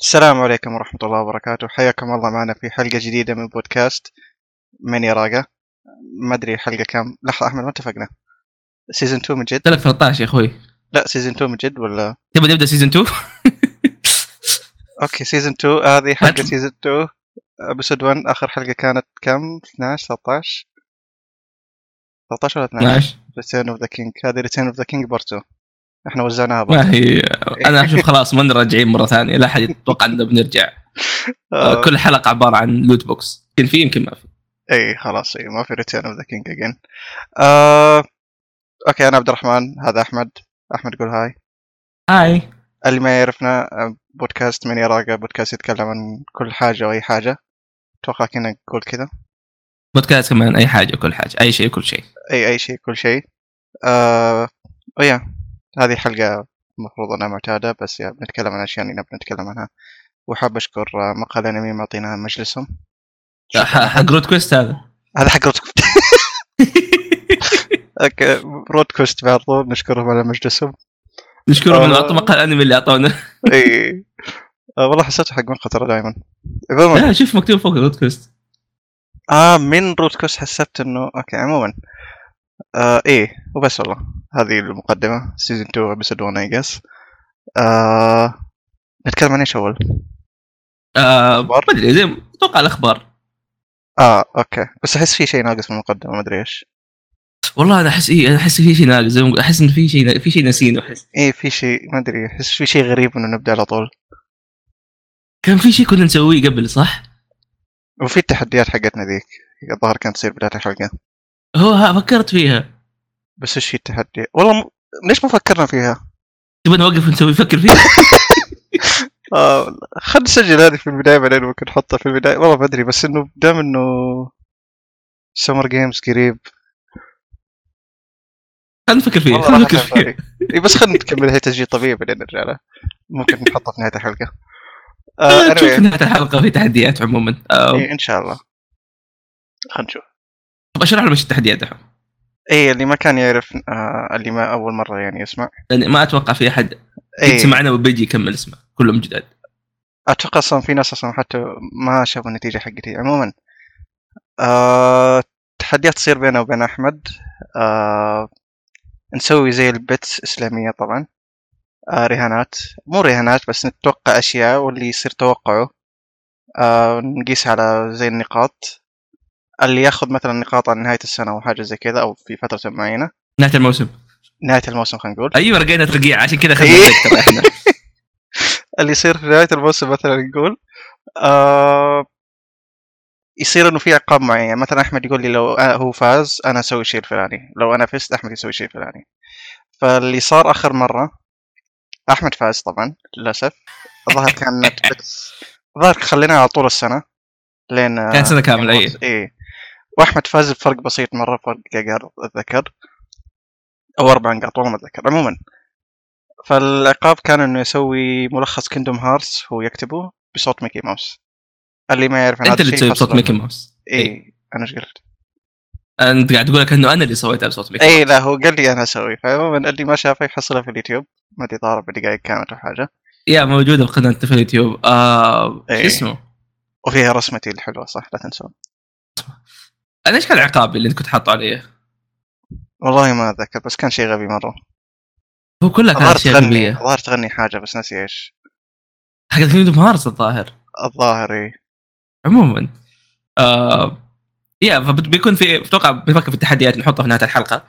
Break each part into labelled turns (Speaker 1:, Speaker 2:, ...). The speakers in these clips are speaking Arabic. Speaker 1: السلام عليكم ورحمة الله وبركاته حياكم الله معنا في حلقة جديدة من بودكاست من يراقة ما أدري حلقة كام لحظة أحمد ما اتفقنا سيزون 2 من جد
Speaker 2: قلت لك 13 يا اخوي
Speaker 1: لا سيزون 2 من جد ولا
Speaker 2: تبغى نبدا سيزون 2
Speaker 1: أوكي سيزون 2 هذه حلقة
Speaker 2: هات-
Speaker 1: سيزون 2 أبسود 1 آخر حلقة كانت كم 12 13 13 ولا 12
Speaker 2: 12
Speaker 1: ريتيرن اوف ذا كينج هذه ريتيرن اوف ذا كينج بارت 2 احنا وزعناها بارت
Speaker 2: ما هي انا اشوف خلاص ما راجعين مره ثانيه لا احد يتوقع اننا بنرجع
Speaker 1: آه،
Speaker 2: كل حلقه عباره عن لوت بوكس يمكن في يمكن ما في
Speaker 1: اي إيه، خلاص اي ما في ريتيرن اوف ذا كينج اجين اوكي انا آه، عبد الرحمن هذا احمد احمد قول هاي
Speaker 2: هاي
Speaker 1: اللي ما يعرفنا آه، بودكاست من يراقه بودكاست يتكلم عن كل حاجه واي حاجه اتوقع كنا نقول كذا
Speaker 2: بودكاست كمان اي حاجه كل حاجه اي شيء كل شيء
Speaker 1: اي اي شيء كل شيء آه ويا هذه حلقه المفروض انها معتاده بس يا بنتكلم عن اشياء اللي نبي نتكلم عنها وحاب اشكر آه، مقهى الانمي معطينا مجلسهم
Speaker 2: ح- حق رود كويست هذا
Speaker 1: هذا حق رود كوست اوكي رود كوست برضو نشكرهم على مجلسهم
Speaker 2: نشكرهم من
Speaker 1: آه.
Speaker 2: مقهى الانمي اللي اعطونا
Speaker 1: اي آه، والله حسيته حق مقهى ترى دائما عموما
Speaker 2: لا، شوف مكتوب فوق رود كويست
Speaker 1: اه من روت كوست حسبت انه اوكي عموما آه ايه وبس والله هذه المقدمة سيزون 2 ابيسود 1 اي جس آه نتكلم عن ايش اول؟
Speaker 2: آه،
Speaker 1: أخبار؟
Speaker 2: ما ادري زي اتوقع الاخبار
Speaker 1: اه اوكي بس احس في شيء ناقص في المقدمة ما ادري ايش
Speaker 2: والله انا احس ايه انا احس في شيء ناقص زي ما- احس ان في شيء في شيء ناسينه احس
Speaker 1: ايه في شيء ما ادري احس في شيء غريب انه نبدا على طول
Speaker 2: كان في شيء كنا نسويه قبل صح؟
Speaker 1: وفي التحديات حقتنا ذيك الظاهر كانت تصير بداية الحلقة
Speaker 2: هو ها فكرت فيها
Speaker 1: بس ايش في التحدي؟ والله م... ليش ما فكرنا فيها؟
Speaker 2: تبغى نوقف ونسوي فكر فيها
Speaker 1: آه خلينا نسجل هذه في البداية بعدين ممكن نحطها في البداية والله ما ادري بس انه دام انه سمر جيمز قريب
Speaker 2: خلينا نفكر فيها
Speaker 1: والله
Speaker 2: خلينا
Speaker 1: راحت
Speaker 2: نفكر
Speaker 1: عن
Speaker 2: فيها
Speaker 1: بالي. إي بس خلينا نكمل هي تسجيل طبيعي بعدين نرجع له ممكن نحطه في نهايه الحلقه آه
Speaker 2: آه، تشوف في
Speaker 1: anyway. إيه.
Speaker 2: نهايه الحلقه في تحديات عموما آه،
Speaker 1: إي، ان شاء الله خلينا نشوف
Speaker 2: طب اشرح لهم ايش التحديات دحوم
Speaker 1: اي اللي ما كان يعرف آه اللي ما اول مره يعني يسمع
Speaker 2: لاني ما اتوقع في احد
Speaker 1: اي
Speaker 2: يسمعنا وبيجي يكمل اسمه كلهم جداد
Speaker 1: اتوقع اصلا في ناس اصلا حتى ما شافوا النتيجه حقتي عموما آه تحديات تصير بيننا وبين احمد آه نسوي زي البيتس اسلاميه طبعا آه رهانات مو رهانات بس نتوقع اشياء واللي يصير توقعه آه نقيس على زي النقاط اللي ياخذ مثلا نقاط عن نهايه السنه او حاجه زي كذا او في فتره معينه
Speaker 2: نهايه الموسم
Speaker 1: نهايه الموسم خلينا نقول
Speaker 2: ايوه رقينا ترقيع عشان كذا
Speaker 1: إيه.
Speaker 2: خلينا نتذكر احنا
Speaker 1: اللي يصير في نهايه الموسم مثلا نقول آه يصير انه في عقاب معين مثلا احمد يقول لي لو أنا هو فاز انا اسوي شيء الفلاني لو انا فزت احمد يسوي شيء الفلاني فاللي صار اخر مره احمد فاز طبعا للاسف الظاهر كان نتفلكس الظاهر خلينا على طول السنه لين
Speaker 2: كانت سنه كامله اي
Speaker 1: اي يعني إيه. واحمد فاز بفرق بسيط مره فرق قاقر اتذكر او اربع نقاط والله ما اتذكر عموما فالعقاب كان انه يسوي ملخص كيندوم هارتس هو يكتبه بصوت ميكي ماوس اللي ما يعرف عن
Speaker 2: انت
Speaker 1: هذا
Speaker 2: اللي
Speaker 1: الشيء
Speaker 2: تسوي بصوت
Speaker 1: يفصله.
Speaker 2: ميكي ماوس إيه.
Speaker 1: اي انا ايش قلت؟
Speaker 2: انت قاعد تقول لك انه انا اللي سويتها بصوت ميكي
Speaker 1: اي إيه، لا هو قال لي انا اسوي فعموما اللي ما شافه يحصلها في اليوتيوب ما ادري ضارب بدقائق كانت او حاجه
Speaker 2: يا موجوده في قناتنا في اليوتيوب آه،
Speaker 1: إيه.
Speaker 2: شو اسمه
Speaker 1: وفيها رسمتي الحلوه صح لا تنسون
Speaker 2: انا ايش كان العقاب اللي انت كنت حاطه عليه؟
Speaker 1: والله ما اتذكر بس كان شيء غبي مره
Speaker 2: هو كلها كانت
Speaker 1: الظاهر
Speaker 2: اشياء
Speaker 1: تغني
Speaker 2: غبيه
Speaker 1: الظاهر تغني حاجه بس ناسي ايش
Speaker 2: حق كينجدوم هارتس الظاهر
Speaker 1: الظاهر إيه. اي
Speaker 2: عموما آه يا فبيكون في اتوقع بنفكر في التحديات نحطها في نهايه الحلقه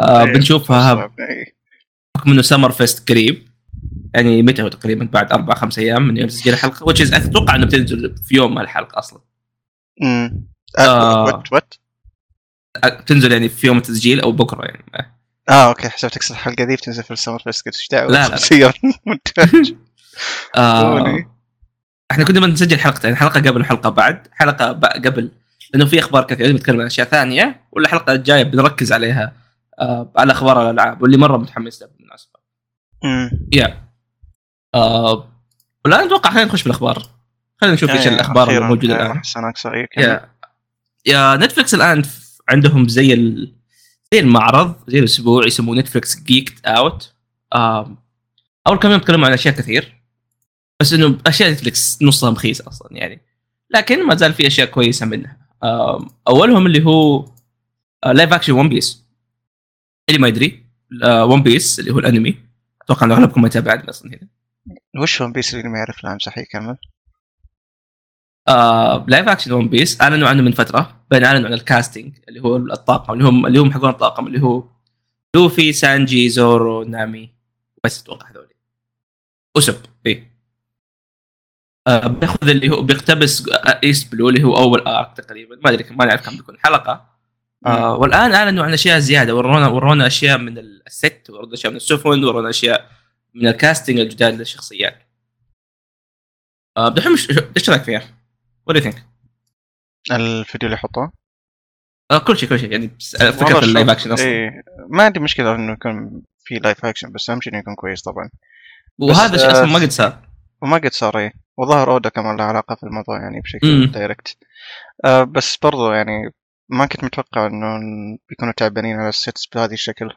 Speaker 2: آه
Speaker 1: إيه،
Speaker 2: بنشوفها
Speaker 1: صعب، إي.
Speaker 2: بحكم انه سمر فيست قريب يعني متى هو تقريبا بعد اربع خمس ايام من يوم تسجيل الحلقه which is اتوقع انه بتنزل في يوم الحلقه اصلا
Speaker 1: امم
Speaker 2: آه.
Speaker 1: وات وات
Speaker 2: أ- بتنزل يعني في يوم التسجيل او بكره يعني
Speaker 1: اه اوكي حسبتك الحلقه دي بتنزل في السمر فيست قلت ايش دعوه
Speaker 2: لا، لا.
Speaker 1: شخصيا مونتاج
Speaker 2: آه
Speaker 1: أوكي.
Speaker 2: احنا كنا بنسجل حلقتين حلقه قبل وحلقه بعد حلقه ب- قبل لانه في اخبار كثير بنتكلم عن اشياء ثانيه والحلقه الجايه بنركز عليها آه على اخبار الالعاب واللي مره متحمس لها بالمناسبه
Speaker 1: أمم.
Speaker 2: آه والان اتوقع خلينا نخش بالاخبار خلينا نشوف ايش
Speaker 1: يعني
Speaker 2: الاخبار
Speaker 1: أخيراً،
Speaker 2: الموجوده
Speaker 1: آه،
Speaker 2: الان
Speaker 1: احسن اقصى إيه، كمل.
Speaker 2: يا يا نتفلكس الان ف- عندهم زي ال... زي المعرض زي الاسبوع يسموه نتفلكس جيكت اوت اول كم يوم تكلموا عن اشياء كثير بس انه اشياء نتفلكس نصها مخيس اصلا يعني لكن ما زال في اشياء كويسه منها آم، اولهم اللي هو آه، لايف اكشن ون بيس اللي ما يدري ون بيس اللي هو الانمي اتوقع ان اغلبكم ما يتابع اصلا هنا
Speaker 1: وش ون بيس اللي ما يعرف العام صحيح كمل
Speaker 2: لايف اكشن ون بيس اعلنوا عنه من فتره بعدين اعلنوا عن الكاستنج اللي هو الطاقم اللي هم اللي هم حقون الطاقم اللي هو لوفي سانجي زورو نامي بس اتوقع هذول اسب اي آه بياخذ اللي هو بيقتبس ايست بلو اللي هو اول ارك تقريبا ما ادري كم- ما نعرف كم بيكون حلقه آه والان اعلنوا عن اشياء زياده ورونا ورونا اشياء من الست ورونا اشياء من السفن ورونا اشياء من الكاستنج الجداد للشخصيات آه دحين مش- ايش رايك فيها؟ وات دو ثينك؟
Speaker 1: الفيديو اللي حطوه
Speaker 2: كل شيء كل شيء يعني بس
Speaker 1: والله
Speaker 2: فكره اللايف
Speaker 1: شوف،
Speaker 2: اكشن اصلا
Speaker 1: إيه ما عندي مشكله انه يكون في لايف اكشن بس اهم شيء انه يكون كويس طبعا
Speaker 2: وهذا
Speaker 1: بس،
Speaker 2: شيء
Speaker 1: آه،
Speaker 2: اصلا ما قد صار
Speaker 1: وما قد صار ايه وظهر اودا كمان له علاقه في الموضوع يعني
Speaker 2: مم.
Speaker 1: بشكل دايركت آه بس برضو يعني ما كنت متوقع انه بيكونوا تعبانين على السيتس بهذا الشكل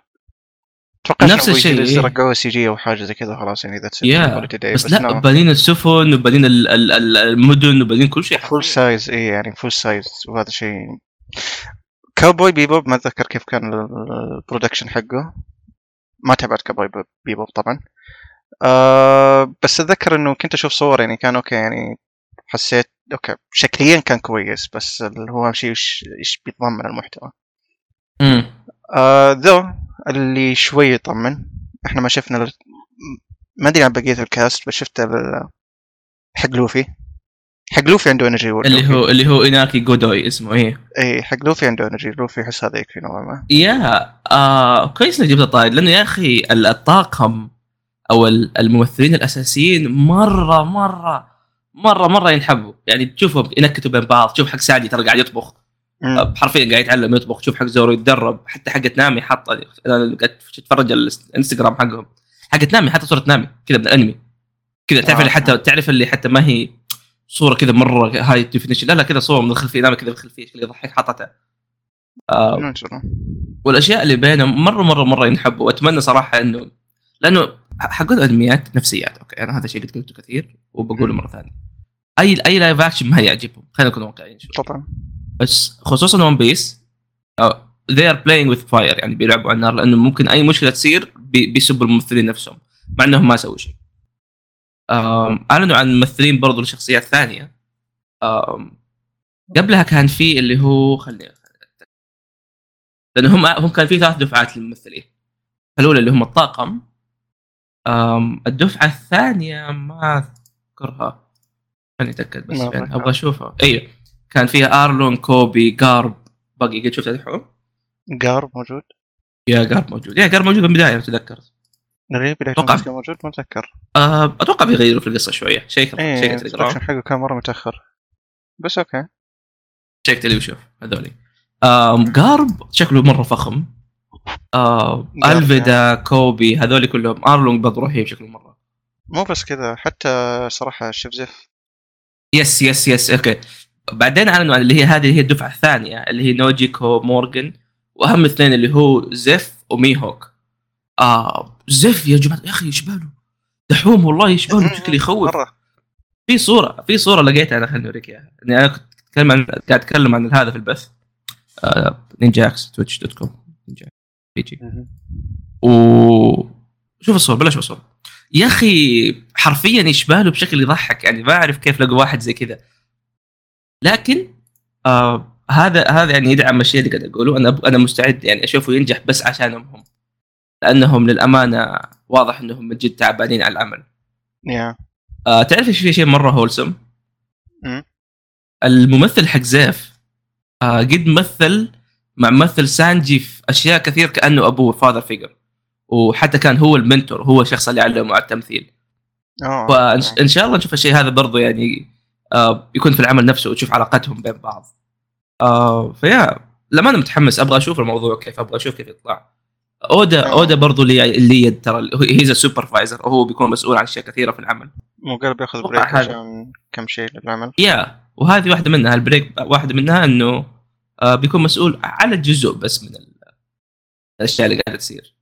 Speaker 1: اتوقع
Speaker 2: نفس الشيء، إيه.
Speaker 1: رجعوا سي جي او حاجه زي كذا خلاص يعني ذاتس
Speaker 2: يا إيه، بس نعم. لا بانين السفن وبانين ال- ال- ال- المدن وبانين كل شيء
Speaker 1: فول سايز اي يعني فول سايز وهذا شيء كاوبوي بيبوب ما اتذكر كيف كان ال- البرودكشن حقه ما تابعت كاوبوي بيب- بيبوب طبعا آه بس اتذكر انه كنت اشوف صور يعني كان اوكي يعني حسيت اوكي شكليا كان كويس بس اللي هو اهم شيء وش- ايش بيتضمن المحتوى
Speaker 2: مم.
Speaker 1: آه ذو اللي شوي يطمن احنا ما شفنا ال- ما ادري عن بقيه الكاست بس شفت ال- حق لوفي حق لوفي عنده انرجي
Speaker 2: اللي هو اللي هو اناكي جودوي اسمه ايه
Speaker 1: اي إيه، حق لوفي عنده انرجي لوفي يحس هذا يكفي نوعا ما
Speaker 2: يا آه كويس انك جبت الطارد لانه يا اخي ال- الطاقم او ال- الممثلين الاساسيين مره مره مره مره ينحبوا يعني تشوفهم ينكتوا بين بعض تشوف حق سعدي ترى قاعد يطبخ
Speaker 1: مم.
Speaker 2: آه، حرفيا قاعد يتعلم يطبخ تشوف حق زورو يتدرب حتى حقت نامي حاط انا قاعد اتفرج على الانستغرام حقهم حقت نامي حتى صوره نامي كذا من الانمي كذا تعرف اللي حتى تعرف اللي حتى ما هي صوره كذا مره هاي ديفينيشن لا لا كذا صوره من الخلفيه نامي كذا من الخلفيه شكل يضحك حاطتها آه،
Speaker 1: مم، شنو؟
Speaker 2: والاشياء اللي بينهم مره مره مره ينحبوا واتمنى صراحه انه لانه حق الانميات نفسيات اوكي انا هذا الشيء قد قلته كثير وبقوله مره ثانيه اي اي لايف اكشن ما يعجبهم خلينا نكون واقعيين شوي
Speaker 1: طبعا
Speaker 2: بس خصوصا ون بيس they are playing with fire يعني بيلعبوا على النار لانه ممكن اي مشكله تصير بي- بيسبوا الممثلين نفسهم مع انهم ما سووا شيء. أم، اعلنوا عن ممثلين برضو لشخصيات ثانيه أم، قبلها كان في اللي هو خليني أتأكد. لانه هم هم كان في ثلاث دفعات للممثلين الاولى اللي هم الطاقم أم، الدفعه الثانيه ما اذكرها خليني اتاكد بس
Speaker 1: ما
Speaker 2: يعني
Speaker 1: أتذكر.
Speaker 2: ابغى اشوفها ايوه كان فيها ارلون كوبي جارب باقي قد شفت الحوم
Speaker 1: جار موجود
Speaker 2: يا جارب موجود يا جارب موجود من البدايه لو تذكرت
Speaker 1: غريب بداية
Speaker 2: أتوقع.
Speaker 1: المسلسل موجود ما اتذكر
Speaker 2: أه اتوقع بيغيروا في القصه شويه شيك
Speaker 1: ايه
Speaker 2: شيك تليجرام
Speaker 1: البرودكشن حقه كان مره متاخر بس اوكي
Speaker 2: شيك تلي وشوف هذولي أم، جارب شكله مره فخم أه
Speaker 1: جارب،
Speaker 2: الفيدا كوبي هذول كلهم ارلون برضه رهيب شكله مره
Speaker 1: مو بس كذا حتى صراحه شيف زيف
Speaker 2: يس يس يس اوكي بعدين اعلنوا عن اللي هي هذه هي الدفعه الثانيه اللي هي نوجيكو مورغان واهم اثنين اللي هو زيف وميهوك آه زيف يا جماعه يا اخي ايش باله دحوم والله ايش باله
Speaker 1: إيه،
Speaker 2: بشكل يخوف
Speaker 1: مره
Speaker 2: في صوره في صوره لقيتها انا خليني اوريك اياها يعني انا كنت اتكلم عن قاعد اتكلم عن هذا في البث آه، نينجا اكس تويتش دوت كوم نينجا بيجي و شوف الصور بلاش الصور يا اخي حرفيا يشبه له بشكل يضحك يعني ما اعرف كيف لقوا واحد زي كذا لكن آه هذا هذا يعني يدعم الشيء اللي قاعد اقوله انا انا مستعد يعني اشوفه ينجح بس عشانهم هم لانهم للامانه واضح انهم من جد تعبانين على العمل
Speaker 1: يا
Speaker 2: آه تعرف ايش في شيء مره هولسم؟
Speaker 1: مم.
Speaker 2: الممثل حق زيف آه قد مثل مع ممثل سانجي في اشياء كثير كانه ابوه فاذر فيجر وحتى كان هو المنتور هو الشخص اللي علمه على التمثيل
Speaker 1: اه
Speaker 2: فان شاء الله نشوف الشيء هذا برضو يعني آه يكون في العمل نفسه وتشوف علاقتهم بين بعض آه فيا لما انا متحمس ابغى اشوف الموضوع كيف ابغى اشوف كيف يطلع اودا اودا برضو لي لي يد ترى هيز سوبرفايزر وهو بيكون مسؤول عن اشياء كثيره في العمل
Speaker 1: مو قال بياخذ
Speaker 2: أتوقع
Speaker 1: بريك
Speaker 2: هذا.
Speaker 1: عشان كم شيء للعمل
Speaker 2: يا وهذه واحده منها البريك واحده منها انه آه، بيكون مسؤول على جزء بس من ال- الاشياء اللي قاعده تصير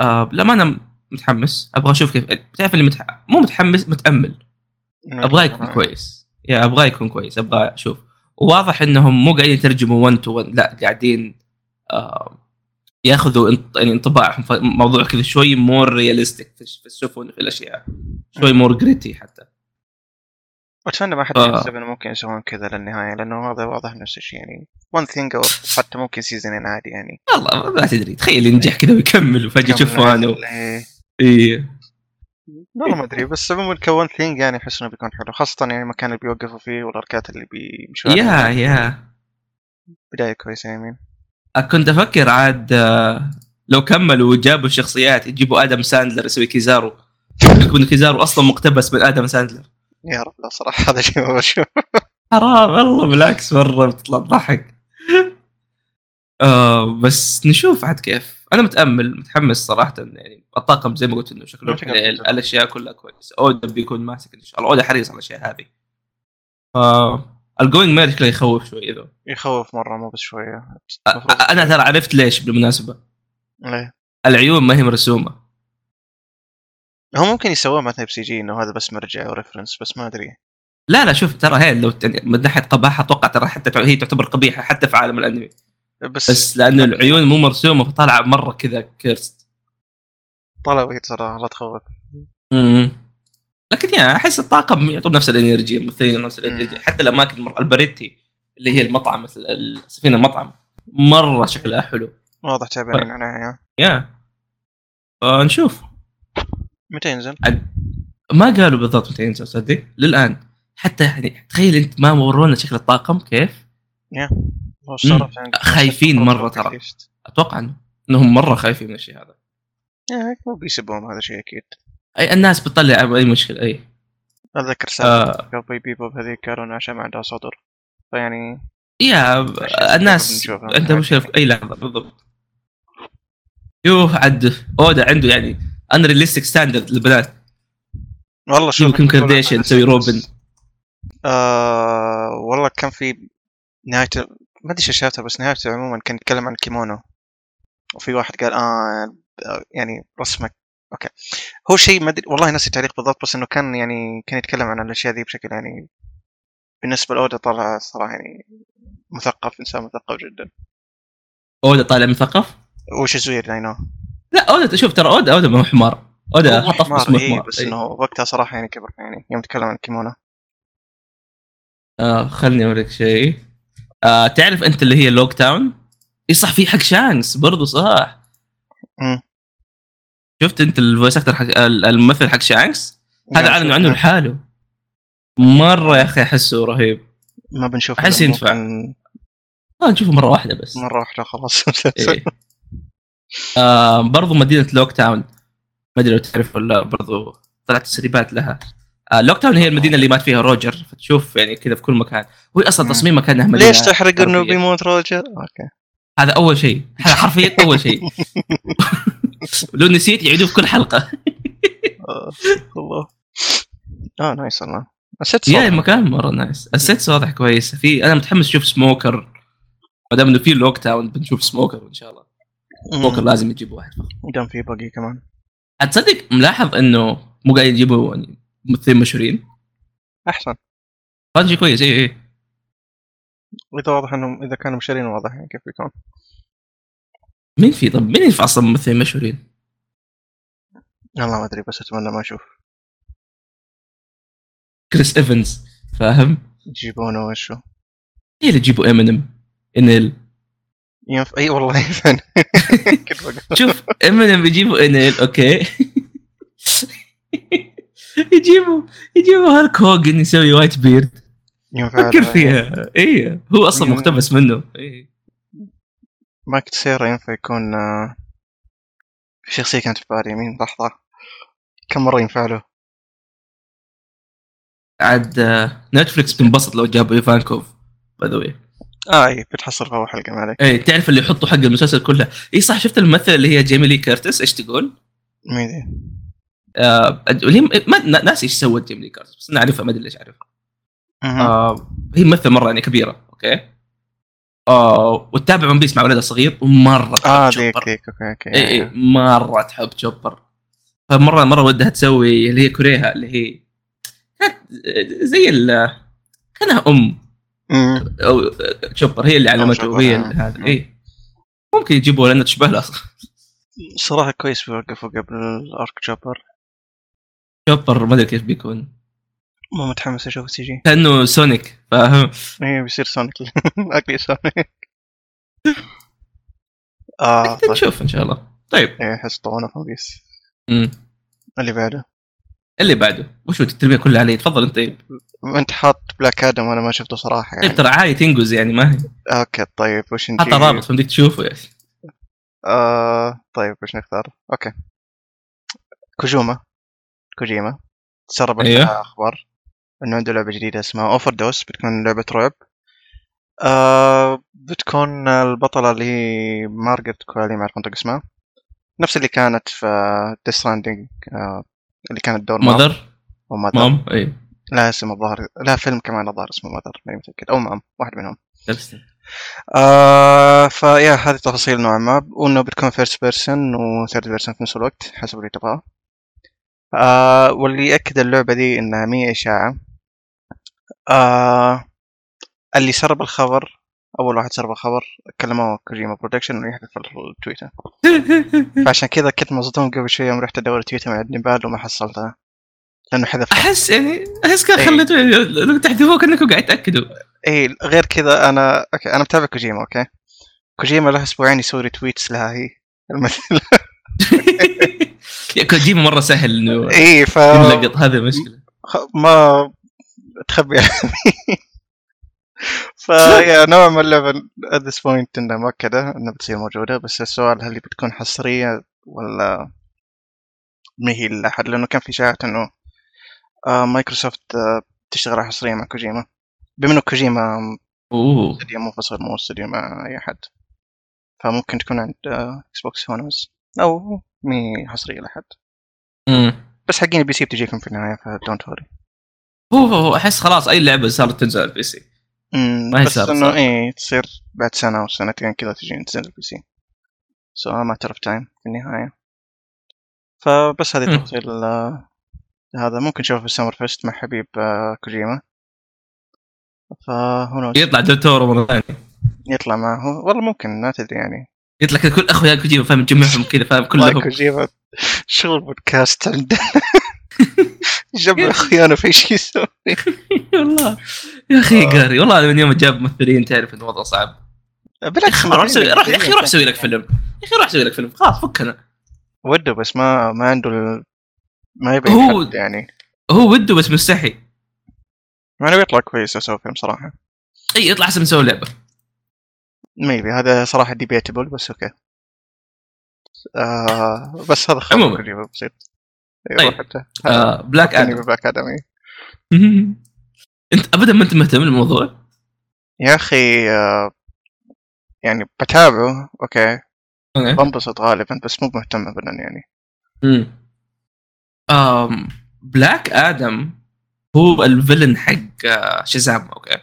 Speaker 2: آه، لما انا متحمس ابغى اشوف كيف تعرف اللي متح... مو متحمس متامل ابغاه يكون كويس يا ابغاه يكون كويس ابغى اشوف وواضح انهم مو قاعدين يترجموا 1 تو 1 لا قاعدين آه ياخذوا انط- يعني انطباع ف- موضوع كذا شوي مور رياليستيك في الش- في السفن في الاشياء شوي مور جريتي حتى
Speaker 1: اتمنى ما حد
Speaker 2: آه.
Speaker 1: يحسب انه ممكن يسوون كذا للنهايه لانه هذا واضح نفس الشيء يعني one thing او حتى ممكن سيزونين عادي يعني
Speaker 2: والله ما تدري تخيل ينجح كذا ويكمل وفجاه تشوفه انا و...
Speaker 1: إيه.
Speaker 2: إيه.
Speaker 1: والله ما ادري بس عموما كون ثينج يعني احس انه بيكون حلو خاصه يعني المكان اللي بيوقفوا فيه والاركات اللي بيمشوا
Speaker 2: يا
Speaker 1: عليها. يعني.
Speaker 2: يا
Speaker 1: بدايه كويسه يمين
Speaker 2: كنت افكر عاد آه، لو كملوا وجابوا الشخصيات يجيبوا ادم ساندلر يسوي كيزارو يقول إن كيزارو اصلا مقتبس من ادم ساندلر
Speaker 1: يا رب لا صراحه هذا شيء ما بشوف
Speaker 2: حرام والله بالعكس مره بتطلع ضحك آه بس نشوف عاد كيف انا متامل متحمس صراحه يعني الطاقم زي ما قلت انه شكله
Speaker 1: شكله
Speaker 2: حليل،
Speaker 1: ممتاز.
Speaker 2: الاشياء كلها كويسه اودا بيكون ماسك ان شاء الله اودا حريص على الاشياء هذه آه، ف الجوينج مان شكله يخوف شوي اذا
Speaker 1: يخوف مره مو بس شويه
Speaker 2: أ- أ- انا ترى عرفت ليش بالمناسبه
Speaker 1: ليه؟
Speaker 2: العيون ما هي مرسومه
Speaker 1: هو ممكن يسووه مثلا بسي جي انه هذا بس مرجع وريفرنس بس ما ادري
Speaker 2: لا لا شوف ترى هي لو يعني من ناحيه قباحه اتوقع ترى حتى تع- هي تعتبر قبيحه حتى في عالم الانمي
Speaker 1: بس,
Speaker 2: بس لانه العيون مو مرسومه فطالعه مره كذا كيرست
Speaker 1: طلبي ترى لا تخوف
Speaker 2: امم لكن يعني يا احس الطاقم يعطون نفس الانرجي الممثلين نفس الانرجي
Speaker 1: مم.
Speaker 2: حتى الاماكن مر... البريتي اللي هي المطعم مثل السفينه المطعم مره شكلها حلو
Speaker 1: واضح تعبانين عليها
Speaker 2: يا فنشوف
Speaker 1: متى ينزل؟
Speaker 2: ما قالوا بالضبط متى ينزل صدق للان حتى يعني تخيل انت ما ورونا شكل الطاقم كيف
Speaker 1: يا والله استغربت يعني.
Speaker 2: خايفين مرة ترى. اتوقع إنه- انهم مره خايفين من الشيء هذا
Speaker 1: يا، مو بيسبهم هذا شيء اكيد
Speaker 2: اي الناس بتطلع اي مشكله اي
Speaker 1: اتذكر سالفه
Speaker 2: آه
Speaker 1: كوبي بيبوب هذيك قالوا انه عشان ما عندها صدر فيعني
Speaker 2: يا
Speaker 1: عشان
Speaker 2: الناس
Speaker 1: نشوفها.
Speaker 2: انت مشكله في اي لحظه بالضبط يوه عد اودا عنده يعني ان ريليستيك ستاندرد للبنات
Speaker 1: والله شوف
Speaker 2: يمكن
Speaker 1: يقول
Speaker 2: كارديشيان
Speaker 1: أنا
Speaker 2: تسوي
Speaker 1: بس-
Speaker 2: روبن.
Speaker 1: آه والله كان في نهاية ما ادري ايش شافته بس نهايته عموما كان يتكلم عن الكيمونو وفي واحد قال اه يعني رسمك اوكي هو شيء ما ادري والله ناسي التعليق بالضبط بس انه كان يعني كان يتكلم عن الاشياء ذي بشكل يعني بالنسبه لاودا طلع صراحه يعني مثقف انسان مثقف جدا
Speaker 2: اودا طالع مثقف
Speaker 1: وشزوير نو
Speaker 2: لا اودا شوف ترى اودا اودا ما هو حمار اودا
Speaker 1: هو
Speaker 2: حطف
Speaker 1: حمار
Speaker 2: بس مو
Speaker 1: إيه
Speaker 2: حمار
Speaker 1: بس
Speaker 2: إيه.
Speaker 1: انه وقتها صراحه يعني كبر يعني يوم تكلم عن الكيمونو
Speaker 2: آه خلني اوريك شيء آه تعرف انت اللي هي لوك تاون اي صح في حق شانكس برضو صح
Speaker 1: مم.
Speaker 2: شفت انت الفويس اكتر حق الممثل حق شانكس هذا اعلنوا عنه لحاله مره يا اخي احسه رهيب
Speaker 1: ما بنشوف
Speaker 2: أحس
Speaker 1: إلا
Speaker 2: ينفع.
Speaker 1: ممكن
Speaker 2: آه نشوفه مره واحده بس
Speaker 1: مره واحده خلاص
Speaker 2: إيه. آه برضو مدينه لوك تاون ما ادري لو تعرف ولا لا، برضو طلعت تسريبات لها آه لوك تاون هي المدينه اللي مات فيها روجر فتشوف يعني كذا في كل مكان وهي اصلا
Speaker 1: مم.
Speaker 2: تصميمها كانها مدينه
Speaker 1: ليش تحرق انه
Speaker 2: حرفياً.
Speaker 1: بيموت روجر؟ اوكي
Speaker 2: يعني. هذا اول شيء هذا حرفيا اول شيء لو نسيت يعيدوه في كل حلقه
Speaker 1: آه، الله اه نايس والله نسيت
Speaker 2: يا
Speaker 1: صوت
Speaker 2: المكان مره نايس السيتس واضح كويس في انا متحمس اشوف سموكر ما دام انه في لوك تاون بنشوف سموكر ان شاء الله سموكر
Speaker 1: مم.
Speaker 2: لازم يجيب واحد فخم.
Speaker 1: دام في باقي كمان
Speaker 2: هتصدق ملاحظ انه مو قاعد يجيبوا يعني ممثلين مشهورين
Speaker 1: احسن
Speaker 2: هذا شيء كويس إيه، اي اي
Speaker 1: واذا واضح انهم اذا كانوا مشارين واضح يعني كيف بيكون
Speaker 2: مين في طب مين ينفع اصلا ممثلين مشهورين؟
Speaker 1: والله ما ادري بس اتمنى ما اشوف
Speaker 2: كريس ايفنز فاهم؟
Speaker 1: يجيبونه وشو
Speaker 2: هي اللي تجيبوا امينيم انيل
Speaker 1: ينفع اي والله ينفع كنت بقول.
Speaker 2: شوف امينيم بيجيبوا انيل اوكي يجيبوا يجيبوا هالك هوجن يسوي وايت بيرد
Speaker 1: ينفع
Speaker 2: فكر فيها اي هو اصلا
Speaker 1: يعني-
Speaker 2: مقتبس منه اي
Speaker 1: مايك تسيرا ينفع يكون آه، في شخصية كانت في بالي مين لحظة كم مرة ينفع له
Speaker 2: عاد آه، نتفلكس بتنبسط لو جابوا ايفانكوف باي ذا واي
Speaker 1: اه اي بتحصل في اول حلقة ما عليك
Speaker 2: اي إيه، تعرف اللي يحطوا حق المسلسل كله اي صح شفت الممثله اللي هي جيمي لي كيرتس ايش تقول؟
Speaker 1: مين ذي؟
Speaker 2: آه اللي هي- ما نا- ناسي ايش سوت جيمي لي كيرتس بس انا اعرفها ما ادري ليش اعرفها
Speaker 1: مهم.
Speaker 2: آه هي ممثله مره يعني كبيره اوكي آه وتتابع ون بيس مع ولدها الصغير ومره تحب
Speaker 1: اه
Speaker 2: تشوبر.
Speaker 1: ذيك ذيك اوكي اوكي
Speaker 2: اي اي مره تحب تشوبر فمره مره ودها تسوي اللي هي كوريها اللي هي زي ال كانها ام
Speaker 1: مم.
Speaker 2: او تشوبر هي اللي علمته
Speaker 1: شوبر،
Speaker 2: وهي
Speaker 1: آه.
Speaker 2: اللي هذا اي ممكن يجيبوها لانها تشبه له اصلا
Speaker 1: صراحه كويس بيوقفوا قبل الارك جوبر
Speaker 2: تشوبر ما ادري كيف بيكون
Speaker 1: ما متحمس اشوف السي جي
Speaker 2: كانه سونيك فاهم
Speaker 1: ايه بيصير سونيك اكلي سونيك اه طيب.
Speaker 2: نشوف ان شاء الله طيب
Speaker 1: ايه احس طعنه في ون بيس
Speaker 2: مم.
Speaker 1: اللي بعده
Speaker 2: اللي بعده وش هو التربيه كلها علي تفضل انت طيب
Speaker 1: انت حاط بلاك ادم وانا ما شفته صراحه
Speaker 2: طيب
Speaker 1: يعني
Speaker 2: ترى عادي تنجز يعني ما هي
Speaker 1: اوكي طيب وش نجيب؟
Speaker 2: حط رابط فمديك تشوفه يعني
Speaker 1: آه طيب وش نختار؟ اوكي كوجوما كوجيما تسرب
Speaker 2: أيوه.
Speaker 1: أيوه. اخبار انه عنده لعبه جديده اسمها اوفر دوس بتكون لعبه رعب آه بتكون البطله اللي هي مارجت كوالي ما اعرف انطق اسمها نفس اللي كانت في ديث ستراندنج آه اللي كانت دور مام
Speaker 2: ماذر
Speaker 1: وماذر
Speaker 2: مام إيه. اي
Speaker 1: لا اسم الظاهر لا فيلم كمان الظاهر اسمه ماذر ماني متاكد او مام واحد منهم
Speaker 2: درست.
Speaker 1: آه فيا هذه تفاصيل نوعا ما وانه بتكون فيرست بيرسون وثيرد بيرسون في نفس الوقت حسب اللي تبغاه آه واللي يأكد اللعبة دي انها مية اشاعة آه اللي سرب الخبر اول واحد سرب الخبر كلموه كوجيما برودكشن انه يحذف التويتر فعشان كذا كنت مصدوم قبل شوي يوم رحت ادور تويتر مع ابن بال وما حصلتها لانه حذف
Speaker 2: احس يعني احس كان
Speaker 1: إيه.
Speaker 2: خليته لو تحذفوه كانكم قاعد تاكدوا
Speaker 1: اي غير كذا انا اوكي انا متابع كوجيما اوكي كوجيما له اسبوعين يسوي تويتس لها هي المثل
Speaker 2: يا كوجيما مره سهل انه
Speaker 1: اي إيه، ف
Speaker 2: ينلقط هذه مشكله
Speaker 1: خ- ما تخبي فيا نوع ما اللعبة at this point انها مؤكدة انها بتصير موجودة بس السؤال هل بتكون حصرية ولا ما هي لأحد لأنه كان في إشاعات انه آه، مايكروسوفت آه، تشتغل على حصرية مع كوجيما بما انه كوجيما
Speaker 2: اوه
Speaker 1: استديو منفصل مو استديو مع اي احد فممكن تكون عند آه، اكس بوكس هونوز او مي حصريه لحد
Speaker 2: أمم.
Speaker 1: بس حقين البي سي بتجيكم في النهايه فدونت وري
Speaker 2: هو هو احس خلاص اي لعبه صارت تنزل على البي سي ما هي
Speaker 1: بس
Speaker 2: سابقة.
Speaker 1: انه ايه تصير بعد سنه او سنتين كذا تجي تنزل البي سي سو ما تعرف تايم في النهايه فبس هذه
Speaker 2: مم.
Speaker 1: تفاصيل آه، هذا ممكن نشوفه في السمر فيست مع حبيب آه، كوجيما فهو
Speaker 2: يطلع دكتور مره ثانيه
Speaker 1: يطلع معه والله ممكن ما تدري يعني
Speaker 2: يطلع كذا كل اخويا كوجيما فاهم تجمعهم كذا فاهم
Speaker 1: والله
Speaker 2: كلهم
Speaker 1: كوجيما شغل بودكاست عنده جمع اخيانه في شيء يسوي
Speaker 2: والله يا اخي قاري والله من يوم جاب ممثلين تعرف ان الوضع صعب يا
Speaker 1: بالعكس
Speaker 2: اخي روح سوي روح يا اخي روح سوي لك فيلم يا اخي روح سوي لك فيلم خلاص فكنا
Speaker 1: يعني. وده بس ما ما عنده ال... ما يبي
Speaker 2: هو-
Speaker 1: حد يعني
Speaker 2: هو وده بس مستحي
Speaker 1: ما أنا بيطلع يعني كويس لو سوى فيلم صراحه
Speaker 2: اي يطلع احسن مسوي لعبه
Speaker 1: ما يبي هذا صراحه ديبيتبل بس اوكي آه بس هذا خبر
Speaker 2: عموماً.
Speaker 1: قريب بسيط
Speaker 2: طيب.
Speaker 1: آه
Speaker 2: آه بلاك ادم
Speaker 1: بلاك ادم إيه.
Speaker 2: انت ابدا ما انت مهتم بالموضوع
Speaker 1: يا اخي آه يعني بتابعه اوكي
Speaker 2: أوكي.
Speaker 1: بنبسط غالبا بس مو مهتم ابدا يعني
Speaker 2: أمم. آم بلاك ادم هو الفيلن حق آه، شازام اوكي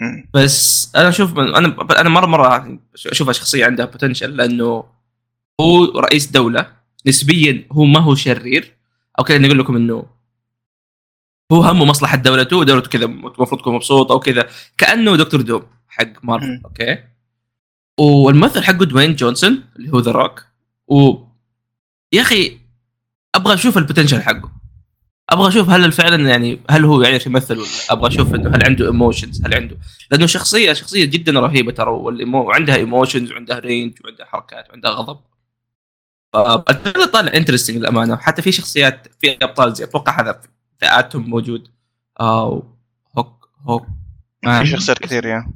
Speaker 1: مم.
Speaker 2: بس انا اشوف من انا انا مره مره اشوفها شخصيه عندها بوتنشل لانه هو رئيس دوله نسبيا هو ما هو شرير او كذا نقول لكم انه هو همه مصلحه دولته ودولته كذا المفروض تكون مبسوطه او كذا كانه دكتور دوم حق مارفل
Speaker 1: مم.
Speaker 2: اوكي والممثل حقه دوين جونسون اللي هو ذا روك و يا اخي ابغى اشوف البوتنشل حقه ابغى اشوف هل فعلا يعني هل هو يعرف يمثل ولا ابغى اشوف انه هل عنده ايموشنز هل عنده لانه شخصيه شخصيه جدا رهيبه ترى والإيمو- وعندها ايموشنز وعندها رينج وعندها حركات وعندها غضب فالفيلم طالع انترستنج للامانه حتى في شخصيات في ابطال زي اتوقع هذا ذا اتوم موجود او هوك هوك آه.
Speaker 1: في شخصيات كثير يا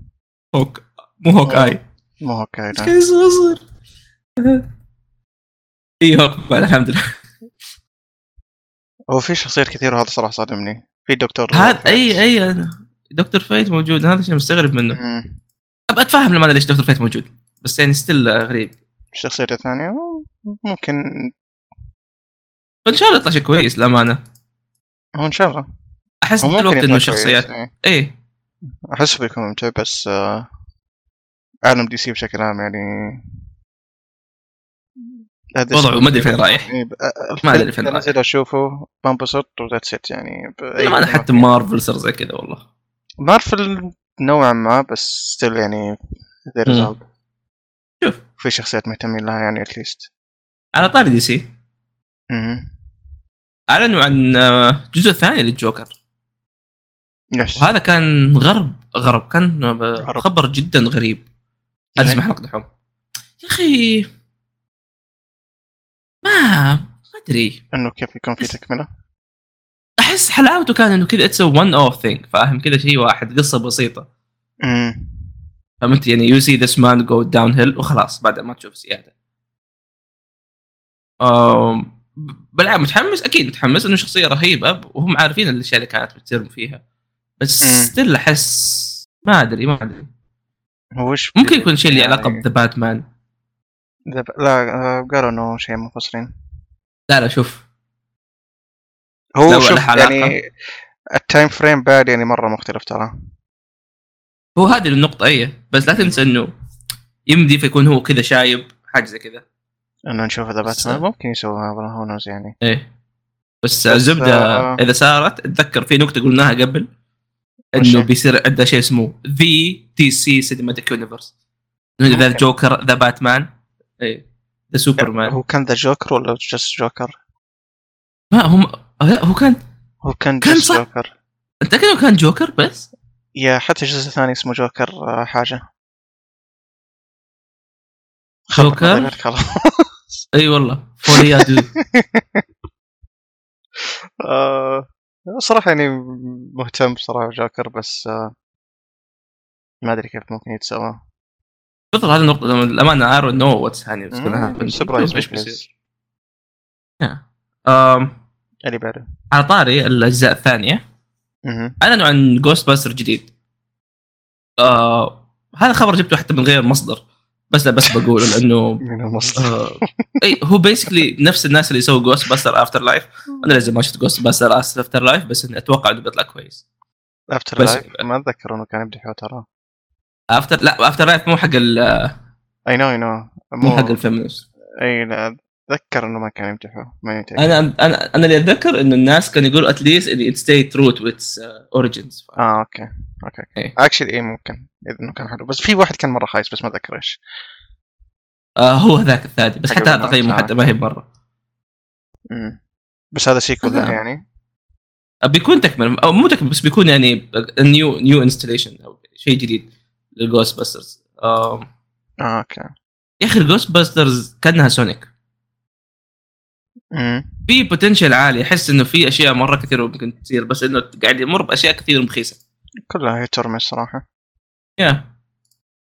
Speaker 2: هوك مو هوك اي
Speaker 1: مو اوكي لا.
Speaker 2: كيس صغير اي هوك بعد الحمد لله
Speaker 1: هو في شخصيات كثير وهذا صراحه صادمني في دكتور
Speaker 2: هذا اي اي أنا- دكتور فيت موجود هذا شيء مستغرب منه
Speaker 1: مم.
Speaker 2: ابى اتفهم لما أنا ليش دكتور فيت موجود بس يعني ستيل غريب
Speaker 1: الشخصيات الثانيه ممكن
Speaker 2: فان شاء الله يطلع شيء كويس للامانه
Speaker 1: هو ان شاء الله
Speaker 2: احس
Speaker 1: هو
Speaker 2: في
Speaker 1: ممكن
Speaker 2: الوقت
Speaker 1: يطلع كويس،
Speaker 2: انه شخصيات
Speaker 1: إيه.
Speaker 2: اي
Speaker 1: احس بيكون ممتع بس آه، عالم دي سي بشكل عام يعني هذا
Speaker 2: وضعه
Speaker 1: الشيء.
Speaker 2: ما ادري فين رايح
Speaker 1: يعني ب-
Speaker 2: ما أدري فين رايح.
Speaker 1: انزل اشوفه بنبسط وذاتس ات يعني ب- أي
Speaker 2: ما انا
Speaker 1: نوع.
Speaker 2: حتى مارفل صار زي كذا والله
Speaker 1: مارفل نوعا ما بس ستيل يعني ذير
Speaker 2: مم.
Speaker 1: ريزولف
Speaker 2: شوف.
Speaker 1: في شخصيات مهتمين لها يعني اتليست
Speaker 2: على طاري دي سي اعلنوا عن آه، جزء ثاني للجوكر
Speaker 1: يس
Speaker 2: وهذا كان غرب غرب كان
Speaker 1: غرب. إيه.
Speaker 2: خبر جدا غريب هذا اسمه حلقه دحوم يا اخي ما ما ادري
Speaker 1: انه كيف يكون في تكمله
Speaker 2: احس حلاوته كان انه كذا اتس وان اوف ثينج فاهم كذا شيء واحد قصه بسيطه
Speaker 1: مم.
Speaker 2: فهمت يعني يو سي ذس مان جو داون هيل وخلاص بعد ما تشوف زياده أم، بالعاب متحمس اكيد متحمس انه شخصيه رهيبه وهم عارفين الاشياء اللي كانت بتصير فيها بس
Speaker 1: مم.
Speaker 2: ستيل احس ما ادري ما ادري
Speaker 1: هو وش
Speaker 2: ممكن يكون شيء اللي
Speaker 1: يعني-
Speaker 2: علاقه بذا باتمان
Speaker 1: ذا- لا آه، قالوا انه شيء منفصلين
Speaker 2: لا لا شوف لا،
Speaker 1: هو
Speaker 2: ولا
Speaker 1: شوف
Speaker 2: علاقة.
Speaker 1: يعني التايم فريم بعد يعني مره مختلف ترى
Speaker 2: هو هذه النقطه ايه بس لا تنسى انه يمدي فيكون هو كذا شايب حاجه زي كذا
Speaker 1: انه نشوف اذا
Speaker 2: بس-
Speaker 1: باتمان ممكن يسووها والله هو نوز يعني
Speaker 2: ايه
Speaker 1: بس،
Speaker 2: بس, الزبده
Speaker 1: آه.
Speaker 2: اذا صارت اتذكر في نقطه قلناها قبل
Speaker 1: وش
Speaker 2: انه
Speaker 1: هي؟
Speaker 2: بيصير عندنا شيء اسمه ذي تي سي سينماتيك يونيفرس ذا
Speaker 1: ممكن.
Speaker 2: الجوكر ذا باتمان ايه ذا سوبرمان
Speaker 1: هو كان ذا جوكر ولا جست جوكر؟
Speaker 2: ما هم لا، هو كان
Speaker 1: هو كان
Speaker 2: كان
Speaker 1: جست
Speaker 2: صح.
Speaker 1: جوكر
Speaker 2: انت كده كان جوكر بس
Speaker 1: يا حتى الجزء الثاني اسمه جوكر آه، حاجه خبر
Speaker 2: جوكر؟
Speaker 1: ما غير خلاص
Speaker 2: اي والله فوليادو
Speaker 1: آه، صراحه يعني مهتم بصراحه جوكر بس آه، ما ادري كيف ممكن يتسوى
Speaker 2: بالضبط هذه النقطه لما- الامانه ارو نو واتس هاني
Speaker 1: سبرايز
Speaker 2: ايش بيصير أم،
Speaker 1: اللي بعده
Speaker 2: Um، على طاري الاجزاء الثانيه
Speaker 1: مهم.
Speaker 2: اعلنوا عن جوست باستر جديد آه هذا خبر جبته حتى من غير مصدر بس لا بس بقوله لانه
Speaker 1: من المصدر
Speaker 2: آه اي هو بيسكلي نفس الناس اللي يسووا جوست باستر افتر لايف انا لازم ما شفت جوست باستر افتر لايف بس إني اتوقع انه بيطلع كويس
Speaker 1: افتر
Speaker 2: بس-
Speaker 1: لايف ما اتذكر انه كان يمدحه ترى
Speaker 2: افتر لا افتر لايف مو حق ال-
Speaker 1: اي نو اي نو
Speaker 2: مو حق الفيمنست
Speaker 1: اي لا اتذكر انه ما كان يمدحه ما يمدحه
Speaker 2: انا انا انا اللي اتذكر انه الناس كانوا يقولوا اتليست ات ستي ترو تو اتس اوريجنز
Speaker 1: اه اوكي اوكي
Speaker 2: إيه.
Speaker 1: اكشلي اي ممكن اذا انه كان حلو بس في واحد كان مره خايس بس ما اتذكر ايش
Speaker 2: آه، هو هذاك الثاني بس
Speaker 1: حق
Speaker 2: حتى
Speaker 1: الفيلم،
Speaker 2: تقييمه
Speaker 1: آه.
Speaker 2: حتى ما هي مره
Speaker 1: مم. بس هذا سيكول
Speaker 2: آه.
Speaker 1: له يعني
Speaker 2: بيكون تكمل او مو تكمل بس بيكون يعني نيو نيو انستليشن او شيء جديد للجوست باسترز
Speaker 1: اه اوكي
Speaker 2: يا اخي الجوست باسترز كانها سونيك
Speaker 1: مم.
Speaker 2: في بوتنشل عالي احس انه في اشياء مره كثيره ممكن تصير بس انه قاعد يمر باشياء كثير مخيسه
Speaker 1: كلها هي ترمي الصراحه
Speaker 2: يا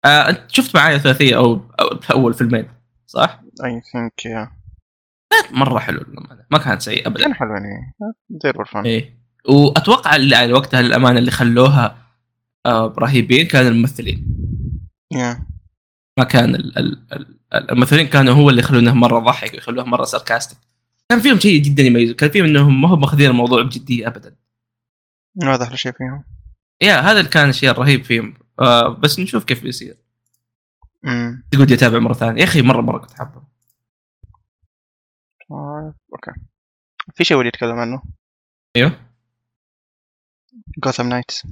Speaker 2: آه، انت شفت معايا ثلاثيه او أو- اول فيلمين صح؟
Speaker 1: اي ثينك يا
Speaker 2: كانت مره حلو للأمانة، ما كانت سيئه ابدا
Speaker 1: كان حلو يعني زي الفن
Speaker 2: ايه واتوقع اللي على وقتها الامانه اللي خلوها آه، رهيبين كانوا الممثلين
Speaker 1: يا
Speaker 2: ما كان ال ال ال الممثلين كانوا هو اللي يخلونه مره ضحك ويخلوه مره ساركاستيك كان فيهم شيء جدا يميزه كان فيهم انهم ما هم ماخذين الموضوع بجديه ابدا
Speaker 1: هذا احلى شيء فيهم
Speaker 2: يا هذا اللي كان الشيء الرهيب فيهم آه بس نشوف كيف بيصير
Speaker 1: مم.
Speaker 2: تقعد يتابع مره ثانيه يا اخي مره مره كنت حابه
Speaker 1: آه، اوكي في شيء ودي اتكلم عنه
Speaker 2: ايوه
Speaker 1: جوثام نايتس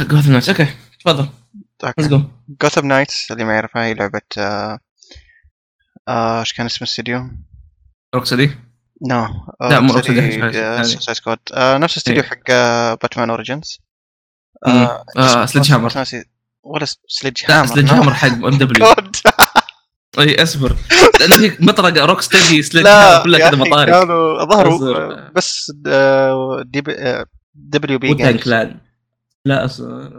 Speaker 2: جوثم نايتس اوكي تفضل ليتس جو
Speaker 1: جوثام نايتس اللي ما يعرفها هي لعبه آه، آه، ايش كان اسم الاستوديو؟
Speaker 2: روكسدي
Speaker 1: نو آه،
Speaker 2: لا، مو Rocksteady، ثاني.
Speaker 1: سوسايد سكواد نفس الاستوديو
Speaker 2: إيه.
Speaker 1: حق آه، باتمان اوريجنز
Speaker 2: مم. آه، Sledge Hammer.
Speaker 1: ناسي ولا سليج
Speaker 2: لا
Speaker 1: هامر
Speaker 2: سلج هامر حق ام دبليو
Speaker 1: جود
Speaker 2: اي اصبر لانه هيك مطرقه روك ستدي سلج
Speaker 1: لا
Speaker 2: كلها
Speaker 1: يا
Speaker 2: كذا
Speaker 1: أخي،
Speaker 2: مطارق
Speaker 1: كانوا ظهروا
Speaker 2: أصبر.
Speaker 1: آه، بس آه، دب- آه، دبليو بي
Speaker 2: وتان
Speaker 1: جيمز
Speaker 2: كلان لا اصبر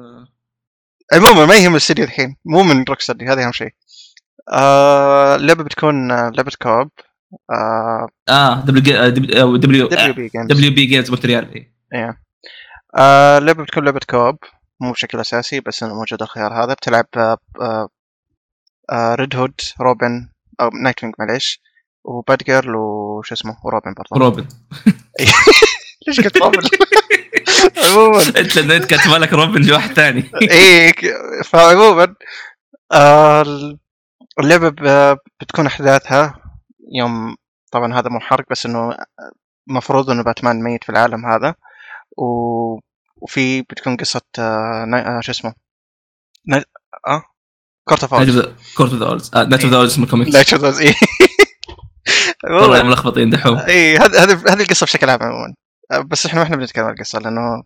Speaker 1: عموما إيه، ما يهم الاستديو الحين مو من روك ستدي هذا اهم شيء آه، اللعبه بتكون آه، لعبه كوب آه،
Speaker 2: اه دبليو دبليو آه،
Speaker 1: دبليو بي جيمز
Speaker 2: دبليو بي جيمز مونتريال اي
Speaker 1: ايه آه، اللعبة بتكون لعبة كوب مو بشكل أساسي بس إنه موجود الخيار هذا بتلعب آه، ريد هود روبن أو نايت وينج معليش وباد جيرل وش اسمه وروبن برضه
Speaker 2: روبن
Speaker 1: ليش قلت روبن؟ عموما
Speaker 2: انت لان انت كاتبه لك روبن واحد ثاني
Speaker 1: اي فعموما إيه، آه، ال- اللعبه ب- بتكون احداثها يوم طبعا هذا مو حرق بس انه مفروض انه باتمان ميت في العالم هذا و... وفي بتكون قصه آه، نا- آه، شو اسمه نا... اه كورت اوف اولز
Speaker 2: كورت اوف ذا اولز نايت
Speaker 1: إيه.
Speaker 2: اوف ذا اولز اسمه كوميكس
Speaker 1: لا شو اي
Speaker 2: والله
Speaker 1: والله
Speaker 2: ملخبطين دحوم
Speaker 1: اي إيه، هذه هذه هذه القصه بشكل عام عموما آه، بس احنا ما احنا بنتكلم عن القصه لانه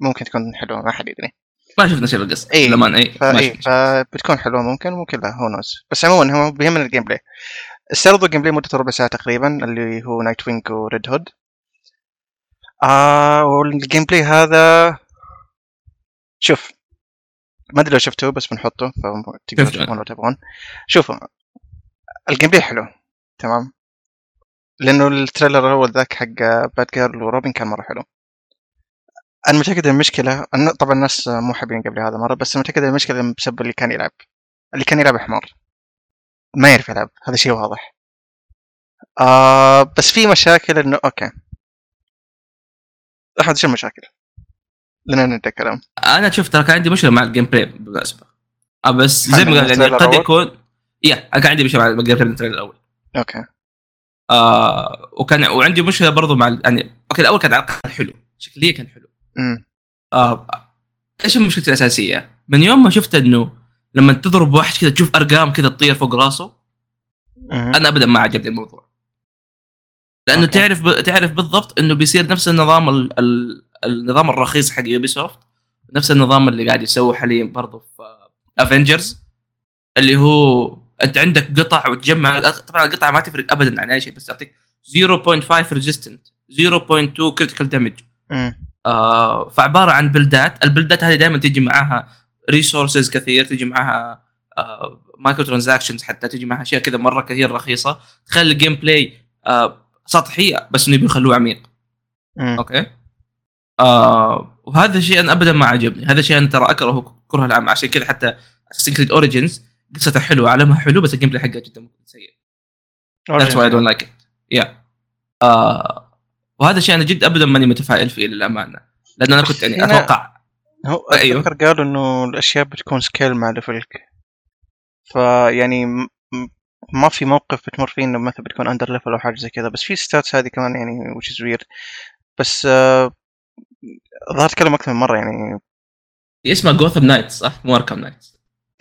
Speaker 1: ممكن تكون حلوه ما حد يدري
Speaker 2: ما شفنا شيء بالقصه
Speaker 1: إيه.
Speaker 2: للامانه اي ما
Speaker 1: فاي
Speaker 2: شفنا شيء.
Speaker 1: فبتكون حلوه ممكن ممكن لا هو نوز بس عموما هو بيهمنا الجيم بلاي استعرضوا جيم بلاي مدته ربع ساعه تقريبا اللي هو نايت وينج وريد هود آه والجيم بلاي هذا شوف ما ادري لو شفتوه بس بنحطه فتقدروا
Speaker 2: شفته.
Speaker 1: تشوفون لو تبغون شوفوا الجيم بلاي حلو تمام لانه التريلر الاول ذاك حق باد جيرل وروبن كان مره حلو انا متاكد إن المشكله أنا طبعا الناس مو حابين قبل هذا مره بس متاكد إن المشكله بسبب اللي كان يلعب اللي كان يلعب حمار ما يعرف يلعب هذا شيء واضح آه بس في مشاكل انه اوكي احمد شو المشاكل؟ لنا نبدا كلام
Speaker 2: انا شفت ترى كان عندي مشكله مع الجيم بلاي بالمناسبه آه، بس زي ما
Speaker 1: عندك
Speaker 2: قال يعني
Speaker 1: التريلر
Speaker 2: قد
Speaker 1: الأول؟
Speaker 2: يكون يا انا كان عندي مشكله مع الجيم بلاي من التريلر الاول
Speaker 1: اوكي
Speaker 2: آه وكان وعندي مشكله برضو مع ال- يعني اوكي الاول كان علاقه حلو شكليا كان حلو
Speaker 1: امم
Speaker 2: آه ايش مشكلتي الاساسيه؟ من يوم ما شفت انه لما تضرب واحد كذا تشوف ارقام كذا تطير فوق راسه
Speaker 1: أمم.
Speaker 2: انا ابدا ما عجبني الموضوع لانه
Speaker 1: أوكي.
Speaker 2: تعرف ب... تعرف بالضبط انه بيصير نفس النظام ال... ال... النظام الرخيص حق يوبي سوفت نفس النظام اللي قاعد يسووه حاليا برضه في افنجرز اللي هو انت عندك قطع وتجمع طبعا القطع ما تفرق ابدا عن اي شيء بس تعطيك 0.5 ريزيستنت 0.2 كريتيكال دامج
Speaker 1: أمم.
Speaker 2: آه، فعباره عن بلدات، البلدات هذه دائما تجي معاها ريسورسز كثير، تجي معاها مايكرو ترانزاكشنز حتى تجي معاها اشياء كذا مره كثير رخيصه، تخلي الجيم بلاي آه، سطحيه بس انه بيخلوه عميق،
Speaker 1: أمم.
Speaker 2: اوكي؟ آه، وهذا الشيء انا ابدا ما عجبني، هذا الشيء انا ترى اكرهه كره العام عشان كذا حتى اساسن كريد اوريجنز قصته حلوه، عالمها حلو بس الجيم بلاي حقها جدا سيء. That's why I don't like it. Yeah. آه وهذا الشيء انا جد ابدا ماني متفائل فيه للامانه لان انا كنت يعني
Speaker 1: أنا-
Speaker 2: اتوقع
Speaker 1: هو
Speaker 2: أيوه.
Speaker 1: اتذكر قالوا انه الاشياء بتكون سكيل مع ليفلك فيعني يعني م- م- ما في موقف بتمر فيه انه مثلا بتكون اندر ليفل او حاجه زي كذا بس في ستاتس هذه كمان يعني وش از ويرد بس آه، الظاهر تكلم اكثر من مره يعني
Speaker 2: اسمها جوثم نايت صح؟ مو اركم نايت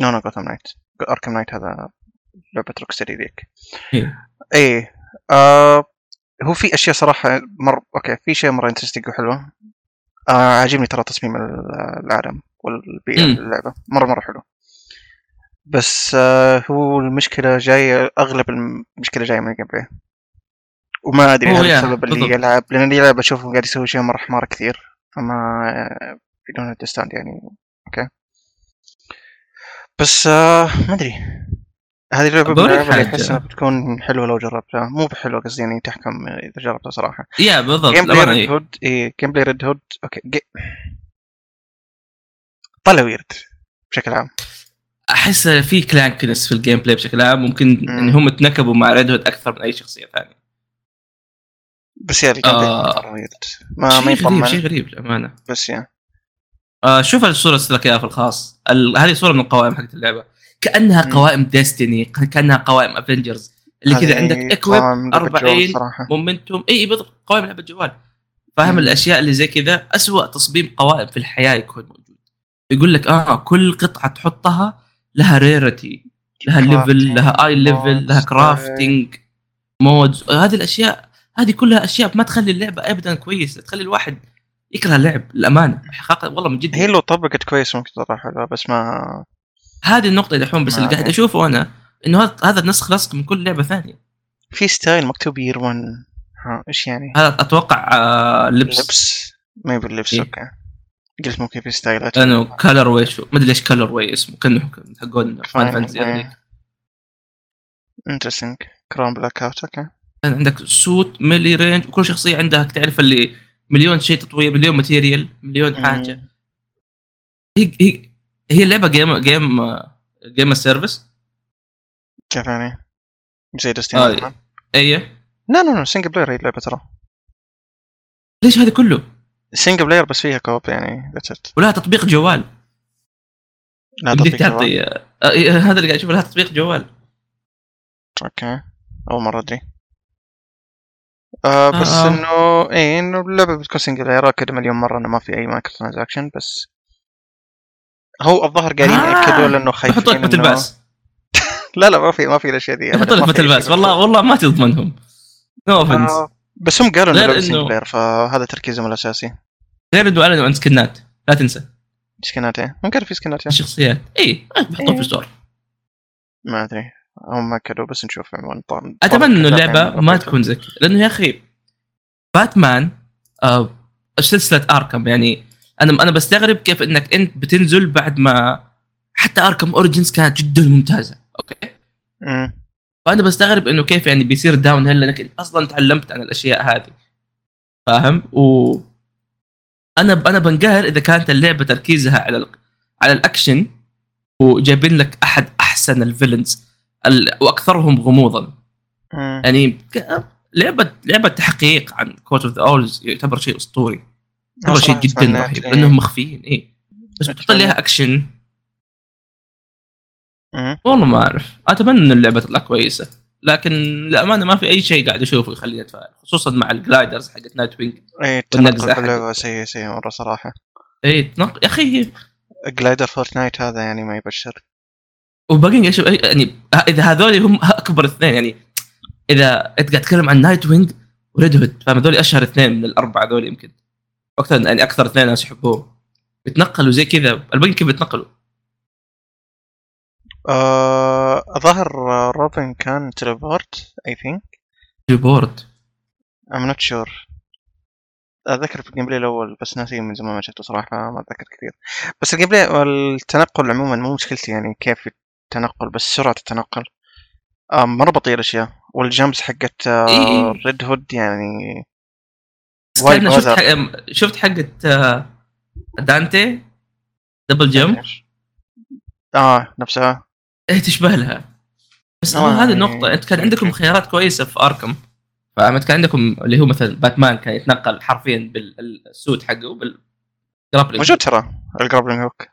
Speaker 1: نو نو جوثام نايت اركم نايت هذا لعبه روك ستدي ذيك
Speaker 2: إيه.
Speaker 1: ايه آه هو في اشياء صراحه مر اوكي في شيء مره انترستنج وحلوه آه عاجبني ترى تصميم ال- العالم والبيئه
Speaker 2: مم.
Speaker 1: اللعبه مره مره حلو بس آه هو المشكله جايه اغلب المشكله جايه من الجيم بلاي وما ادري
Speaker 2: هو
Speaker 1: هل
Speaker 2: يا،
Speaker 1: السبب اللي
Speaker 2: بالضبط.
Speaker 1: يلعب لان اللي يلعب اشوفهم قاعد يسوي شيء مره حمار كثير فما بدون understand يعني اوكي بس آه ما ادري هذه اللعبه من
Speaker 2: بوريك
Speaker 1: اللعبة اللي
Speaker 2: حاجة.
Speaker 1: احس انها بتكون حلوه لو جربتها مو بحلوه قصدي يعني تحكم اذا جربتها صراحه
Speaker 2: يا بالضبط
Speaker 1: جيم بلاي
Speaker 2: للامانه
Speaker 1: ريد
Speaker 2: إيه.
Speaker 1: هود اي جيم بلاي ريد هود اوكي جي... طلع ويرد بشكل عام
Speaker 2: احس في كلانكنس في الجيم بلاي بشكل عام ممكن
Speaker 1: مم.
Speaker 2: يعني هم تنكبوا مع ريد هود اكثر من اي شخصيه ثانيه
Speaker 1: بس يا الجيم بلاي
Speaker 2: آه.
Speaker 1: طلع ويرد ما ما
Speaker 2: شيء غريب شيء
Speaker 1: يطمن
Speaker 2: غريب للامانه
Speaker 1: بس يعني يا
Speaker 2: آه شوف الصوره اللي أرسلت لك اياها في الخاص ال... هذه صوره من القوائم حقت اللعبه كانها
Speaker 1: مم.
Speaker 2: قوائم ديستني كانها قوائم افنجرز اللي كذا
Speaker 1: هذه
Speaker 2: عندك اكويب
Speaker 1: طعم لعبة
Speaker 2: 40
Speaker 1: جوال صراحه
Speaker 2: مومنتوم اي إيه، بالضبط قوائم لعبه الجوال فاهم
Speaker 1: مم.
Speaker 2: الاشياء اللي زي كذا أسوأ تصميم قوائم في الحياه يكون موجود يقول لك اه كل قطعه تحطها لها ريرتي لها ليفل لها اي ليفل لها كرافتنج مودز آه، هذه الاشياء هذه كلها اشياء ما تخلي اللعبه ابدا كويسه تخلي الواحد يكره اللعب للامانه حقيقه والله من جد
Speaker 1: هي لو طبقت كويس ممكن تطلع حلوه بس ما
Speaker 2: هذه النقطه دحوم بس
Speaker 1: ما
Speaker 2: اللي قاعد
Speaker 1: أدري.
Speaker 2: اشوفه انا انه هذا- هذا نسخ لصق من كل لعبه ثانيه
Speaker 1: في ستايل مكتوب يير 1 ها ايش يعني؟
Speaker 2: هذا اتوقع آه لبس
Speaker 1: لبس ما يبي اللبس
Speaker 2: إيه.
Speaker 1: اوكي قلت ممكن في ستايلات
Speaker 2: لانه كلر واي شو ما ادري ليش كلر واي اسمه كانه حقون يعني. فان فانتسي
Speaker 1: إيه.
Speaker 2: هذيك.
Speaker 1: انترستنج كرون بلاك اوت اوكي
Speaker 2: كان عندك سوت ميلي رينج وكل شخصيه عندها تعرف اللي مليون شيء تطوير مليون ماتيريال مليون حاجه
Speaker 1: مم.
Speaker 2: هي هي هي لعبه جيم جيم جيم سيرفيس
Speaker 1: كيف يعني؟ زي دستين
Speaker 2: آه.
Speaker 1: لا
Speaker 2: اي
Speaker 1: لا لا سنجل بلاير هي اللعبه ترى
Speaker 2: ليش هذا كله؟
Speaker 1: سنجل بلاير بس فيها كوب يعني ذاتس ات
Speaker 2: ولها تطبيق جوال
Speaker 1: لا
Speaker 2: يمديك
Speaker 1: تطبيق جوال.
Speaker 2: تعطي آه، إيه، هذا اللي قاعد اشوفه لها تطبيق جوال
Speaker 1: اوكي اول مره ادري آه بس
Speaker 2: آه.
Speaker 1: انه اي انه اللعبه بتكون سنجل بلاير اكد مليون مره انه ما في اي مايكرو ترانزاكشن بس هو الظاهر قاعدين
Speaker 2: آه.
Speaker 1: ياكدوا لانه خايفين
Speaker 2: يحطوا لك مثل
Speaker 1: طيب، يعني إنه-
Speaker 2: باس
Speaker 1: لا لا ما في ما في الاشياء دي أبداً،
Speaker 2: يحطوا
Speaker 1: ما
Speaker 2: لك
Speaker 1: في
Speaker 2: مثل
Speaker 1: أي شيء
Speaker 2: باس والله والله ما تضمنهم نو اوفنس
Speaker 1: آه، بس هم قالوا انه
Speaker 2: غير
Speaker 1: لعبه
Speaker 2: إنه-
Speaker 1: سنجل بلاير فهذا تركيزهم الاساسي
Speaker 2: غير انه اعلنوا عن سكنات لا تنسى
Speaker 1: سكنات إيه؟ هم كانوا في سكنات إيه؟
Speaker 2: الشخصيات اي بيحطوه
Speaker 1: إيه.
Speaker 2: في ستور
Speaker 1: ما ادري هم ما كانوا بس نشوف عموما طبعاً-
Speaker 2: اتمنى انه
Speaker 1: طبعاً
Speaker 2: اللعبه
Speaker 1: ربيتها.
Speaker 2: ما تكون زي كذا لانه يا اخي باتمان آه سلسله اركم يعني انا انا بستغرب كيف انك انت بتنزل بعد ما حتى اركم اوريجنز كانت جدا ممتازه اوكي
Speaker 1: أمم.
Speaker 2: فانا بستغرب انه كيف يعني بيصير داون هيل لانك أنت اصلا تعلمت عن الاشياء هذه فاهم و انا انا بنقهر اذا كانت اللعبه تركيزها على ال... على الاكشن وجايبين لك احد احسن الفيلنز ال... واكثرهم غموضا
Speaker 1: أمم.
Speaker 2: يعني ك- لعبه لعبه تحقيق عن كوت اوف ذا اولز يعتبر شيء اسطوري يعتبر شيء
Speaker 1: صراحة
Speaker 2: جدا
Speaker 1: أتمنى-
Speaker 2: رهيب
Speaker 1: إيه.
Speaker 2: لانهم مخفيين اي بس بتحط
Speaker 1: أتمنى.
Speaker 2: لها اكشن
Speaker 1: أمم.
Speaker 2: والله ما اعرف اتمنى ان اللعبه تطلع كويسه لكن للامانه ما في اي شيء قاعد اشوفه يخليني اتفائل خصوصا مع الجلايدرز حقت نايت وينج
Speaker 1: اي
Speaker 2: والنقزة
Speaker 1: تنقل
Speaker 2: حقت-
Speaker 1: اللعبه إيه، سيء سيء مره صراحه
Speaker 2: اي إيه، تنق... يا اخي
Speaker 1: جلايدر فورتنايت هذا يعني ما يبشر
Speaker 2: وباقي أشوف... يعني اذا هذول هم اكبر اثنين يعني اذا انت قاعد تتكلم عن نايت وينج وريد هود فاهم هذول اشهر اثنين من الاربعه هذول يمكن اكثر يعني اكثر اثنين ناس يحبوهم بيتنقلوا زي كذا الباقي كيف بيتنقلوا
Speaker 1: آه، ظهر آه، روبن كان تليبورت اي ثينك
Speaker 2: ريبورد
Speaker 1: ام نوت شور اتذكر في الجيم بلاي الاول بس ناسي من زمان ما شفته صراحه ما اتذكر كثير بس الجيم بلاي والتنقل عموما مو مشكلتي يعني كيف التنقل بس سرعه التنقل آه، مره بطيء الاشياء والجمبس حقت آه،
Speaker 2: إيه.
Speaker 1: ريد هود يعني
Speaker 2: بس
Speaker 1: وايد
Speaker 2: كأنه شفت
Speaker 1: بوزر.
Speaker 2: حق... شفت حقت آه، دانتي دبل جمب
Speaker 1: اه نفسها
Speaker 2: ايه تشبه لها بس
Speaker 1: آه،
Speaker 2: آه هذه
Speaker 1: يعني-
Speaker 2: النقطة انت كان عندكم
Speaker 1: أوكي.
Speaker 2: خيارات كويسة في اركم فانت كان عندكم اللي هو مثلا باتمان كان يتنقل حرفيا بالسوت حقه بال grappling.
Speaker 1: موجود ترى الجرابلينج هوك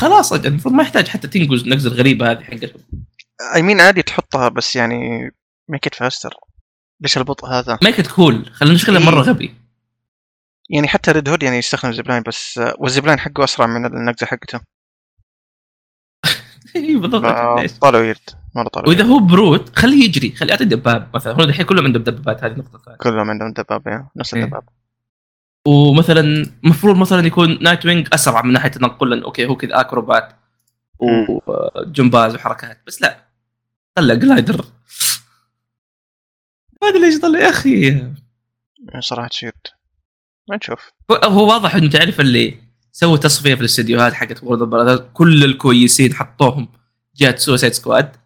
Speaker 2: خلاص أجل، المفروض ما يحتاج حتى تنقز النقزة الغريبة هذه حقتهم
Speaker 1: اي مين عادي تحطها بس يعني ميك ات فاستر ليش البطء هذا؟
Speaker 2: ميك ات كول خلينا نشغلها
Speaker 1: إيه.
Speaker 2: مرة غبي
Speaker 1: يعني حتى ريد هود يعني يستخدم زيب لاين بس والزيب لاين حقه اسرع من النقزه حقته
Speaker 2: إيه، بالضبط ليش؟
Speaker 1: طالع ويرد مره طالع
Speaker 2: واذا هو برود خليه يجري خليه يعطي دباب مثلا هو الحين كلهم عندهم دبابات هذه نقطة ثانية
Speaker 1: كلهم عندهم دبابه يعني، نفس
Speaker 2: إيه.
Speaker 1: الدباب
Speaker 2: ومثلا المفروض مثلا يكون نايت وينج اسرع من ناحيه التنقل لان اوكي هو كذا اكروبات وجمباز وحركات بس لا طلع جلايدر ما ادري ليش طلع يا اخي
Speaker 1: صراحه شيرد ما يعني نشوف
Speaker 2: هو- هو واضح انه تعرف اللي سووا تصفيه في الاستديوهات حقت وورد براذرز كل الكويسين حطوهم جات سوسايد سكواد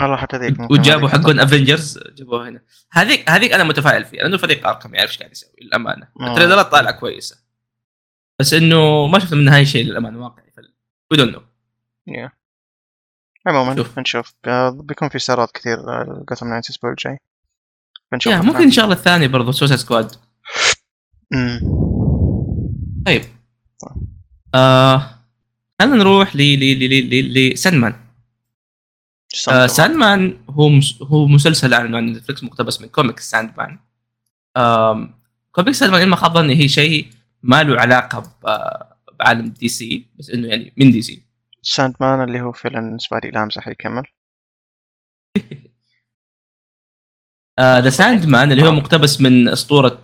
Speaker 1: والله حتى ذيك ممكن
Speaker 2: وجابوا
Speaker 1: إيه، ما ذيك.
Speaker 2: حقون افنجرز جابوها هنا هذيك هذيك انا متفائل فيه لانه فريق اركم يعرف ايش قاعد يسوي للامانه
Speaker 1: آه.
Speaker 2: التريلرات طالعه كويسه بس انه ما شفت منها اي شيء للامانه واقعي وي دونت نو
Speaker 1: Yeah. عموما
Speaker 2: شوف.
Speaker 1: بنشوف آه، بيكون في استعراض كثير آه، القسم ناينس الاسبوع الجاي بنشوف
Speaker 2: يا ممكن ان شاء الله الثاني برضو سوسا سكواد
Speaker 1: مم.
Speaker 2: طيب آه خلينا نروح ل ل ل ل- ل لساندمان آه ساندمان هو مس... هو مسلسل اعلنوا عن نتفلكس مقتبس من كوميك ساندمان آم... كوميك ساندمان إن ما خاب ظني هي شيء ما له علاقه ب... بعالم دي سي بس انه يعني من دي سي
Speaker 1: ساند مان اللي هو فيلم سبايدي لامزه حيكمل
Speaker 2: ذا ساند مان آه، اللي هو مقتبس من اسطوره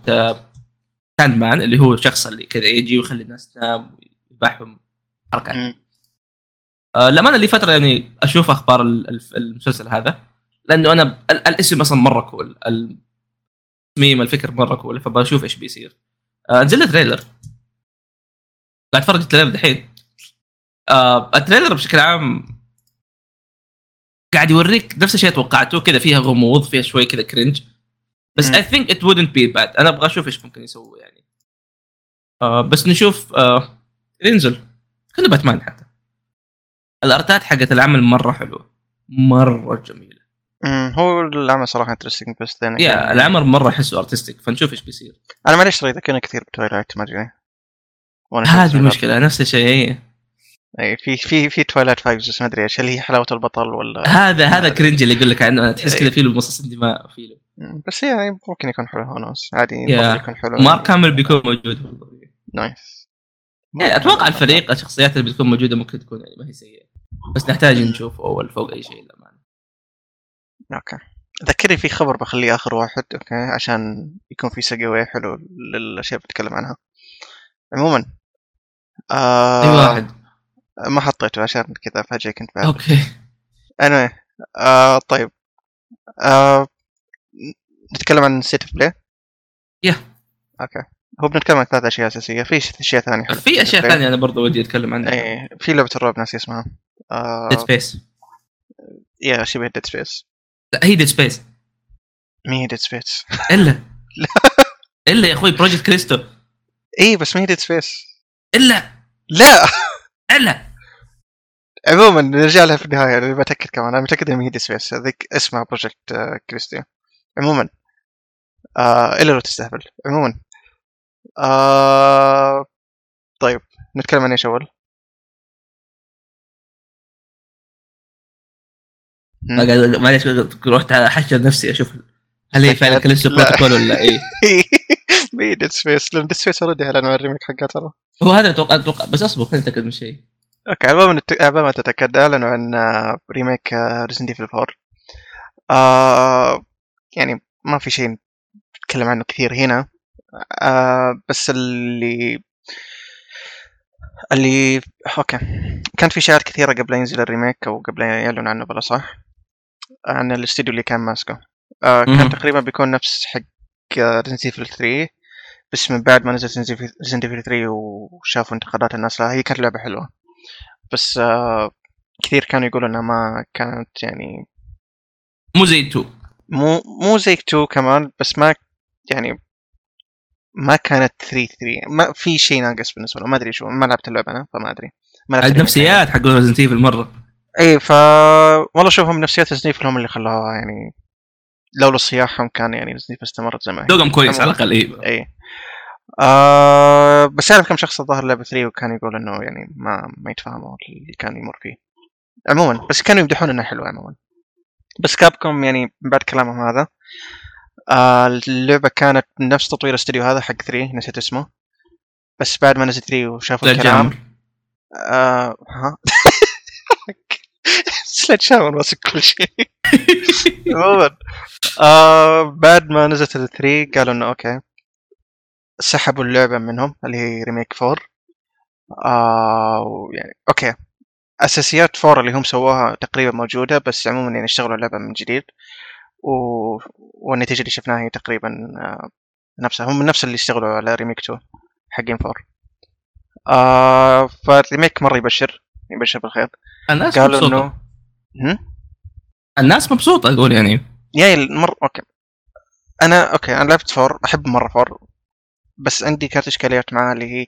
Speaker 2: ساند مان اللي هو الشخص اللي كذا يجي ويخلي الناس تنام ويذبحهم حركات
Speaker 1: مم.
Speaker 2: آه، للامانه لي فتره يعني اشوف اخبار ال- الف- المسلسل هذا لانه انا ب- ال- الاسم اصلا مره كول التصميم الفكر مره كول فبشوف ايش بيصير آه، نزل لي تريلر قاعد اتفرج التريلر دحين آه، التريلر بشكل عام قاعد يوريك نفس الشيء توقعته كذا فيها غموض فيها شوي كذا كرنج بس
Speaker 1: مم.
Speaker 2: اي ثينك ات wouldn't بي باد انا ابغى اشوف ايش ممكن يسووا يعني آه، بس نشوف آه، ينزل كنا باتمان حتى الارتات حقت العمل مره حلوه مره جميله
Speaker 1: امم هو العمل صراحه انترستنج بس then again-
Speaker 2: يا العمل مره احسه ارتستيك فنشوف ايش بيصير
Speaker 1: انا معليش ترى ذكرني كثير بتويلايت ما ادري ليه. وأنا شفت
Speaker 2: هذه
Speaker 1: التريلر. إيه.
Speaker 2: المشكله نفس الشيء هي
Speaker 1: اي في في في تويلايت فايبز بس ما ادري ايش هل هي حلاوه البطل ولا
Speaker 2: هذا هذا كرنج اللي يقول لك عنه تحس كذا فيه له مصاص دماء فيه له
Speaker 1: بس يعني ممكن يكون حلو هونوس عادي
Speaker 2: يا.
Speaker 1: ممكن يكون حلو
Speaker 2: مارك كامل بيكون موجود برضه.
Speaker 1: نايس
Speaker 2: يعني اتوقع الفريق الشخصيات اللي بتكون موجوده ممكن تكون يعني ما هي سيئه بس نحتاج نشوف اول فوق اي شيء للامانه
Speaker 1: اوكي ذكرني في خبر بخليه اخر واحد اوكي عشان يكون في سقوي حلو للاشياء اللي بتكلم عنها عموما آه
Speaker 2: اي واحد
Speaker 1: ما حطيته عشان كذا فجاه كنت بعد
Speaker 2: اوكي
Speaker 1: anyway آه طيب آه نتكلم عن سيت بلاي
Speaker 2: Yeah.
Speaker 1: اوكي هو بنتكلم عن ثلاث اشياء اساسيه في اشياء ثانيه حلوة
Speaker 2: في اشياء
Speaker 1: State of Play.
Speaker 2: ثانيه انا برضو ودي اتكلم عنها
Speaker 1: ايه في لعبه الرعب ناسي اسمها آه
Speaker 2: ديد سبيس
Speaker 1: يا شبه ديد سبيس
Speaker 2: لا هي ديد سبيس
Speaker 1: مين هي ديد سبيس
Speaker 2: الا الا يا اخوي بروجكت كريستو
Speaker 1: ايه بس مين هي ديد سبيس
Speaker 2: الا
Speaker 1: لا
Speaker 2: الا
Speaker 1: عموما نرجع لها في النهايه انا بتاكد كمان انا متاكد ان هي ديد سبيس هذيك اسمها بروجكت آه، كريستيا عموما آه الا لو تستهبل عموما آه طيب نتكلم عن ايش اول؟
Speaker 2: ما قال- معليش رحت احشر نفسي اشوف هل هي فعلا كريستو
Speaker 1: لا.
Speaker 2: بروتوكول ولا ايه
Speaker 1: مين ديد سبيس لان ديد سبيس اوريدي اعلنوا عن الريميك حقها ترى
Speaker 2: هو هذا اتوقع اتوقع بس اصبر خليني اتاكد من شيء
Speaker 1: اوكي عبال ما نت- عبال ما تتاكد اعلنوا عن آه، ريميك ريزن ديفل 4 آه يعني ما في شيء نتكلم عنه كثير هنا آه بس اللي اللي اوكي كان في شائعات كثيره قبل ينزل الريميك او قبل يعلن عنه بلا صح عن الاستوديو اللي كان ماسكه آه
Speaker 2: مهم.
Speaker 1: كان تقريبا بيكون نفس حق آه، ريزن ديفل 3 بس من بعد ما نزلت ريزن ديفل 3 وشافوا انتقادات الناس لها هي كانت لعبه حلوه بس آه كثير كانوا يقولوا انها ما كانت يعني
Speaker 2: مو زي 2
Speaker 1: مو مو زي 2 كمان بس ما يعني ما كانت 3 3 ما في شيء ناقص بالنسبه له ما ادري شو ما لعبت اللعبه انا فما ادري ما لعبت اللعبة.
Speaker 2: النفسيات حق ريزنت ايفل مره
Speaker 1: اي ف والله شوفهم نفسيات سنيف هم اللي خلوها يعني لولا صياحهم كان يعني سنيف استمرت زي ما هي
Speaker 2: دوغم كويس على الاقل ايه
Speaker 1: اي إيه. آه بس اعرف كم شخص الظاهر لعب 3 وكان يقول انه يعني ما ما يتفاهموا اللي كان يمر فيه عموما بس كانوا يمدحون انها حلوه عموما بس كابكم يعني من بعد كلامهم هذا آه اللعبه كانت من نفس تطوير الاستديو هذا حق 3 نسيت اسمه بس بعد ما نزل 3 وشافوا
Speaker 2: لا
Speaker 1: الكلام
Speaker 2: جامر
Speaker 1: آه ها سلاج شاور ماسك كل شيء عموما آه بعد ما نزلت الثري قالوا انه اوكي سحبوا اللعبه منهم اللي هي ريميك فور آه يعني اوكي اساسيات فور اللي هم سووها تقريبا موجوده بس عموما يعني اشتغلوا اللعبه من جديد و... والنتيجه اللي شفناها هي تقريبا آه نفسها هم من نفس اللي اشتغلوا على ريميك 2 حقين فور آه فالريميك مره يبشر يبشر بالخير
Speaker 2: الناس
Speaker 1: قالوا
Speaker 2: مبسوطه
Speaker 1: انه
Speaker 2: الناس مبسوطه اقول يعني
Speaker 1: يا المر اوكي انا اوكي انا لعبت فور احب مره فور بس عندي كانت اشكاليات معها اللي هي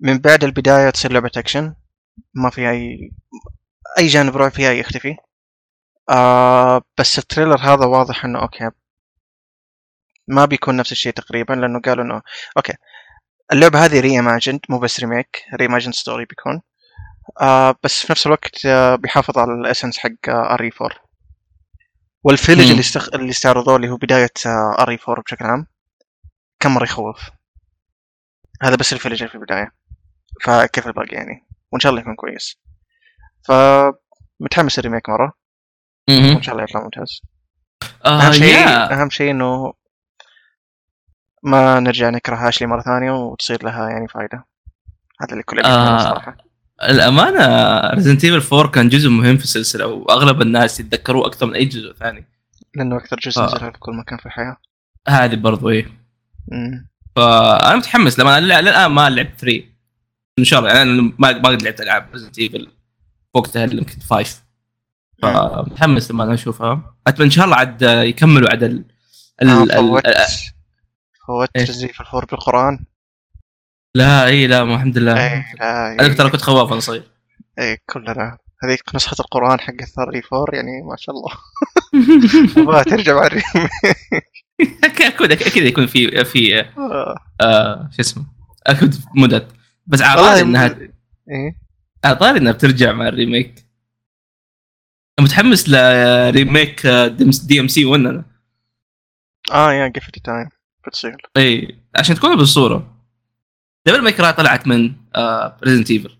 Speaker 1: من بعد البدايه تصير لعبه اكشن ما في اي اي جانب رعب فيها يختفي آه بس التريلر هذا واضح انه اوكي ما بيكون نفس الشيء تقريبا لانه قالوا انه اوكي اللعبه هذه ريماجند مو بس ريميك ريماجند ستوري بيكون آه بس في نفس الوقت آه بيحافظ على الاسنس حق آه، اري 4 والفيلج
Speaker 2: مم.
Speaker 1: اللي استخ... اللي استعرضوه اللي هو آه، بدايه اري 4 E بشكل عام كم مره يخوف هذا بس الفيلج اللي في البدايه فكيف الباقي يعني وان شاء الله يكون كويس فمتحمس الريميك مره
Speaker 2: مهم.
Speaker 1: وان شاء الله يطلع ممتاز
Speaker 2: آه
Speaker 1: اهم شيء
Speaker 2: يا
Speaker 1: اهم شيء انه ما نرجع نكره اشلي مره ثانيه وتصير لها يعني فائده هذا اللي كل أبي أتمناه
Speaker 2: آه.
Speaker 1: صراحه
Speaker 2: الامانه ريزنت ايفل 4 كان جزء مهم في السلسله واغلب الناس يتذكروه اكثر من اي جزء ثاني
Speaker 1: لانه اكثر جزء
Speaker 2: آه.
Speaker 1: نزلها في كل مكان في الحياه
Speaker 2: هذه برضو ايه
Speaker 1: مم.
Speaker 2: فانا متحمس لما أنا للآ- للان ما لعبت 3 ان شاء الله انا ما ما قد لعبت العاب ريزنت ايفل وقتها اللي يمكن 5 فمتحمس لما انا اشوفها اتمنى ان شاء الله عاد يكملوا عاد ال
Speaker 1: آه،
Speaker 2: ال- ال-
Speaker 1: فوت
Speaker 2: ال-
Speaker 1: فوت
Speaker 2: إيه.
Speaker 1: رزيف الفور بالقران
Speaker 2: لا اي لا ما الحمد لله
Speaker 1: اي إيه، لا
Speaker 2: انا آه. ترى كنت خواف وانا صغير
Speaker 1: اي كلنا هذيك نسخة القرآن حق الثري فور يعني ما شاء الله ابغاها ترجع مع الريميك
Speaker 2: اكيد اكيد يكون في في
Speaker 1: آه.
Speaker 2: آه شو اسمه اكيد مدد بس
Speaker 1: والله
Speaker 2: عارف انها
Speaker 1: إيه؟
Speaker 2: على طاري انها بترجع مع الريميك متحمس آه، لريميك دي ام سي 1 انا
Speaker 1: اه يا قفلت تايم بتصير
Speaker 2: اي عشان تكون بالصوره دبل ماي كراي طلعت من آه ريزنت ايفل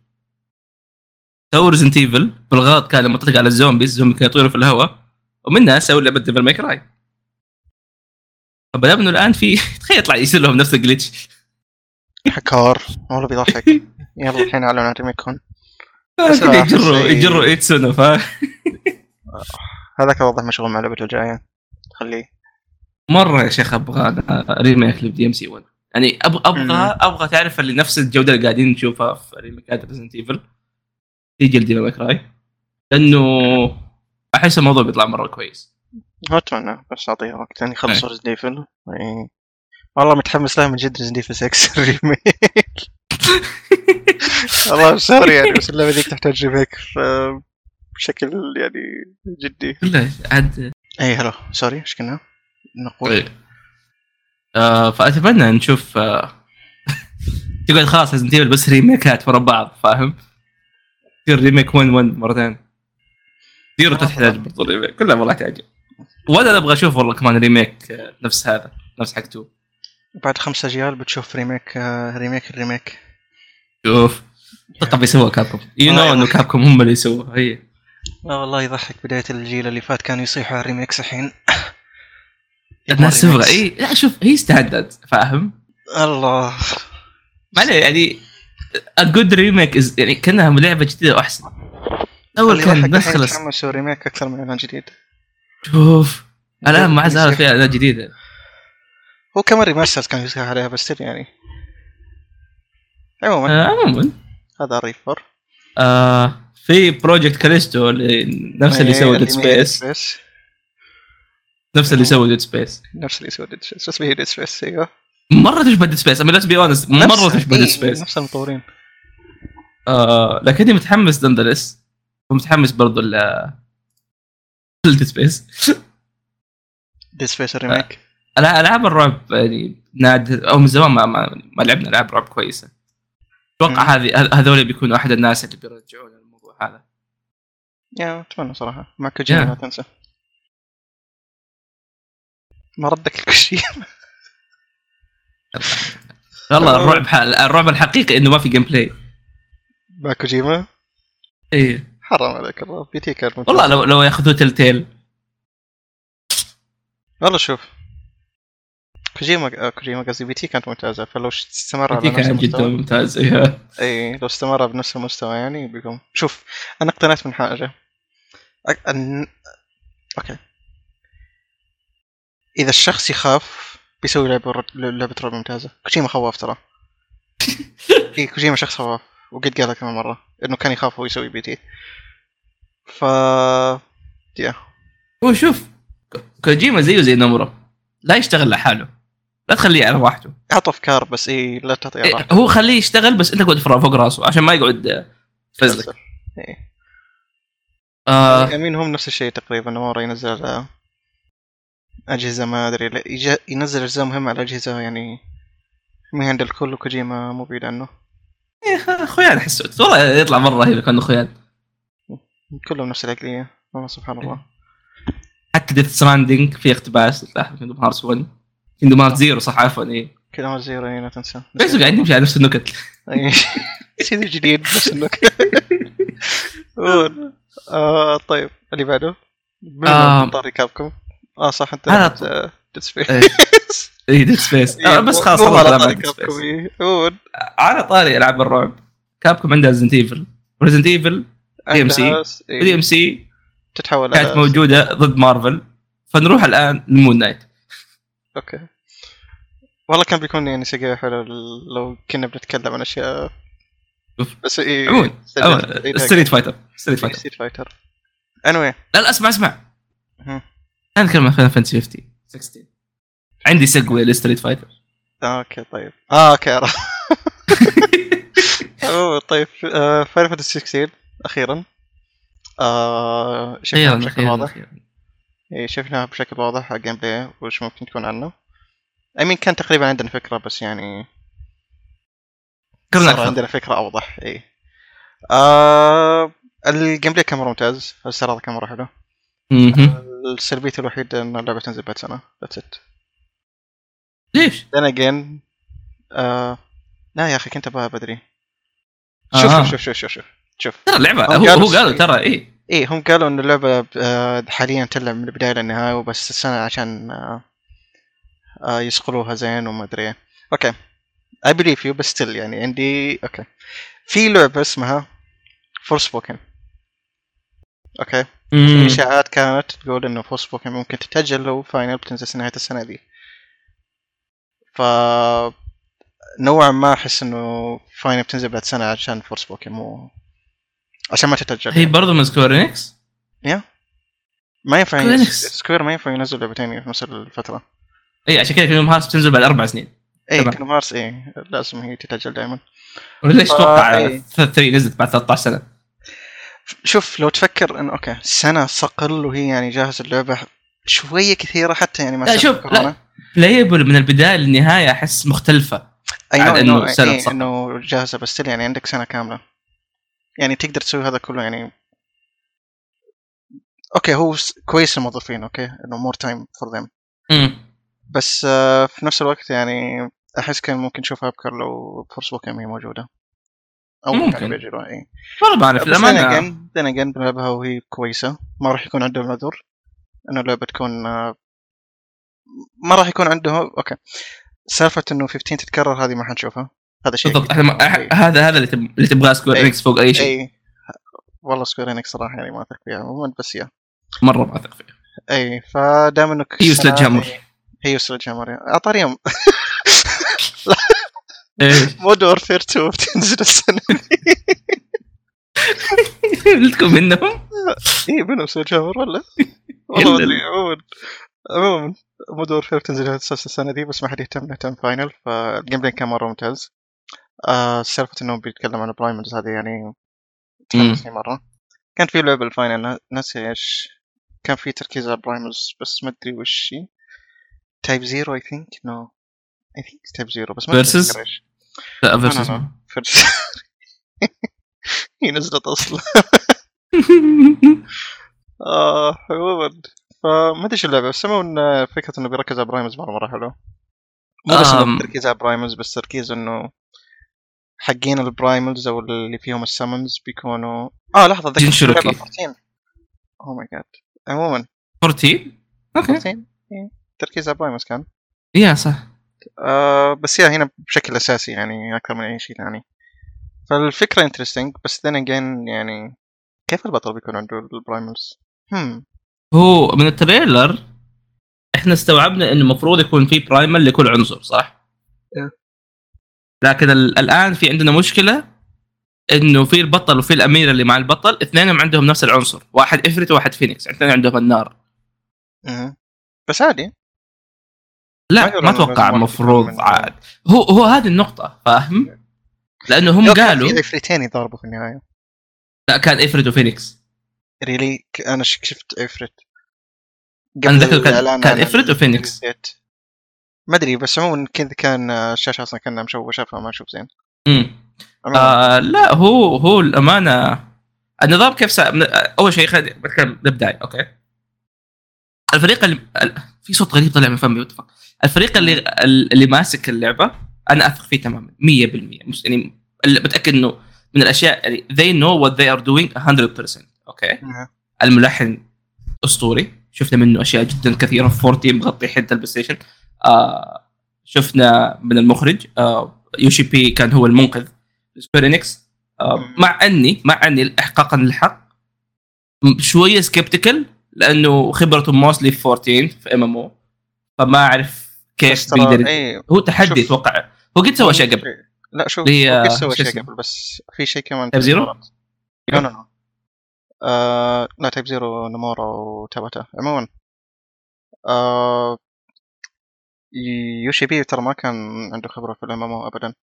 Speaker 2: تو ريزنت ايفل بالغلط كان لما تطلق على الزومبيز الزومبي كانوا يطيروا في الهواء ومنها سووا لعبه دبل ماي كراي فبدا انه الان في تخيل يطلع يصير لهم نفس الجلitch
Speaker 1: حكار والله بيضحك يلا الحين اعلن عن ريميك هون بس
Speaker 2: كذا
Speaker 1: راح
Speaker 2: يجروا
Speaker 1: زي-
Speaker 2: يجروا ايتسونو فاهم
Speaker 1: هذاك واضح مشغول مع لعبته الجايه خليه
Speaker 2: مره يا شيخ ابغى ريميك لدي ام سي 1 يعني ابغى ابغى ابغى تعرف اللي نفس الجوده اللي قاعدين نشوفها في ريميكات ريزنت ايفل تيجي لدي ماك راي لانه احس الموضوع بيطلع مره كويس
Speaker 1: اتمنى بس اعطيها وقت يعني خلص ريزد ايفل والله متحمس لها من جد ريزد ايفل 6 ريميك والله سوري يعني بس اللعبه ذيك تحتاج ريميك ف- بشكل يعني جدي إيه،
Speaker 2: كلها عاد
Speaker 1: اي هلو سوري ايش كنا؟
Speaker 2: إيه.
Speaker 1: نقول
Speaker 2: طيب. آه فاتمنى نشوف آه تقعد خلاص ريزنت ايفل بس ريميكات ورا بعض فاهم تصير ريميك 1 1 مرتين زيرو تحتاج برضو ريميك كلها والله تعجب ولا ابغى اشوف والله كمان ريميك آه، نفس هذا نفس حق 2
Speaker 1: بعد خمسة اجيال بتشوف ريميك آه، ريميك الريميك
Speaker 2: شوف طب يسوى كابكم يو نو
Speaker 1: والله
Speaker 2: انه كابكم هم اللي يسووها هي
Speaker 1: لا آه، والله يضحك بدايه الجيل اللي فات كانوا يصيحوا على الريميكس الحين
Speaker 2: الناس تبغى اي لا شوف هي ستاندرد فاهم
Speaker 1: الله
Speaker 2: ما عليه يعني ا جود ريميك يعني كانها لعبه جديده واحسن اول
Speaker 1: اللي يضحك
Speaker 2: كان
Speaker 1: الحين
Speaker 2: الناس خلص
Speaker 1: يتحمسوا ريميك اكثر من اعلان جديد
Speaker 2: شوف الان ما عاد
Speaker 1: يصير.
Speaker 2: صار فيها اعلانات جديده
Speaker 1: هو كمان ريماسترز كان يصيح عليها بس still يعني عموما
Speaker 2: آه، عموما
Speaker 1: هذا ريفر
Speaker 2: آه في بروجكت كاليستو اللي- نفس
Speaker 1: إيه، يعني
Speaker 2: اللي سوى ديد سبيس نفس اللي سوى ديد سبيس
Speaker 1: نفس اللي سوى ديد سبيس بس هي ديد سبيس ايوه
Speaker 2: مره تشبه ديد سبيس امي ليتس بي اونست مره
Speaker 1: نفس-
Speaker 2: تشبه
Speaker 1: إيه،
Speaker 2: ديد سبيس
Speaker 1: نفس المطورين
Speaker 2: آه لكني متحمس نندلس ومتحمس برضو ل ديد سبيس
Speaker 1: ديد
Speaker 2: آه.
Speaker 1: سبيس الريميك
Speaker 2: العاب الرعب يعني نادر او من زمان ما, ما, ما لعبنا العاب رعب كويسه اتوقع
Speaker 1: مم.
Speaker 2: هذه هذ- هذول بيكونوا احد الناس اللي بيرجعون الموضوع هذا
Speaker 1: يا اتمنى صراحه مع كوجيما
Speaker 2: Yeah.
Speaker 1: ما تنسى ما ردك الكوجيما
Speaker 2: والله
Speaker 1: آه.
Speaker 2: الرعب الرعب الحقيقي انه ما في جيم بلاي
Speaker 1: مع كوجيما إيه.
Speaker 2: ايه
Speaker 1: حرام عليك الله بيتيك الممتاز.
Speaker 2: والله لو لو ياخذوه تل تيل
Speaker 1: والله شوف كوجيما آه، كوجيما قصدي بيتي كانت ممتازه فلو استمر على
Speaker 2: دي
Speaker 1: نفس
Speaker 2: كان جدا
Speaker 1: المستوى
Speaker 2: ممتاز إيه.
Speaker 1: اي لو استمر بنفس المستوى يعني بيكون شوف انا اقتنعت من حاجه أك... أن... اوكي اذا الشخص يخاف بيسوي لعبه ر- لعبه رعب ممتازه كوجيما خواف ترى اي كوجيما شخص خواف وقد قالها كمان مره انه كان يخاف هو يسوي بيتي ف يا
Speaker 2: هو شوف ك- كوجيما زيه زي نمرة لا يشتغل لحاله لا تخليه على راحته
Speaker 1: اعطوا افكار بس اي لا تعطيه
Speaker 2: إيه،
Speaker 1: راحه
Speaker 2: هو خليه يشتغل بس انت اقعد فوق راسه عشان ما يقعد آه، فزلك
Speaker 1: إيه.
Speaker 2: آه
Speaker 1: امين هم نفس الشيء تقريبا مورا ينزل على اجهزه ما ادري لا- يج- ينزل اجزاء مهمه على اجهزه يعني ما هي عند الكل وكوجيما مو بعيد عنه
Speaker 2: إيه، خ- خيال احس والله يطلع مره رهيب لو كانه خيال
Speaker 1: كلهم نفس العقليه والله سبحان الله
Speaker 2: حتى ديث ستراندنج في اقتباس لاحظ كيندوم هارتس 1 كيندوم هارت زيرو صح عفوا اي
Speaker 1: كذا ما زيرو يعني لا تنسى
Speaker 2: بس قاعد نمشي على نفس النكت
Speaker 1: أي. شيء جديد بس انك قول. آه، طيب اللي بعده
Speaker 2: آه.
Speaker 1: بما طاري كابكم اه صح انت
Speaker 2: أنا-
Speaker 1: ديد سبيس
Speaker 2: اي ديث سبيس آه، بس خلاص
Speaker 1: إيه،
Speaker 2: خلاص
Speaker 1: على
Speaker 2: ألعاب
Speaker 1: طاري
Speaker 2: Dead
Speaker 1: كابكم
Speaker 2: Space.
Speaker 1: إيه. قول.
Speaker 2: على طاري العاب الرعب كابكم عندها ريزنت ايفل ريزنت
Speaker 1: إيه.
Speaker 2: ايفل DMC.
Speaker 1: عندها س- إيه.
Speaker 2: دي ام سي
Speaker 1: تتحول
Speaker 2: كانت
Speaker 1: على
Speaker 2: موجوده ضد مارفل فنروح الان لمون نايت
Speaker 1: إيه، اوكي والله كان بيكون يعني سقيه حلو لو كنا بنتكلم عن اشياء
Speaker 2: أوف.
Speaker 1: بس ايه
Speaker 2: عموما
Speaker 1: إيه،
Speaker 2: ستريت فايتر ستريت فايتر
Speaker 1: ستريت فايتر anyway
Speaker 2: لا لا اسمع اسمع
Speaker 1: مهم.
Speaker 2: انا اتكلم عن فاينل فانتسي 15 16 عندي سجوي لستريت فايتر
Speaker 1: آه، اوكي طيب اه اوكي عرفت. أوه، طيب فاينل فانتسي 16 اخيرا آه شفناها
Speaker 2: خيرا
Speaker 1: بشكل
Speaker 2: خيرا
Speaker 1: واضح
Speaker 2: خيرا
Speaker 1: إيه، شفناها بشكل واضح على الجيم بلاي وش ممكن تكون عنه I mean كان تقريبا عندنا فكره بس يعني
Speaker 2: فكرنا
Speaker 1: صار
Speaker 2: أكثر.
Speaker 1: عندنا فكره اوضح اي إيه. آه الجيم بلاي كان مرة ممتاز الاستعراض كان مرة حلو آه.
Speaker 2: مهم.
Speaker 1: السلبية الوحيدة ان اللعبة تنزل بعد سنة ذاتس ات
Speaker 2: ليش؟
Speaker 1: then again آه لا يا اخي كنت ابغاها بدري شوف
Speaker 2: آه.
Speaker 1: شوف شوف شوف شوف شوف
Speaker 2: ترى اللعبه
Speaker 1: أو
Speaker 2: هو
Speaker 1: قالوا
Speaker 2: هو قالوا
Speaker 1: شيء.
Speaker 2: ترى إيه. اي
Speaker 1: ايه هم قالوا ان اللعبة آه حاليا تلعب من البداية للنهاية وبس السنة عشان آه آه يصقلوها زين وما ادري إيه. اوكي اي بليف يو بس still يعني عندي اوكي في لعبة اسمها فور سبوكن اوكي في اشاعات كانت تقول انه فور سبوكن ممكن تتاجل لو فاينل بتنزل نهايه السنه دي ف نوعا ما احس انه فاينل بتنزل بعد سنه عشان فور سبوكن مو عشان ما تتاجل
Speaker 2: هي برضه من سكوير انكس؟
Speaker 1: ما ينفع
Speaker 2: Square
Speaker 1: ينزل-
Speaker 2: Enix.
Speaker 1: سكوير ما ينفع ينزل لعبتين في نفس الفتره
Speaker 2: اي إيه، عشان كذا كينجدم هارتس بتنزل بعد اربع سنين
Speaker 1: اي
Speaker 2: تمام.
Speaker 1: كانوا مارس اي إيه، لازم هي تتاجل دائما
Speaker 2: وليش
Speaker 1: آه،
Speaker 2: تتوقع
Speaker 1: إي.
Speaker 2: 3 نزلت بعد 13 سنه؟
Speaker 1: شوف لو تفكر انه اوكي سنه صقل وهي يعني جاهزه اللعبه شويه كثيره حتى يعني مع
Speaker 2: لا،
Speaker 1: سنة
Speaker 2: شوف، لا.
Speaker 1: كورونا.
Speaker 2: بلايبل من البدايه للنهايه احس مختلفه
Speaker 1: اي نو
Speaker 2: عاد
Speaker 1: انه
Speaker 2: إنه سنة
Speaker 1: إيه
Speaker 2: صح.
Speaker 1: انه جاهزه بس still يعني عندك سنه كامله يعني تقدر تسوي هذا كله يعني اوكي هو س- كويس الموظفين اوكي انه مور تايم فور ذيم
Speaker 2: امم
Speaker 1: بس آه في نفس الوقت يعني احس كان ممكن نشوفها ابكر لو فرص وكم هي موجوده او
Speaker 2: ممكن.
Speaker 1: كانوا بيجروا اي
Speaker 2: والله ما اعرف
Speaker 1: إيه. بس انا
Speaker 2: للامانه
Speaker 1: اجين انا اجين بلعبها وهي كويسه ما راح يكون عندهم عذر انه اللعبه تكون آه، ما راح يكون عندهم اوكي سالفه انه 15 تتكرر هذه ما حنشوفها هذا شيء
Speaker 2: بالضبط إحنا ما-
Speaker 1: إي.
Speaker 2: أح- هذا هذا اللي تب- اللي تبغاه سكوير
Speaker 1: إي.
Speaker 2: انكس فوق اي شيء
Speaker 1: اي والله سكوير انكس صراحه يعني ما اثق فيها عموما بس يا
Speaker 2: مره ما اثق فيه
Speaker 1: اي فدام انك
Speaker 2: هي
Speaker 1: السنة
Speaker 2: وسلج هامر.
Speaker 1: هذه- هي وسلج هامر يا- اعطاني يوم
Speaker 2: ايش؟
Speaker 1: مود وورفير 2 بتنزل السنه
Speaker 2: لكم منهم؟
Speaker 1: اي إيه، منهم سلج هامر ولا؟ والله ما
Speaker 2: إلا-
Speaker 1: ادري عموما عموما مود وورفير بتنزل أساس السنه دي بس ما حد يهتم نهتم فاينل فالجيم بلاي كان مره ممتاز آه سالفه انه بيتكلم عن برايمرز هذه يعني تحمسني مره كان في لعبه الفاينل نا- ناسي ايش كان في تركيز على برايمرز بس ما ادري وش هي تايب زيرو اي ثينك نو اي ثينك تايب زيرو بس ما
Speaker 2: Versus؟
Speaker 1: أتذكر إيش.
Speaker 2: لا
Speaker 1: لا،
Speaker 2: versus.
Speaker 1: لا. فرد هي نزلت اصلا آه عموما فما ادري شو اللعبه بس سمعوا ان فكره انه بيركز على برايمز مره مره حلو مو بس
Speaker 2: آم.
Speaker 1: إنه التركيز على برايمز بس تركيز انه حقين البرايمز او اللي فيهم السمنز بيكونوا اه لحظه ذكرت
Speaker 2: جنشروكي.
Speaker 1: اللعبة Oh 14 اوه ماي جاد عموما
Speaker 2: 14 اوكي
Speaker 1: 14 إيه، تركيز على برايمز كان
Speaker 2: يا صح
Speaker 1: آه بس يا هنا بشكل اساسي يعني اكثر من اي شيء ثاني فالفكره انترستنج بس then again يعني كيف البطل بيكون عنده Hmm. البرايمرز؟ هم
Speaker 2: هو من التريلر احنا استوعبنا انه المفروض يكون في برايمر لكل عنصر صح؟
Speaker 1: إيه.
Speaker 2: لكن ال- الان في عندنا مشكله انه في البطل وفي الاميره اللي مع البطل اثنينهم عندهم نفس العنصر، واحد افريت وواحد فينيكس، الاثنين عندهم النار.
Speaker 1: مهم. بس عادي ما
Speaker 2: لا
Speaker 1: يقولون
Speaker 2: ما
Speaker 1: لازم
Speaker 2: اتوقع
Speaker 1: واحد
Speaker 2: المفروض
Speaker 1: يكون من-
Speaker 2: عاد هو هو هذه النقطه فاهم؟ لانه هم
Speaker 1: لو كان
Speaker 2: قالوا
Speaker 1: في عفريتين يضاربوا في النهايه
Speaker 2: لا كان افريت وفينيكس
Speaker 1: ريلي ك- انا ش- شفت عفريت
Speaker 2: أنا
Speaker 1: قبل
Speaker 2: ذكر كان-
Speaker 1: الإعلان
Speaker 2: كان
Speaker 1: عن
Speaker 2: إفرت
Speaker 1: ال-
Speaker 2: وفينيكس.
Speaker 1: الديت. ما ادري بس عموما كذا كان آه، الشاشه اصلا كانها مشوشه فما اشوف زين
Speaker 2: امم
Speaker 1: عموماً،
Speaker 2: آه لا هو هو الامانه النظام كيف سا... من- آه، اول شيء خلينا نتكلم نبدا اوكي الفريق اللي... ال- في صوت غريب طلع من فمي واتفق الفريق اللي اللي ماسك اللعبه انا اثق فيه تماما 100% مش يعني اللي بتاكد انه من الاشياء يعني they know what they are doing 100% اوكي
Speaker 1: مهم.
Speaker 2: الملحن اسطوري شفنا منه اشياء جدا كثيره 14 مغطي حتى البلاي ستيشن آه شفنا من المخرج آه يوشي بي كان هو المنقذ سكوير انكس آه
Speaker 1: مم.
Speaker 2: مع اني مع اني احقاقا للحق م- شويه سكبتكل لانه خبرته موستلي في 14 في ام ام او فما اعرف
Speaker 1: بس
Speaker 2: كيف
Speaker 1: ترى-
Speaker 2: بيقدر
Speaker 1: إيه،
Speaker 2: هو تحدي
Speaker 1: شوف.
Speaker 2: اتوقع هو قد سوى اشياء قبل
Speaker 1: لا شوف
Speaker 2: اللي هي-
Speaker 1: هو قد
Speaker 2: شو
Speaker 1: سوى اشياء
Speaker 2: اسمه؟
Speaker 1: قبل بس في شيء كمان
Speaker 2: Type Zero؟
Speaker 1: غلط. لا لا لا آه، لا تايب زيرو نمورا وتاباتا عموما آه، يوشي بي ترى ما كان عنده خبره في الام ام او ابدا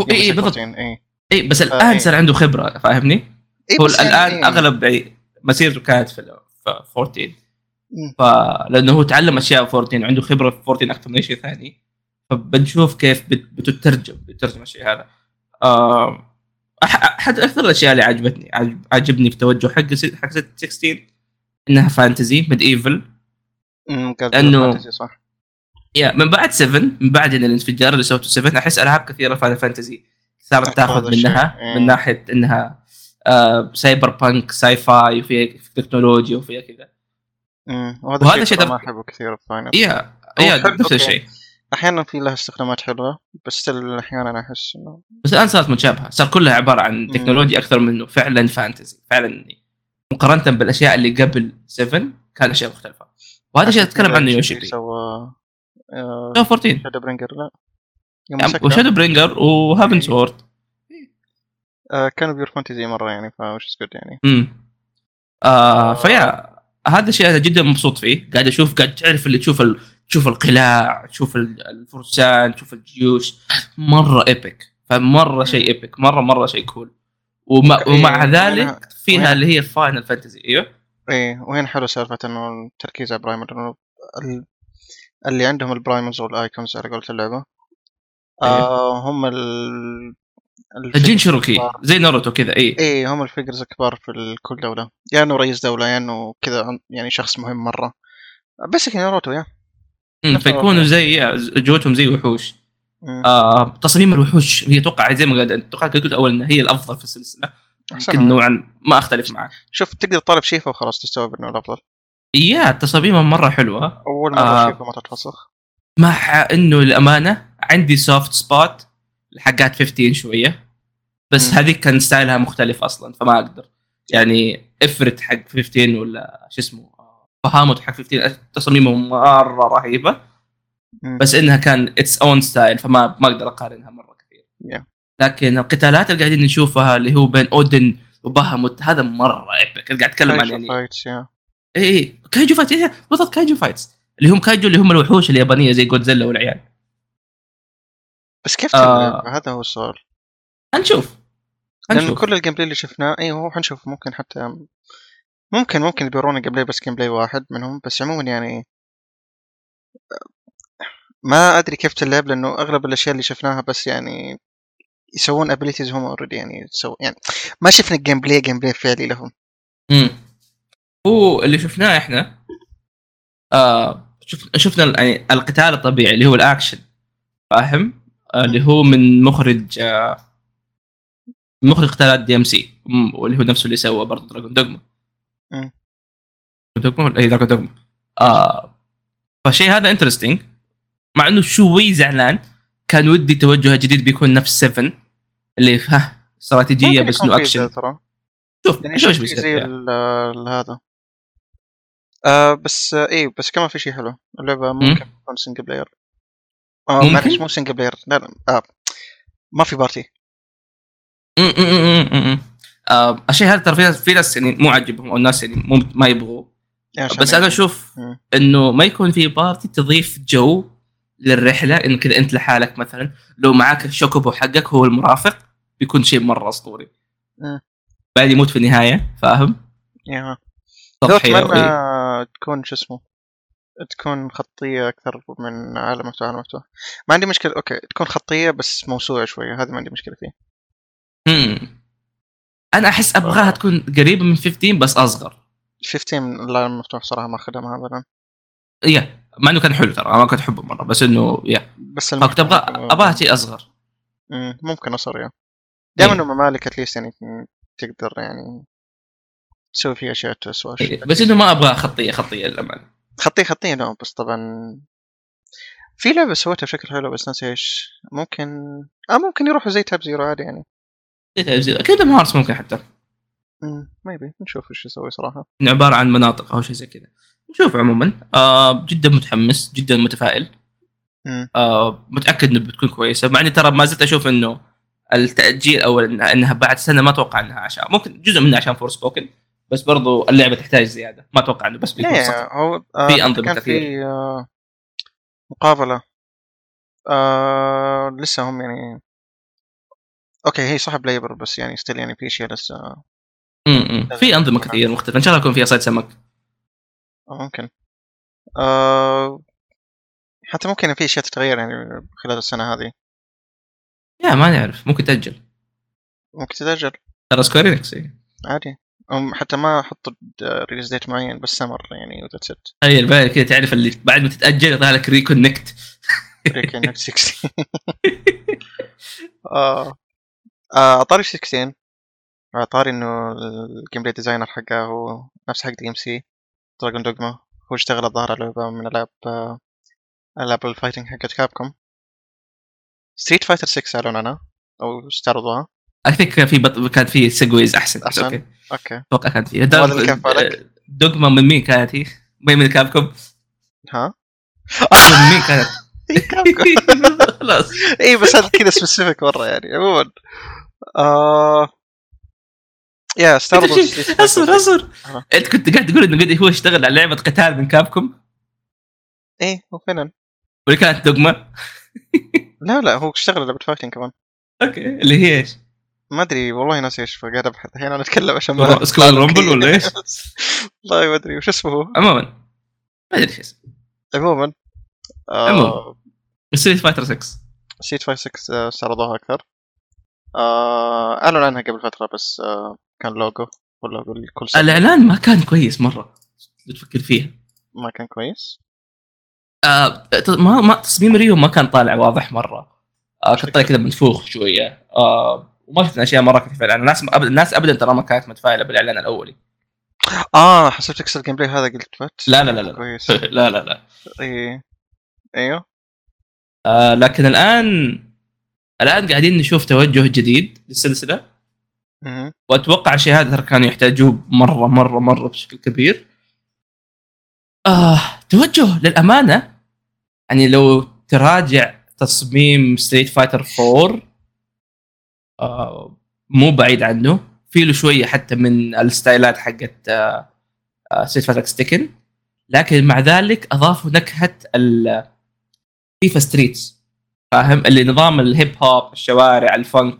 Speaker 2: هو- اي اي إيه، بالضبط
Speaker 1: اي
Speaker 2: اي بس
Speaker 1: آه،
Speaker 2: الان
Speaker 1: إيه.
Speaker 2: صار عنده خبره فاهمني؟ هو الان اغلب إيه، يعني مسيرته كانت في ال- في 14
Speaker 1: مم.
Speaker 2: فلانه هو تعلم اشياء في 14 عنده خبره في 14 اكثر من اي شيء ثاني فبنشوف كيف بت- بتترجم بتترجم الشيء هذا آه، أح- احد اكثر الاشياء اللي عجبتني عجب- عجبني في توجه حق س- حق 16 انها فانتزي ميد ايفل
Speaker 1: أمم، قاعد
Speaker 2: لأنه-
Speaker 1: أقول فانتسي، صح
Speaker 2: يا من بعد 7 من بعد الانفجار اللي سوته 7 احس العاب كثيره فاينل فانتزي صارت
Speaker 1: أتفق
Speaker 2: تاخذ
Speaker 1: هذا الشيء.
Speaker 2: منها
Speaker 1: إيه.
Speaker 2: من ناحيه انها آه سايبر بانك ساي فاي وفيها تكنولوجيا وفيها كذا
Speaker 1: أمم، وهذا,
Speaker 2: وهذا
Speaker 1: الشيء
Speaker 2: شيء إيه.
Speaker 1: ترى
Speaker 2: ترى-
Speaker 1: ما احبه كثير في فاينل
Speaker 2: يا
Speaker 1: هو
Speaker 2: يا
Speaker 1: حلو،
Speaker 2: نفس
Speaker 1: أوكي.
Speaker 2: الشيء
Speaker 1: احيانا في لها استخدامات حلوه بس ال- احيانا احس انه
Speaker 2: بس الان صارت متشابهه صار كلها عباره عن تكنولوجيا اكثر من انه فعلا فانتزي فعلا مقارنه بالاشياء يعني اللي قبل 7 كان اشياء مختلفه وهذا الشيء اتكلم عنه يوشي بي
Speaker 1: سوى آه،
Speaker 2: شادو 14
Speaker 1: شادو برينجر لا يوم
Speaker 2: يعني
Speaker 1: مسكته،
Speaker 2: وشادو برينجر وهافن
Speaker 1: إيه.
Speaker 2: سورد
Speaker 1: آه، كانوا بيور فانتزي مره يعني فوش از جود يعني
Speaker 2: امم آه فيا هذا الشيء انا جدا مبسوط فيه قاعد اشوف قاعد تعرف اللي تشوف ال... تشوف القلاع تشوف ال- الفرسان تشوف الجيوش مره ايبك فمره شيء ايبك مره مره شيء كول ومع,
Speaker 1: إيه،
Speaker 2: ومع
Speaker 1: وهنا-
Speaker 2: ذلك فيها اللي هي فاينل فانتزي ايوه
Speaker 1: ايه وهنا حلو سالفه انه التركيز على برايمر انه ال- اللي عندهم البرايمرز والايكونز على قولة اللعبه
Speaker 2: إيه.
Speaker 1: آه هم ال
Speaker 2: الجين شيروكي زي ناروتو كذا إيه. اي
Speaker 1: ايه هم الفيجرز الكبار في ال- كل دولة يا انه رئيس دولة يا انه كذا عن- يعني شخص مهم مرة بس كذا ناروتو يا
Speaker 2: مم، فيكونوا زي يا، جوتهم زي وحوش
Speaker 1: مم.
Speaker 2: آه تصميم الوحوش هي اتوقع زي ما قلت اتوقع قلت اول انها هي الافضل في السلسله
Speaker 1: أحسن.
Speaker 2: يمكن نوعا ما اختلف معك
Speaker 1: شوف تقدر تطالب شيفا وخلاص تستوعب انه الافضل
Speaker 2: يا تصاميمها مره حلوه
Speaker 1: اول
Speaker 2: آه.
Speaker 1: مرة شيفا ما تتفسخ
Speaker 2: مع انه الامانه عندي سوفت سبوت لحقات 15 شويه بس
Speaker 1: مم.
Speaker 2: هذيك كان ستايلها مختلف اصلا فما اقدر يعني افرت حق 15 ولا شو اسمه فهامت حق 15 تصاميمهم مره رهيبه
Speaker 1: مم.
Speaker 2: بس انها كان اتس اون ستايل فما ما اقدر اقارنها مره كثير
Speaker 1: Yeah.
Speaker 2: لكن القتالات اللي قاعدين نشوفها اللي هو بين اودن وبهموت هذا مره ايبك قاعد اتكلم عن
Speaker 1: كايجو
Speaker 2: يعني
Speaker 1: فايتس يا
Speaker 2: اي اي كايجو فايت إيه، بالضبط كايجو فايتس اللي هم كايجو اللي هم الوحوش اليابانيه زي جودزيلا والعيال
Speaker 1: بس كيف
Speaker 2: آه.
Speaker 1: تلعب هذا هو السؤال
Speaker 2: هنشوف
Speaker 1: لان
Speaker 2: هنشوف
Speaker 1: كل الجيم بلاي اللي شفناه اي هو حنشوف ممكن حتى ممكن ممكن يبيرونا جيم بلاي بس جيم بلاي واحد منهم بس عموما يعني ما ادري كيف تلعب لانه اغلب الاشياء اللي شفناها بس يعني يسوون ابيليتيز هم اوريدي يعني تسوي يعني ما شفنا جيم بلاي جيم بلاي فعلي لهم
Speaker 2: مم. هو اللي شفناه احنا آه شف- شفنا ال- يعني القتال الطبيعي اللي هو الاكشن فاهم آه اللي هو من مخرج آه مخرج قتالات دي ام سي مم، واللي هو نفسه اللي سوى برضه دراجون دوجما
Speaker 1: مم.
Speaker 2: دوجما ولا اي دراجون دوجما آه فالشيء هذا انترستنج مع انه شوي زعلان كان ودي توجه جديد بيكون نفس 7 اللي ها استراتيجيه
Speaker 1: ممكن
Speaker 2: بس
Speaker 1: يكون
Speaker 2: انه
Speaker 1: في
Speaker 2: اكشن
Speaker 1: زي ترى
Speaker 2: شوف
Speaker 1: يعني
Speaker 2: شوف
Speaker 1: شوف
Speaker 2: ايش
Speaker 1: في
Speaker 2: بيصير
Speaker 1: زي
Speaker 2: فيها.
Speaker 1: ال- ال- هذا آه بس آه ايه بس كمان في شيء حلو اللعبه ممكن تكون سنجل بلاير آه
Speaker 2: ممكن؟
Speaker 1: معلش مو سنجل بلاير لا لا آه ما في بارتي
Speaker 2: أمم أمم أمم أمم. آه، الشيء هذا ترى في ناس في ناس يعني مو عاجبهم او الناس يعني مو ما يبغوه
Speaker 1: يعني عشان
Speaker 2: آه، بس انا
Speaker 1: يعني-
Speaker 2: اشوف
Speaker 1: مم.
Speaker 2: انه ما يكون في بارتي تضيف جو للرحله انه كذا انت لحالك مثلا لو معاك الشوكوبو حقك هو المرافق بيكون شيء مره اسطوري
Speaker 1: مم.
Speaker 2: بعد يموت في النهايه فاهم؟
Speaker 1: يا لو
Speaker 2: تضحيه
Speaker 1: اتمنى
Speaker 2: وإيه.
Speaker 1: تكون شو اسمه تكون خطية أكثر من عالم مفتوح عالم مفتوح ما عندي مشكلة أوكي تكون خطية بس موسوعة شوية هذا ما عندي مشكلة فيه
Speaker 2: مم. انا احس
Speaker 1: آه.
Speaker 2: ابغاها تكون قريبه من 15 بس اصغر
Speaker 1: 15 من العالم المفتوح صراحة ما خدمها أبدا
Speaker 2: يا مع انه كان حلو ترى أنا ما كنت احبه مره بس انه يا
Speaker 1: بس
Speaker 2: فكنت ابغى
Speaker 1: المفتوح-
Speaker 2: ابغاها شيء اصغر
Speaker 1: مم، ممكن أصر يا دائما
Speaker 2: إيه.
Speaker 1: إنه ممالك اتليست يعني تقدر يعني تسوي فيها أشياء تسوى
Speaker 2: إيه، بس انه ما ابغى خطيه خطيه للامانه
Speaker 1: خطية خطية لا بس طبعا في لعبة سويتها بشكل حلو بس ناسي ايش ممكن اه ممكن يروحوا زي تاب زيرو عادي يعني
Speaker 2: كيندم هارتس ممكن حتى
Speaker 1: ميبي نشوف ايش يسوي صراحة
Speaker 2: إنه عباره عن مناطق او شيء زي كذا نشوف عموما آه جدا متحمس جدا متفائل
Speaker 1: مم.
Speaker 2: آه متاكد انه بتكون كويسه مع اني ترى ما زلت اشوف انه التاجيل او إنها- انها بعد سنه ما اتوقع انها عشان ممكن جزء منها عشان فور سبوكن بس برضو اللعبه تحتاج زياده ما اتوقع انه بس بيكون
Speaker 1: ايه
Speaker 2: صح
Speaker 1: هو آه،
Speaker 2: في أنظمة
Speaker 1: كان في
Speaker 2: كثير.
Speaker 1: آه، مقابلة آه لسه هم يعني اوكي هي صح بلايبر بس يعني ستيل يعني في اشياء لسه آه،
Speaker 2: م- م. في انظمه كثير مختلفه ان شاء الله يكون فيها صيد سمك
Speaker 1: ممكن آه حتى ممكن في اشياء تتغير يعني خلال السنة هذه
Speaker 2: يا ما نعرف ممكن تاجل
Speaker 1: ممكن تتأجل
Speaker 2: ترى سكوير إيه. انكس
Speaker 1: عادي هم حتى ما حطوا ريليز ديت معين بس سمر يعني وذاتس ات
Speaker 2: تخيل بقى طيب، كذا تعرف اللي بعد ما تتاجل يطلع لك ريكونكت
Speaker 1: ريكن 16 آه. آه، عطاري 16 عطاري انه الجيم بلاي ديزاينر حقه هو نفس حق دي ام سي دراجون دوجما هو اشتغل الظاهر على لعبه من العاب آه، العاب الفايتنج حقت كابكوم ستريت فايتر 6 اعلن عنها او استعرضوها
Speaker 2: اي ثينك كان في بط... كان في سيجويز احسن بس
Speaker 1: أحسن.
Speaker 2: اوكي
Speaker 1: اوكي
Speaker 2: اتوقع كان في
Speaker 1: هذا اللي كان في بالك؟
Speaker 2: دوجما من مين كانت هي؟ مين من كابكوم؟
Speaker 1: ها إيه،
Speaker 2: دوجما من مين كانت؟ خلاص
Speaker 1: اي إيه، بس هذا كذا سبيسيفيك مره يعني عموما آه يا استعرضوا Street Fighter 6.
Speaker 2: اصبر اصبر
Speaker 1: أها.
Speaker 2: انت كنت قاعد تقول انه قد هو اشتغل على لعبه قتال من كابكوم
Speaker 1: ايه هو فعلا
Speaker 2: واللي كانت دوجما
Speaker 1: لا لا هو اشتغل لعبه فايتنج كمان
Speaker 2: اوكي اللي هي ايش؟
Speaker 1: ما ادري والله ناسي ايش فقاعد ابحث الحين انا اتكلم عشان
Speaker 2: رو- سكوير رامبل ولا ايش؟
Speaker 1: والله ما ادري وش اسمه هو
Speaker 2: عموما ما ادري ايش اسمه
Speaker 1: عموما آه،
Speaker 2: عموما. ستريت فايتر 6
Speaker 1: سيت فاي 6 استعرضوها اكثر آه، اعلن عنها قبل فتره بس آه، كان لوجو واللوجو الكل
Speaker 2: الاعلان ما كان كويس مره لو تفكر فيها
Speaker 1: ما كان كويس
Speaker 2: آه ت- ما ما تصميم ريو ما كان طالع واضح مره آه كان طالع كذا منفوخ شويه آه وما شفنا اشياء مره كثيره في الاعلان الناس أبد الناس ابدا ترى ما كانت متفائله بالاعلان الاولي
Speaker 1: اه حسبتك تكسر الجيم بلاي هذا قلت فت
Speaker 2: آه، لا، لا، لا، لا.
Speaker 1: كويس إيه.
Speaker 2: لا لا لا
Speaker 1: اي ايوه
Speaker 2: آه لكن الان الان قاعدين نشوف توجه جديد للسلسله
Speaker 1: مهم.
Speaker 2: واتوقع شيء هذا ترى كانوا يحتاجوه مره مره مره بشكل كبير. آه توجه للامانه يعني لو تراجع تصميم ستريت فايتر 4 آه مو بعيد عنه في له شويه حتى من الستايلات حقت آه ستريت فايتر ستيكن لكن مع ذلك اضافوا نكهه ال فيفا ستريتس فاهم اللي نظام الهيب هوب الشوارع الفنك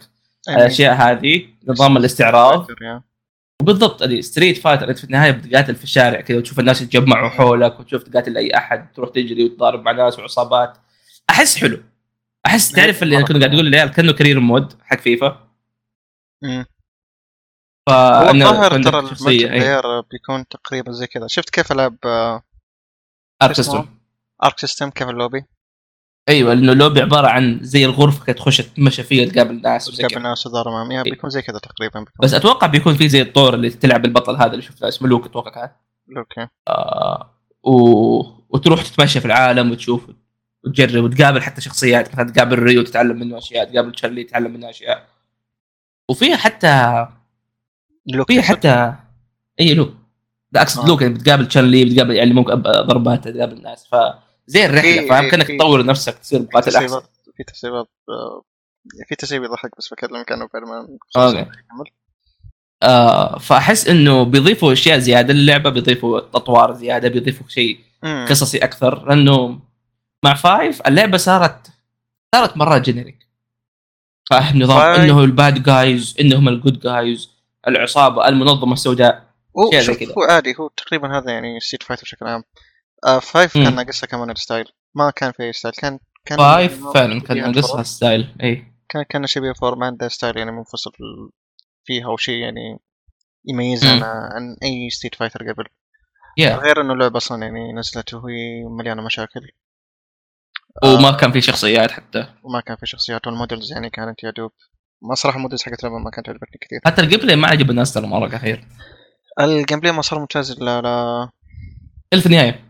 Speaker 1: يعني
Speaker 2: الاشياء هذه نظام الاستعراض
Speaker 1: يا.
Speaker 2: وبالضبط اللي ستريت فايتر انت في النهايه بتقاتل في الشارع كذا وتشوف الناس يتجمعوا حولك وتشوف تقاتل اي احد تروح تجري وتضارب مع ناس وعصابات احس حلو احس تعرف اللي
Speaker 1: مرة.
Speaker 2: كنا قاعد اقول للعيال كانه كارير مود حق فيفا
Speaker 1: مم. هو
Speaker 2: فانا
Speaker 1: الظاهر
Speaker 2: كنت
Speaker 1: ترى
Speaker 2: شخصيه اي
Speaker 1: البلاير بيكون تقريبا زي كذا شفت كيف آه، العاب
Speaker 2: ارك
Speaker 1: اسمه؟
Speaker 2: سيستم
Speaker 1: ارك سيستم كيف اللوبي
Speaker 2: ايوه لانه لوبي عباره عن زي الغرفه كده تخش تتمشى فيها تقابل ناس وزي
Speaker 1: تقابل
Speaker 2: كده.
Speaker 1: ناس وتضارب معهم يا
Speaker 2: إيه.
Speaker 1: بيكون زي كذا تقريبا بيكون
Speaker 2: بس اتوقع بيكون في زي الطور اللي تلعب البطل هذا اللي شفناه اسمه لوك اتوقع كان
Speaker 1: اوكي
Speaker 2: و... وتروح تتمشى في العالم وتشوف وتجرب وتقابل حتى شخصيات مثلا تقابل ريو تتعلم منه اشياء تقابل تشارلي تتعلم منه اشياء وفيها حتى
Speaker 1: لوك
Speaker 2: فيها حتى اي لو لا اقصد
Speaker 1: آه.
Speaker 2: لوك يعني بتقابل تشارلي بتقابل يعني ممكن أب- ضربات تقابل الناس فزي الرحله
Speaker 1: في-
Speaker 2: فاهم كانك
Speaker 1: في-
Speaker 2: تطور نفسك تصير
Speaker 1: في
Speaker 2: مقاتل احسن
Speaker 1: تسريبات في تسريبات آه، في تسريب يضحك بس بكلمك عنه بعد ما
Speaker 2: أوكي.
Speaker 1: نكمل.
Speaker 2: آه فاحس انه بيضيفوا اشياء زياده للعبه بيضيفوا اطوار زياده بيضيفوا شيء
Speaker 1: مم.
Speaker 2: قصصي اكثر لانه مع فايف اللعبه صارت صارت مره جينيريك فاهم نظام
Speaker 1: فايف.
Speaker 2: انه الباد جايز انهم الجود جايز العصابه المنظمه السوداء
Speaker 1: هو
Speaker 2: شيء زي
Speaker 1: شوف
Speaker 2: كذا.
Speaker 1: هو عادي هو تقريبا هذا يعني ستيت فايتر بشكل عام آه فايف
Speaker 2: مم.
Speaker 1: كان ناقصها كمان الستايل ما كان في ستايل كان كان
Speaker 2: فايف
Speaker 1: ما-
Speaker 2: فعلا كان إيه.
Speaker 1: شبيهة
Speaker 2: ناقصها
Speaker 1: فور.
Speaker 2: الستايل اي
Speaker 1: كان كان شبيه فور ما عندها ستايل يعني منفصل فيها او شيء يعني يميزها
Speaker 2: مم.
Speaker 1: عن عن اي ستيت فايتر قبل
Speaker 2: يا
Speaker 1: غير انه اللعبه اصلا يعني نزلت وهي مليانه مشاكل آه.
Speaker 2: وما كان في شخصيات حتى
Speaker 1: وما كان في شخصيات والمودلز يعني كانت يا دوب ما صراحه المودلز حقت اللعبه ما كانت عجبتني كثير
Speaker 2: حتى الجيم بلاي ما عجب الناس ترى مره كثير
Speaker 1: الجيم بلاي ما صار ممتاز الا لا
Speaker 2: اللي في النهايه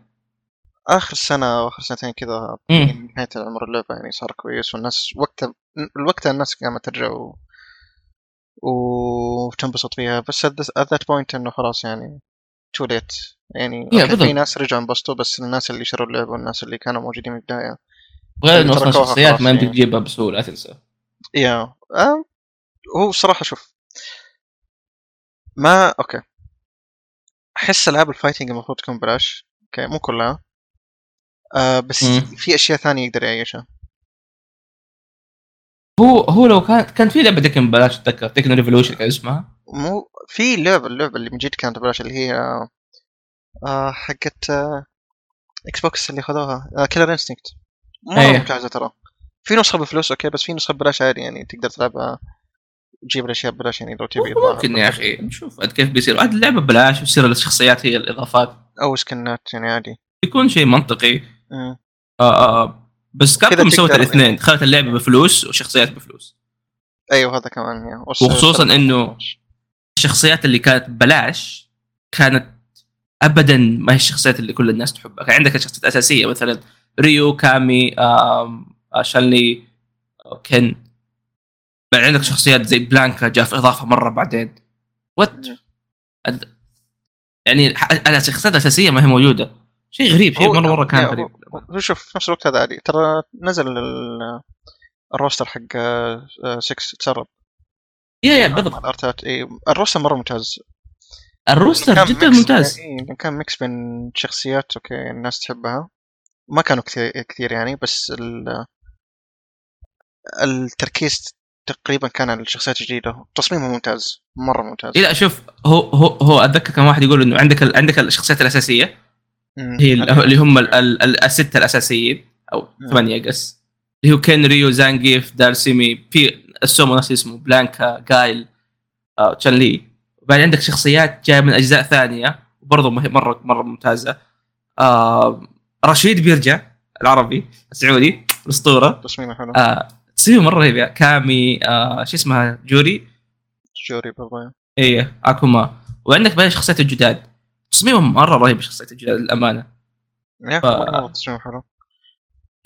Speaker 1: اخر سنه او اخر سنتين كذا
Speaker 2: امم
Speaker 1: يعني نهايه عمر اللعبه يعني صار كويس والناس وقتها الوقت الناس قامت ترجع و... وتنبسط فيها بس at that point انه خلاص يعني تو ليت يعني
Speaker 2: يا
Speaker 1: أوكي، في
Speaker 2: بالضبط.
Speaker 1: ناس رجعوا انبسطوا بس الناس اللي شروا اللعبه والناس اللي كانوا موجودين من البدايه
Speaker 2: غير
Speaker 1: اللي
Speaker 2: انه اصلا
Speaker 1: تركوها
Speaker 2: شخصيات
Speaker 1: خلاص
Speaker 2: ما يمديك
Speaker 1: يعني.
Speaker 2: تجيبها بسهوله لا تنسى
Speaker 1: يا آه، هو صراحه شوف ما اوكي احس العاب الفايتنج المفروض تكون بلاش اوكي مو كلها آه بس
Speaker 2: مم.
Speaker 1: في اشياء ثانيه يقدر يعيشها
Speaker 2: هو هو لو كان كان في لعبه تكن بلاش اتذكر تكن ريفولوشن كان اسمها
Speaker 1: مو في لعبه اللعبه اللي من جد كانت بلاش اللي هي آه، آه حقت آه اكس بوكس اللي خذوها آه كيلر انستنكت مره
Speaker 2: أيه.
Speaker 1: ممتازه ترى في نسخه بفلوس اوكي بس في نسخه ببلاش عادي يعني تقدر تلعبها تجيب الاشياء ببلاش يعني لو تبي
Speaker 2: ممكن يا اخي نشوف عاد كيف بيصير عاد اللعبه ببلاش بتصير الشخصيات هي الاضافات
Speaker 1: او سكنات يعني عادي
Speaker 2: بيكون شيء منطقي
Speaker 1: مم.
Speaker 2: آه آه بس كابكم سوت
Speaker 1: تقدر-
Speaker 2: الاثنين خلت اللعبه بفلوس وشخصيات بفلوس
Speaker 1: ايوه هذا كمان يعني وص-
Speaker 2: وخصوصاً
Speaker 1: وص-
Speaker 2: إنه- الشخصيات اللي كانت ببلاش كانت ابدا ما هي الشخصيات اللي كل الناس تحبها كان عندك شخصيات اساسيه مثلا ريو كامي آم، آه، شانلي آه، كن بعد عندك شخصيات زي بلانكا جاء في اضافه مره بعدين وات يعني ح- انا الشخصيات الاساسيه ما هي موجوده شيء غريب شيء
Speaker 1: هو-
Speaker 2: مره مره كان
Speaker 1: يا هو-
Speaker 2: غريب
Speaker 1: شوف في نفس الوقت هذا عادي ترى نزل ال- الروستر حق آه، آه، 6 تسرب
Speaker 2: يا يا
Speaker 1: مع
Speaker 2: بالضبط
Speaker 1: الارتات اي إيه، الروستر مره ممتاز
Speaker 2: الروستر
Speaker 1: كان
Speaker 2: جدا
Speaker 1: ميكس-
Speaker 2: ممتاز
Speaker 1: إيه، لأن كان ميكس بين شخصيات اوكي الناس تحبها ما كانوا كثير كثير يعني بس ال التركيز تقريبا كان على الشخصيات الجديده تصميمه ممتاز مره ممتاز
Speaker 2: إيه، لا شوف هو هو هو اتذكر كان واحد يقول انه عندك ال- عندك الشخصيات الاساسيه
Speaker 1: مم.
Speaker 2: هي ال- اللي هم ال- ال- ال- الستة الأساسيين أو
Speaker 1: مم.
Speaker 2: ثمانية أقص اللي هو كين ريو زانجيف دارسيمي في السومو نفس اسمه بلانكا جايل آه، تشان لي بعد عندك شخصيات جاية من أجزاء ثانية برضو مه- مرة مرة ممتازة آه، رشيد بيرجع العربي السعودي الأسطورة
Speaker 1: تصميمه حلو
Speaker 2: آه، تصير مرة رهيبة كامي آه، شو اسمها جوري
Speaker 1: جوري برضه
Speaker 2: ايه اكوما وعندك بعدين شخصيات الجداد تصميمهم مرة رهيب شخصيات الجداد للأمانة
Speaker 1: يا أخي،
Speaker 2: آه.
Speaker 1: والله تصميمه حلو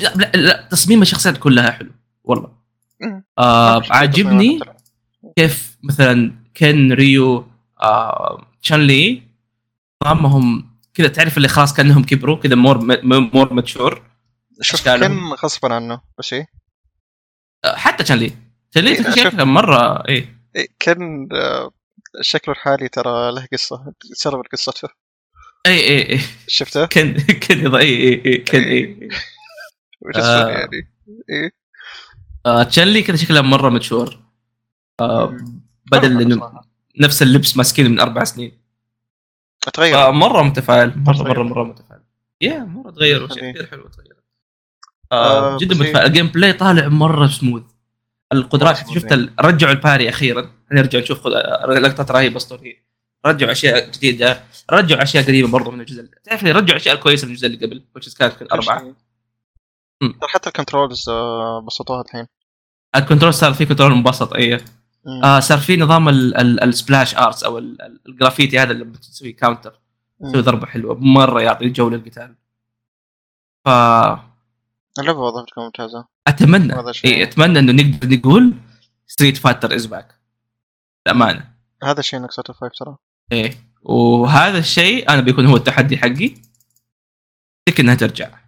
Speaker 2: لا لا, لا تصميم الشخصيات كلها حلو والله
Speaker 1: مم.
Speaker 2: آه
Speaker 1: شخصيات
Speaker 2: عاجبني
Speaker 1: تصميمها
Speaker 2: كيف مثلا كين ريو آه شان لي طعمهم كذا تعرف اللي خلاص كانهم كبروا كذا مور م- مور ماتشور
Speaker 1: شوف
Speaker 2: أشكالهم.
Speaker 1: كان غصبا عنه بس ايه
Speaker 2: آه حتى شان لي شان لي
Speaker 1: إيه،
Speaker 2: ترى
Speaker 1: أشوف-
Speaker 2: شكله مره ايه
Speaker 1: إيه، كان آه، شكله الحالي ترى له قصه تسرب قصته
Speaker 2: اي اي اي
Speaker 1: شفته؟
Speaker 2: كن كن اي اي اي كن
Speaker 1: إيه،
Speaker 2: اي
Speaker 1: which is funny
Speaker 2: آه.
Speaker 1: يعني ايه
Speaker 2: آه تشان لي كذا شكلها مره ماتشور آه بدل
Speaker 1: حلو
Speaker 2: إنه
Speaker 1: صراحة.
Speaker 2: نفس اللبس ماسكينه من اربع سنين
Speaker 1: اتغير
Speaker 2: آه مره متفائل مره مره
Speaker 1: تغير.
Speaker 2: مره متفائل يا مره تغيروا
Speaker 1: طبيعي.
Speaker 2: شيء كثير حلو تغير آه
Speaker 1: آه،
Speaker 2: جدا
Speaker 1: بس هي-
Speaker 2: متفائل الجيم بلاي طالع مره سموث القدرات
Speaker 1: مرة سموث،
Speaker 2: شفت ال- رجعوا الباري اخيرا نرجع نشوف خد- آه، لقطات رهيبه اسطوريه رجعوا اشياء جديده رجعوا اشياء قديمه برضو من الجزء اللي- تعرف لي رجعوا اشياء كويسه من الجزء اللي قبل which is كانت يمكن اربعه مم.
Speaker 1: يعني؟ ترى حتى الكنترولز آه، بسطوها الحين
Speaker 2: الكنترول صار في كنترول مبسط ايه
Speaker 1: مم.
Speaker 2: آه صار في نظام ال- ال- السبلاش ارتس او ال- ال- الجرافيتي هذا اللي لما تسوي كاونتر
Speaker 1: مم.
Speaker 2: تسوي ضربه حلوه مره يعطي جو للقتال ف
Speaker 1: اللعبه وظيفتها كانت ممتازه
Speaker 2: اتمنى
Speaker 1: هذا شيء
Speaker 2: إيه اتمنى انه نقدر نقول ستريت فايتر از باك بامانه
Speaker 1: هذا الشيء نقصته فايف ترى
Speaker 2: ايه وهذا الشيء انا بيكون هو التحدي حقي اتذكر انها ترجع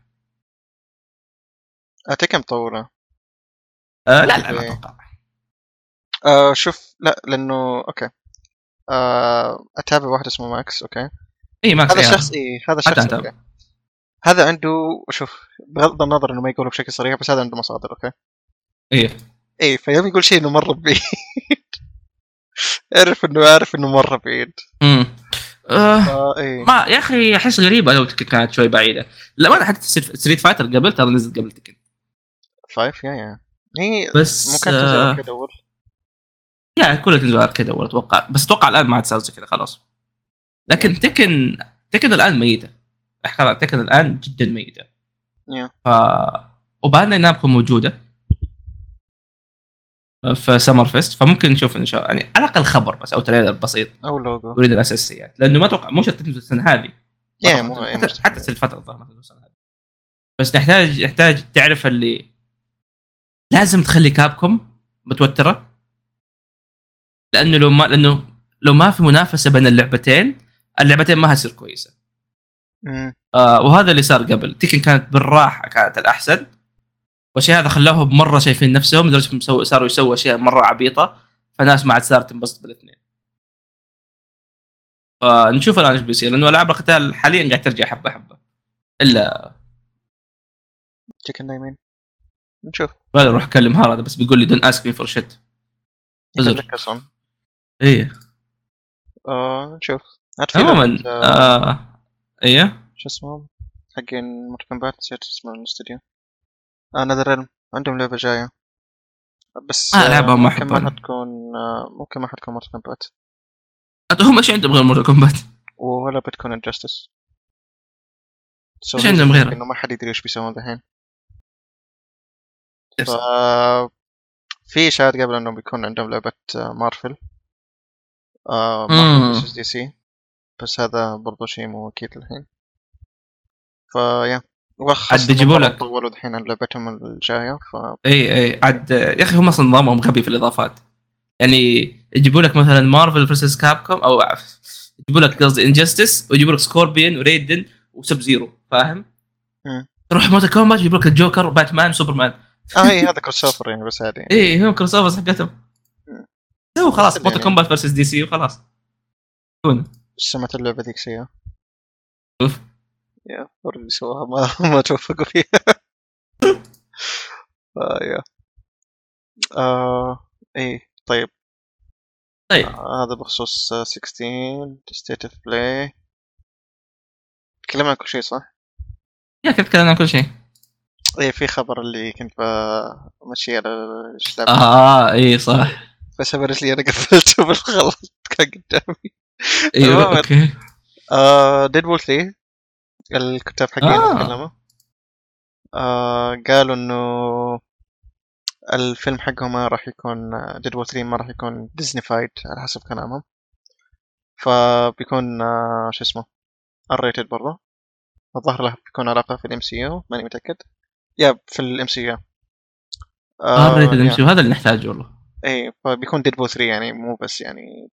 Speaker 1: اتيك مطوله
Speaker 2: آه لا لا ما
Speaker 1: إيه.
Speaker 2: اتوقع
Speaker 1: آه شوف لا لانه اوكي آه اتابع واحد اسمه ماكس اوكي
Speaker 2: اي ماكس
Speaker 1: هذا
Speaker 2: إيه.
Speaker 1: شخص اي هذا
Speaker 2: حتى
Speaker 1: شخص
Speaker 2: أنت.
Speaker 1: اوكي هذا عنده شوف بغض النظر انه ما يقوله بشكل صريح بس هذا عنده مصادر اوكي
Speaker 2: ايه
Speaker 1: اي فيوم يقول شيء انه مره بعيد اعرف انه عارف انه مره بعيد
Speaker 2: امم آه
Speaker 1: آه اي
Speaker 2: ما يا اخي احس غريبه لو تكن كانت شوي بعيده لا ما حتى ستريت فايتر قبل ترى نزلت قبل تكن
Speaker 1: فايف يا يا هي
Speaker 2: بس
Speaker 1: ممكن تنزل
Speaker 2: آه
Speaker 1: أركيد اول
Speaker 2: يا كلها تنزل اركيد اول اتوقع بس اتوقع الان ما عاد صار زي كذا خلاص لكن تكن تكن الان ميته خلاص تكن الان جدا ميته
Speaker 1: يا.
Speaker 2: ف وبانداي نامكو موجوده في سمر فيست فممكن نشوف ان شاء الله يعني على الاقل خبر بس او تريلر بسيط
Speaker 1: او لوجو
Speaker 2: ونريد الاساسيات لانه ما اتوقع مو شرط تنزل السنه هذه
Speaker 1: يا مو
Speaker 2: حتى حتى في الفتره الظاهر ما تنزل السنه هذه بس نحتاج نحتاج تعرف اللي لازم تخلي كابكم متوتره لانه لو ما لانه لو ما في منافسه بين اللعبتين اللعبتين ما حتصير كويسه
Speaker 1: مم.
Speaker 2: آه وهذا اللي صار قبل تيكن كانت بالراحه كانت الاحسن والشيء هذا خلاهم مره شايفين نفسهم لدرجه إنهم سو- صاروا يسووا اشياء مره عبيطه فالناس ما عاد صارت تنبسط بالاثنين آه، فنشوف الان ايش بيصير لانه العاب القتال حاليا قاعد ترجع حبه حبه الا
Speaker 1: تشيكن دايمين نشوف
Speaker 2: بقدر اروح اكلم هذا بس بيقول لي دون اسك مي فور شيت أزر.
Speaker 1: يخليك اصلا
Speaker 2: ايه
Speaker 1: آه نشوف عاد في
Speaker 2: عموما
Speaker 1: لعبة، آه،
Speaker 2: آه ايه
Speaker 1: شو اسمه حقين مركبات نسيت اسمه الاستوديو آه نذر علم عندهم لعبة جاية بس
Speaker 2: آه، لعبة ما
Speaker 1: ممكن ما
Speaker 2: أحبها أنا.
Speaker 1: حتكون آه، ممكن ما حتكون مورتال كومبات
Speaker 2: أت- هم ايش عندهم غير مورتال كومبات؟
Speaker 1: ولا بتكون انجستس
Speaker 2: إيش عندهم غيرها؟
Speaker 1: انه ما حد يدري ايش بيسوون الحين ف... في اشاعات قبل انه بيكون عندهم لعبه آه، مارفل آه
Speaker 2: مم.
Speaker 1: مارفل دي سي بس هذا برضو شيء مو اكيد الحين فيا وخاصة
Speaker 2: عاد بيجيبوا
Speaker 1: مرة
Speaker 2: لك.
Speaker 1: طولوا الحين عن لعبتهم الجايه ف
Speaker 2: اي اي إيه، عاد يا اخي هم اصلا نظامهم غبي في الاضافات يعني يجيبوا لك مثلا مارفل فيرسس كابكوم او عف- يجيبوا لك قصدي انجستس ويجيبوا لك سكوربيون وريدن وسب زيرو فاهم؟
Speaker 1: مم. تروح
Speaker 2: تروح موتو كومبات يجيبوا لك الجوكر وباتمان وسوبرمان
Speaker 1: اه اي هذا كروس اوفر يعني بس عادي
Speaker 2: اي هم كروس اوفرز حقتهم سووا خلاص
Speaker 1: يعني-
Speaker 2: موتو كومبات فيرسس دي سي وخلاص
Speaker 1: سمعت اللعبه ذيك سيئه
Speaker 2: أوف.
Speaker 1: يا الفرق اللي سواها ما ما توفقوا فيها آه يا آه اي طيب
Speaker 2: طيب
Speaker 1: آه هذا بخصوص آه، 16 ستيت اوف بلاي تكلمنا عن كل شيء صح؟
Speaker 2: يا كنت تكلمنا عن كل شيء
Speaker 1: اي في خبر اللي كنت بمشي على ايش لعبة.
Speaker 2: اه اي صح
Speaker 1: بس أبرز لي انا قفلته بالغلط كان قدامي
Speaker 2: ايوه
Speaker 1: المهم.
Speaker 2: اوكي
Speaker 1: آه ديد وول 3 الكتاب حقين
Speaker 2: آه.
Speaker 1: تكلموا آه قالوا انه الفيلم حقهم ما راح يكون ديد وول 3 ما راح يكون ديزني فايد على حسب كلامهم فبيكون آه شو اسمه الريتد برضه الظاهر له بيكون علاقة في الام سي يو ماني متأكد يا في الام سي يو آه،
Speaker 2: اه بريت نمشي وهذا اللي نحتاجه والله
Speaker 1: اي إيه، فبيكون ديدبول 3 يعني مو بس يعني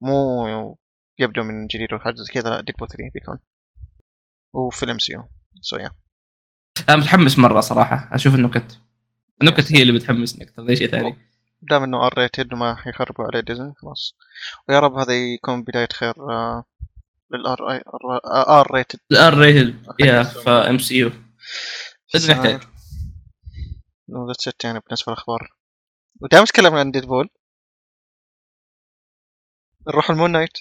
Speaker 1: مو يبدو من جديد وحاجه زي كذا لا ديدبول 3 بيكون وفي الام سي يو سو يا
Speaker 2: انا متحمس مره صراحه اشوف النكت النكت هي اللي بتحمسني اكثر من اي شيء ثاني
Speaker 1: دام انه ار ريتد وما حيخربوا عليه ديزني خلاص ويا رب هذا يكون بدايه خير آه، للار ار ريتد
Speaker 2: الار ريتد يا فام سي يو إيش
Speaker 1: نعم.
Speaker 2: نحتاج؟
Speaker 1: ذاتس ات يعني بالنسبه للاخبار ودام تكلمنا عن ديدبول نروح المون نايت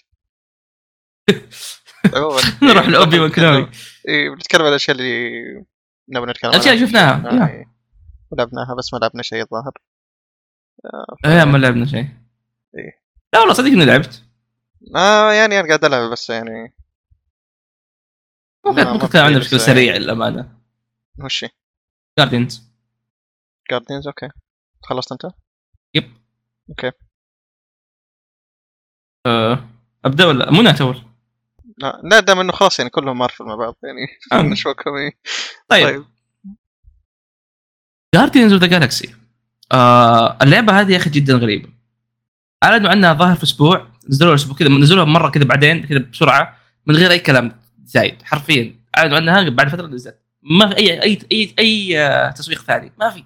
Speaker 1: عموماً.
Speaker 2: نروح لاوبي وكنوي
Speaker 1: إيه، بنتكلم عن الاشياء اللي نبغى نتكلم عنها
Speaker 2: الاشياء شفناها
Speaker 1: آه،
Speaker 2: يا.
Speaker 1: إيه. ولعبناها بس ما لعبنا شيء الظاهر
Speaker 2: يا ما لعبنا شيء
Speaker 1: آه، إيه.
Speaker 2: لا والله صدق اني لعبت
Speaker 1: آه يعني انا قاعد العب بس يعني
Speaker 2: ممكن
Speaker 1: لا، ما
Speaker 2: ممكن كان
Speaker 1: في
Speaker 2: عندنا
Speaker 1: بس
Speaker 2: بشكل
Speaker 1: يعني.
Speaker 2: سريع للامانه
Speaker 1: وش
Speaker 2: جاردينز
Speaker 1: جاردينز اوكي خلصت انت؟
Speaker 2: يب
Speaker 1: أوكي.
Speaker 2: آه، ابدا ولا مو نات اول
Speaker 1: لا لا دام انه خلاص يعني كلهم مارفل مع بعض يعني
Speaker 2: آه،
Speaker 1: شوكهم إيه.
Speaker 2: طيب
Speaker 1: طيب
Speaker 2: جاردينز اوف ذا جالكسي اللعبه هذه يا اخي جدا غريبه اعلنوا عنها ظاهر في اسبوع نزلوها اسبوع كذا نزلوها مره كذا بعدين كذا بسرعه من غير اي كلام زايد حرفيا اعلنوا عنها بعد فتره نزلت ما في اي اي اي, أي آه، تسويق ثاني ما في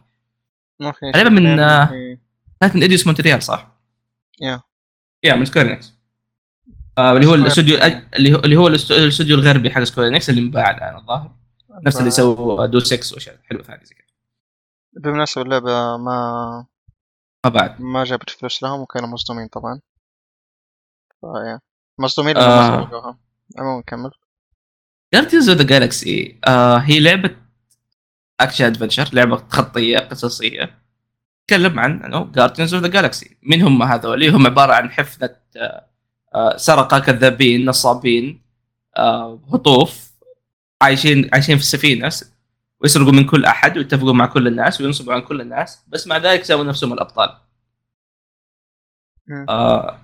Speaker 1: ما في
Speaker 2: اللعبة من-
Speaker 1: شيء.
Speaker 2: آه،
Speaker 1: إيه.
Speaker 2: كانت من اديوس مونتريال صح؟
Speaker 1: يا.
Speaker 2: يا من سكويرينكس آه اللي هو
Speaker 1: Square
Speaker 2: الاستوديو
Speaker 1: Enix.
Speaker 2: الأج- اللي هو اللي هو الاست- الاستوديو الغربي حق سكويرينكس اللي انباع الان الظاهر نفس اللي سووا دو 6 واشياء حلوه ثانيه زي كذا
Speaker 1: بالمناسبة اللعبة ما
Speaker 2: ما بعد
Speaker 1: ما جابت فلوس لهم وكانوا مصدومين طبعا فيا مصدومين لانه
Speaker 2: آه.
Speaker 1: ما سوقوها عموما كمل
Speaker 2: جارديانز اوف ذا جالكسي آه، هي لعبه اكشن ادفنشر لعبه خطيه قصصيه تتكلم عن انه جارديانز اوف ذا جالكسي من هم هذول هم عباره عن حفنه آه، آه، سرقه كذابين نصابين آه، هطوف عايشين عايشين في السفينه س- ويسرقوا من كل احد ويتفقوا مع كل الناس وينصبوا عن كل الناس بس مع ذلك سووا نفسهم الابطال
Speaker 1: مم.
Speaker 2: آه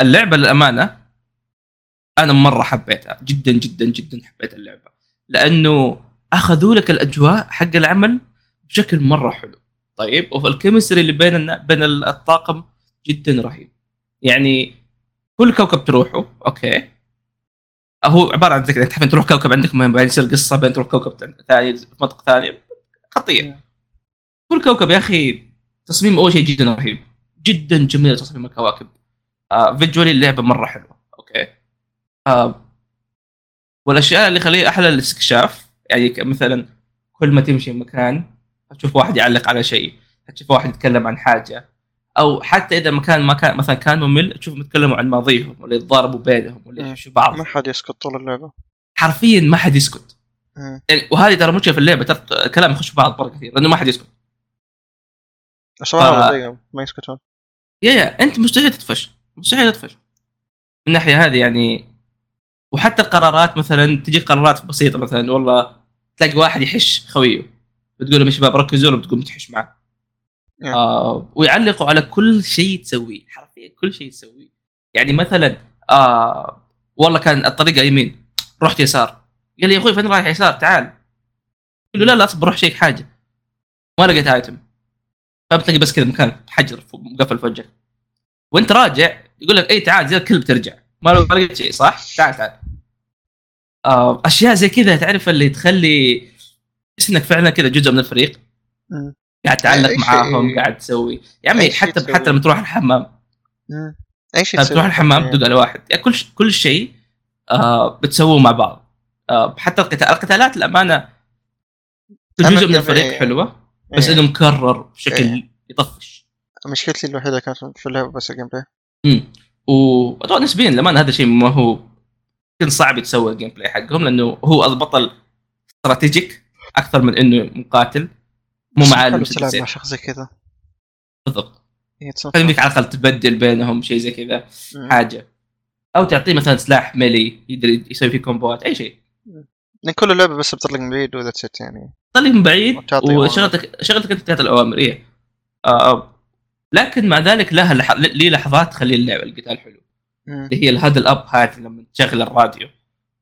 Speaker 2: اللعبه للامانه انا مره حبيتها جدا جدا جدا حبيت اللعبه لانه اخذوا لك الاجواء حق العمل بشكل مره حلو طيب والكيمستري اللي بين النا- بين الطاقم جدا رهيب يعني كل كوكب تروحه اوكي هو عباره عن ذكر يعني تحب تروح كوكب عندك مهم بعدين يصير قصه بعدين تروح كوكب ثاني في منطقه ثانيه خطير كل كوكب يا اخي تصميم اول شيء جدا رهيب جدا جميل تصميم الكواكب آه فيجولي اللعبه مره حلوه اوكي آه والاشياء اللي خليه احلى الاستكشاف يعني ك- مثلا كل ما تمشي مكان تشوف واحد يعلق على شيء تشوف واحد يتكلم عن حاجه او حتى اذا مكان ما كان مثلا كان ممل تشوفهم يتكلموا عن ماضيهم ولا يتضاربوا بينهم ولا
Speaker 1: مم.
Speaker 2: يحشوا بعض
Speaker 1: ما حد يسكت طول اللعبة آه.
Speaker 2: حرفيا ما حد يسكت
Speaker 1: مم.
Speaker 2: يعني وهذه ترى مشكله في اللعبه ترى كلام يخش في بعض مره كثير لانه ما حد يسكت
Speaker 1: الشباب
Speaker 2: آه.
Speaker 1: زيهم ما يسكتون
Speaker 2: يا يا انت مستحيل تطفش مستحيل تطفش من الناحيه هذه يعني وحتى القرارات مثلا تجيك قرارات بسيطه مثلا والله تلاقي واحد يحش خويه بتقول لهم يا شباب ركزوا له بتقوم تحش معه
Speaker 1: نعم.
Speaker 2: آه ويعلقوا على كل شيء تسويه حرفيا كل شيء تسويه يعني مثلا آه والله كان الطريقه يمين رحت يسار قال لي يا اخوي فين رايح يسار تعال قال له لا لا اصبر روح شيك حاجه ما لقيت ايتم فبتلاقي بس كذا مكان حجر ف- مقفل في وجهك وانت راجع يقول لك اي تعال زي الكلب ترجع ما لو- ما لقيت شيء صح؟ تعال تعال آه، اشياء زي كذا تعرف اللي تخلي تحس انك فعلا كذا جزء من الفريق
Speaker 1: مم.
Speaker 2: قاعد
Speaker 1: أي
Speaker 2: تعلق
Speaker 1: شيء-
Speaker 2: معاهم قاعد تسوي يا
Speaker 1: أي
Speaker 2: عمي
Speaker 1: شيء
Speaker 2: حتى
Speaker 1: إيه. تسوي.
Speaker 2: حتى لما تروح الحمام
Speaker 1: مم. اي آه. شيء آه.
Speaker 2: لما تروح الحمام تدق على واحد يعني كل ش- كل شيء آه بتسووه مع بعض آه حتى القتال القتالات الامانه
Speaker 1: أنا
Speaker 2: جزء من
Speaker 1: كيف-
Speaker 2: الفريق
Speaker 1: إيه.
Speaker 2: حلوه بس انه مكرر بشكل يطفش
Speaker 1: مشكلتي الوحيده كانت في اللعبه بس الجيم بلاي
Speaker 2: امم واتوقع نسبيا لما هذا الشيء ما هو يمكن صعب يتسوى الجيم بلاي حقهم لانه هو البطل استراتيجيك اكثر من انه مقاتل مو معالم
Speaker 1: حلو تلعب مع
Speaker 2: بالضبط
Speaker 1: شخص زي كذا إيه، آه. هي تصنف.
Speaker 2: خلي انك على الاقل تبدل بينهم شيء زي كذا
Speaker 1: مم.
Speaker 2: حاجه او تعطيه مثلا سلاح ميلي يقدر يسوي فيه كومبوات اي شيء
Speaker 1: لان يعني كل لعبه بس بتطلق من بعيد وذاتس ات يعني
Speaker 2: طلي من بعيد
Speaker 1: وتعطي أوامر.
Speaker 2: وشغلتك شغلتك انت تعطي الاوامر ايه آه لكن مع ذلك لها لح... لي لحظات تخلي اللعبه القتال حلو
Speaker 1: مم.
Speaker 2: اللي هي الهدل اب هذه لما تشغل الراديو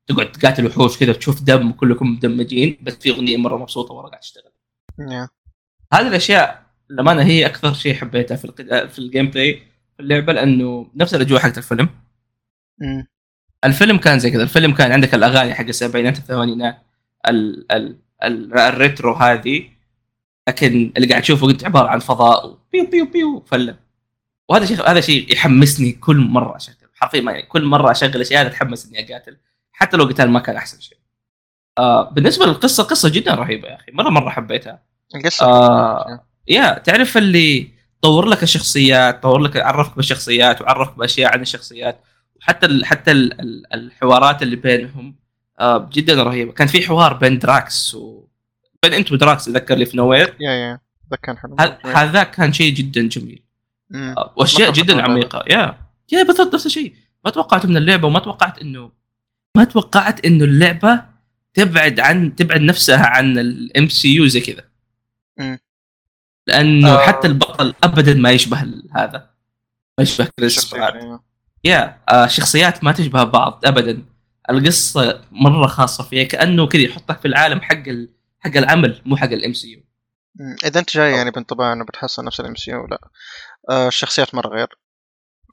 Speaker 2: تقعد تقاتل وحوش كذا تشوف دم وكلكم مدمجين بس في اغنيه مره مبسوطه ورا قاعد تشتغل
Speaker 1: يا.
Speaker 2: هذه الاشياء للامانه هي اكثر شيء حبيتها في القد... في الجيم بلاي في اللعبه لانه نفس الاجواء حقت الفيلم
Speaker 1: مم.
Speaker 2: الفيلم كان زي كذا الفيلم كان عندك الاغاني حق السبعينات الثمانينات ال... ال... ال... الريترو هذه لكن اللي قاعد تشوفه انت عباره عن فضاء وبيو بيو بيو فله وهذا شيء هذا شيء يحمسني كل مره اشغل حرفيا ما- يعني كل مره اشغل اشياء اتحمس اني اقاتل حتى لو قتال ما كان احسن شيء آه بالنسبه للقصه قصه جدا رهيبه يا اخي مره مره حبيتها
Speaker 1: القصه
Speaker 2: آه. يا تعرف اللي طور لك الشخصيات طور لك عرفك بالشخصيات وعرفك باشياء عن الشخصيات وحتى ال حتى ال ال الحوارات اللي بينهم آه جدا رهيبه كان في حوار بين دراكس و بين انت ودراكس ذكر لي في نوير
Speaker 1: يا يا ذا كان حلو
Speaker 2: هذا كان شيء جدا جميل
Speaker 1: مم.
Speaker 2: آه، واشياء
Speaker 1: ما توقعت
Speaker 2: جدا
Speaker 1: من اللعبة.
Speaker 2: عميقه يا يا بالضبط نفس الشيء ما توقعت من اللعبه وما توقعت انه ما توقعت انه اللعبه تبعد عن تبعد نفسها عن الام سي يو زي كذا
Speaker 1: مم.
Speaker 2: لانه
Speaker 1: آه.
Speaker 2: آه. حتى البطل ابدا ما يشبه ال- هذا ما يشبه كريس
Speaker 1: شخصية،
Speaker 2: براد
Speaker 1: يا.
Speaker 2: يا آه، شخصيات ما تشبه بعض ابدا القصه مره خاصه فيها كانه كذا يحطك في العالم حق ال... حق العمل مو حق الام سي يو
Speaker 1: مم. اذا انت جاي يعني بانطباع انه بتحصل نفس الام سي ولا آه، الشخصيات مره غير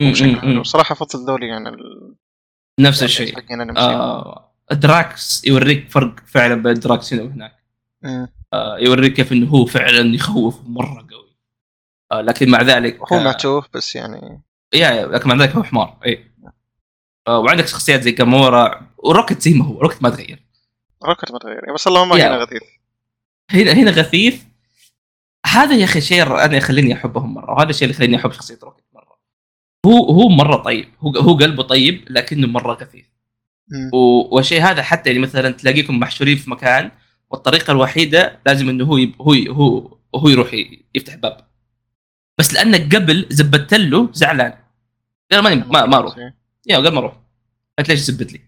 Speaker 1: بشكل حلو صراحه افضل ذولي يعني ال- يعني
Speaker 2: نفس الشيء
Speaker 1: حقين الام سي
Speaker 2: آه، دراكس يوريك فرق فعلا بين دراكس هنا وهناك آه، يوريك كيف انه هو فعلا يخوف مره قوي آه، لكن مع ذلك
Speaker 1: هو
Speaker 2: آه،
Speaker 1: معتوه بس يعني
Speaker 2: يا يا لكن مع ذلك هو حمار اي آه، وعندك شخصيات زي كامورا وروكت زي ما هو روكت ما تغير
Speaker 1: روكت ما تغير بس اللهم ما
Speaker 2: يا.
Speaker 1: كان غثيث
Speaker 2: هنا هنا غثيث هذا يا اخي شيء انا يخليني احبهم مره وهذا الشيء اللي يخليني احب شخصيه روكت مره هو هو مره طيب هو هو قلبه طيب لكنه مره غثيث
Speaker 1: مم.
Speaker 2: و- والشيء هذا حتى يعني مثلا تلاقيكم محشورين في مكان والطريقه الوحيده لازم انه هو يب... هو ي- هو هو يروح ي- يفتح باب بس لانك قبل زبدت له زعلان قال ماني ما, ما اروح يا قبل ما اروح انت ليش تثبت لي؟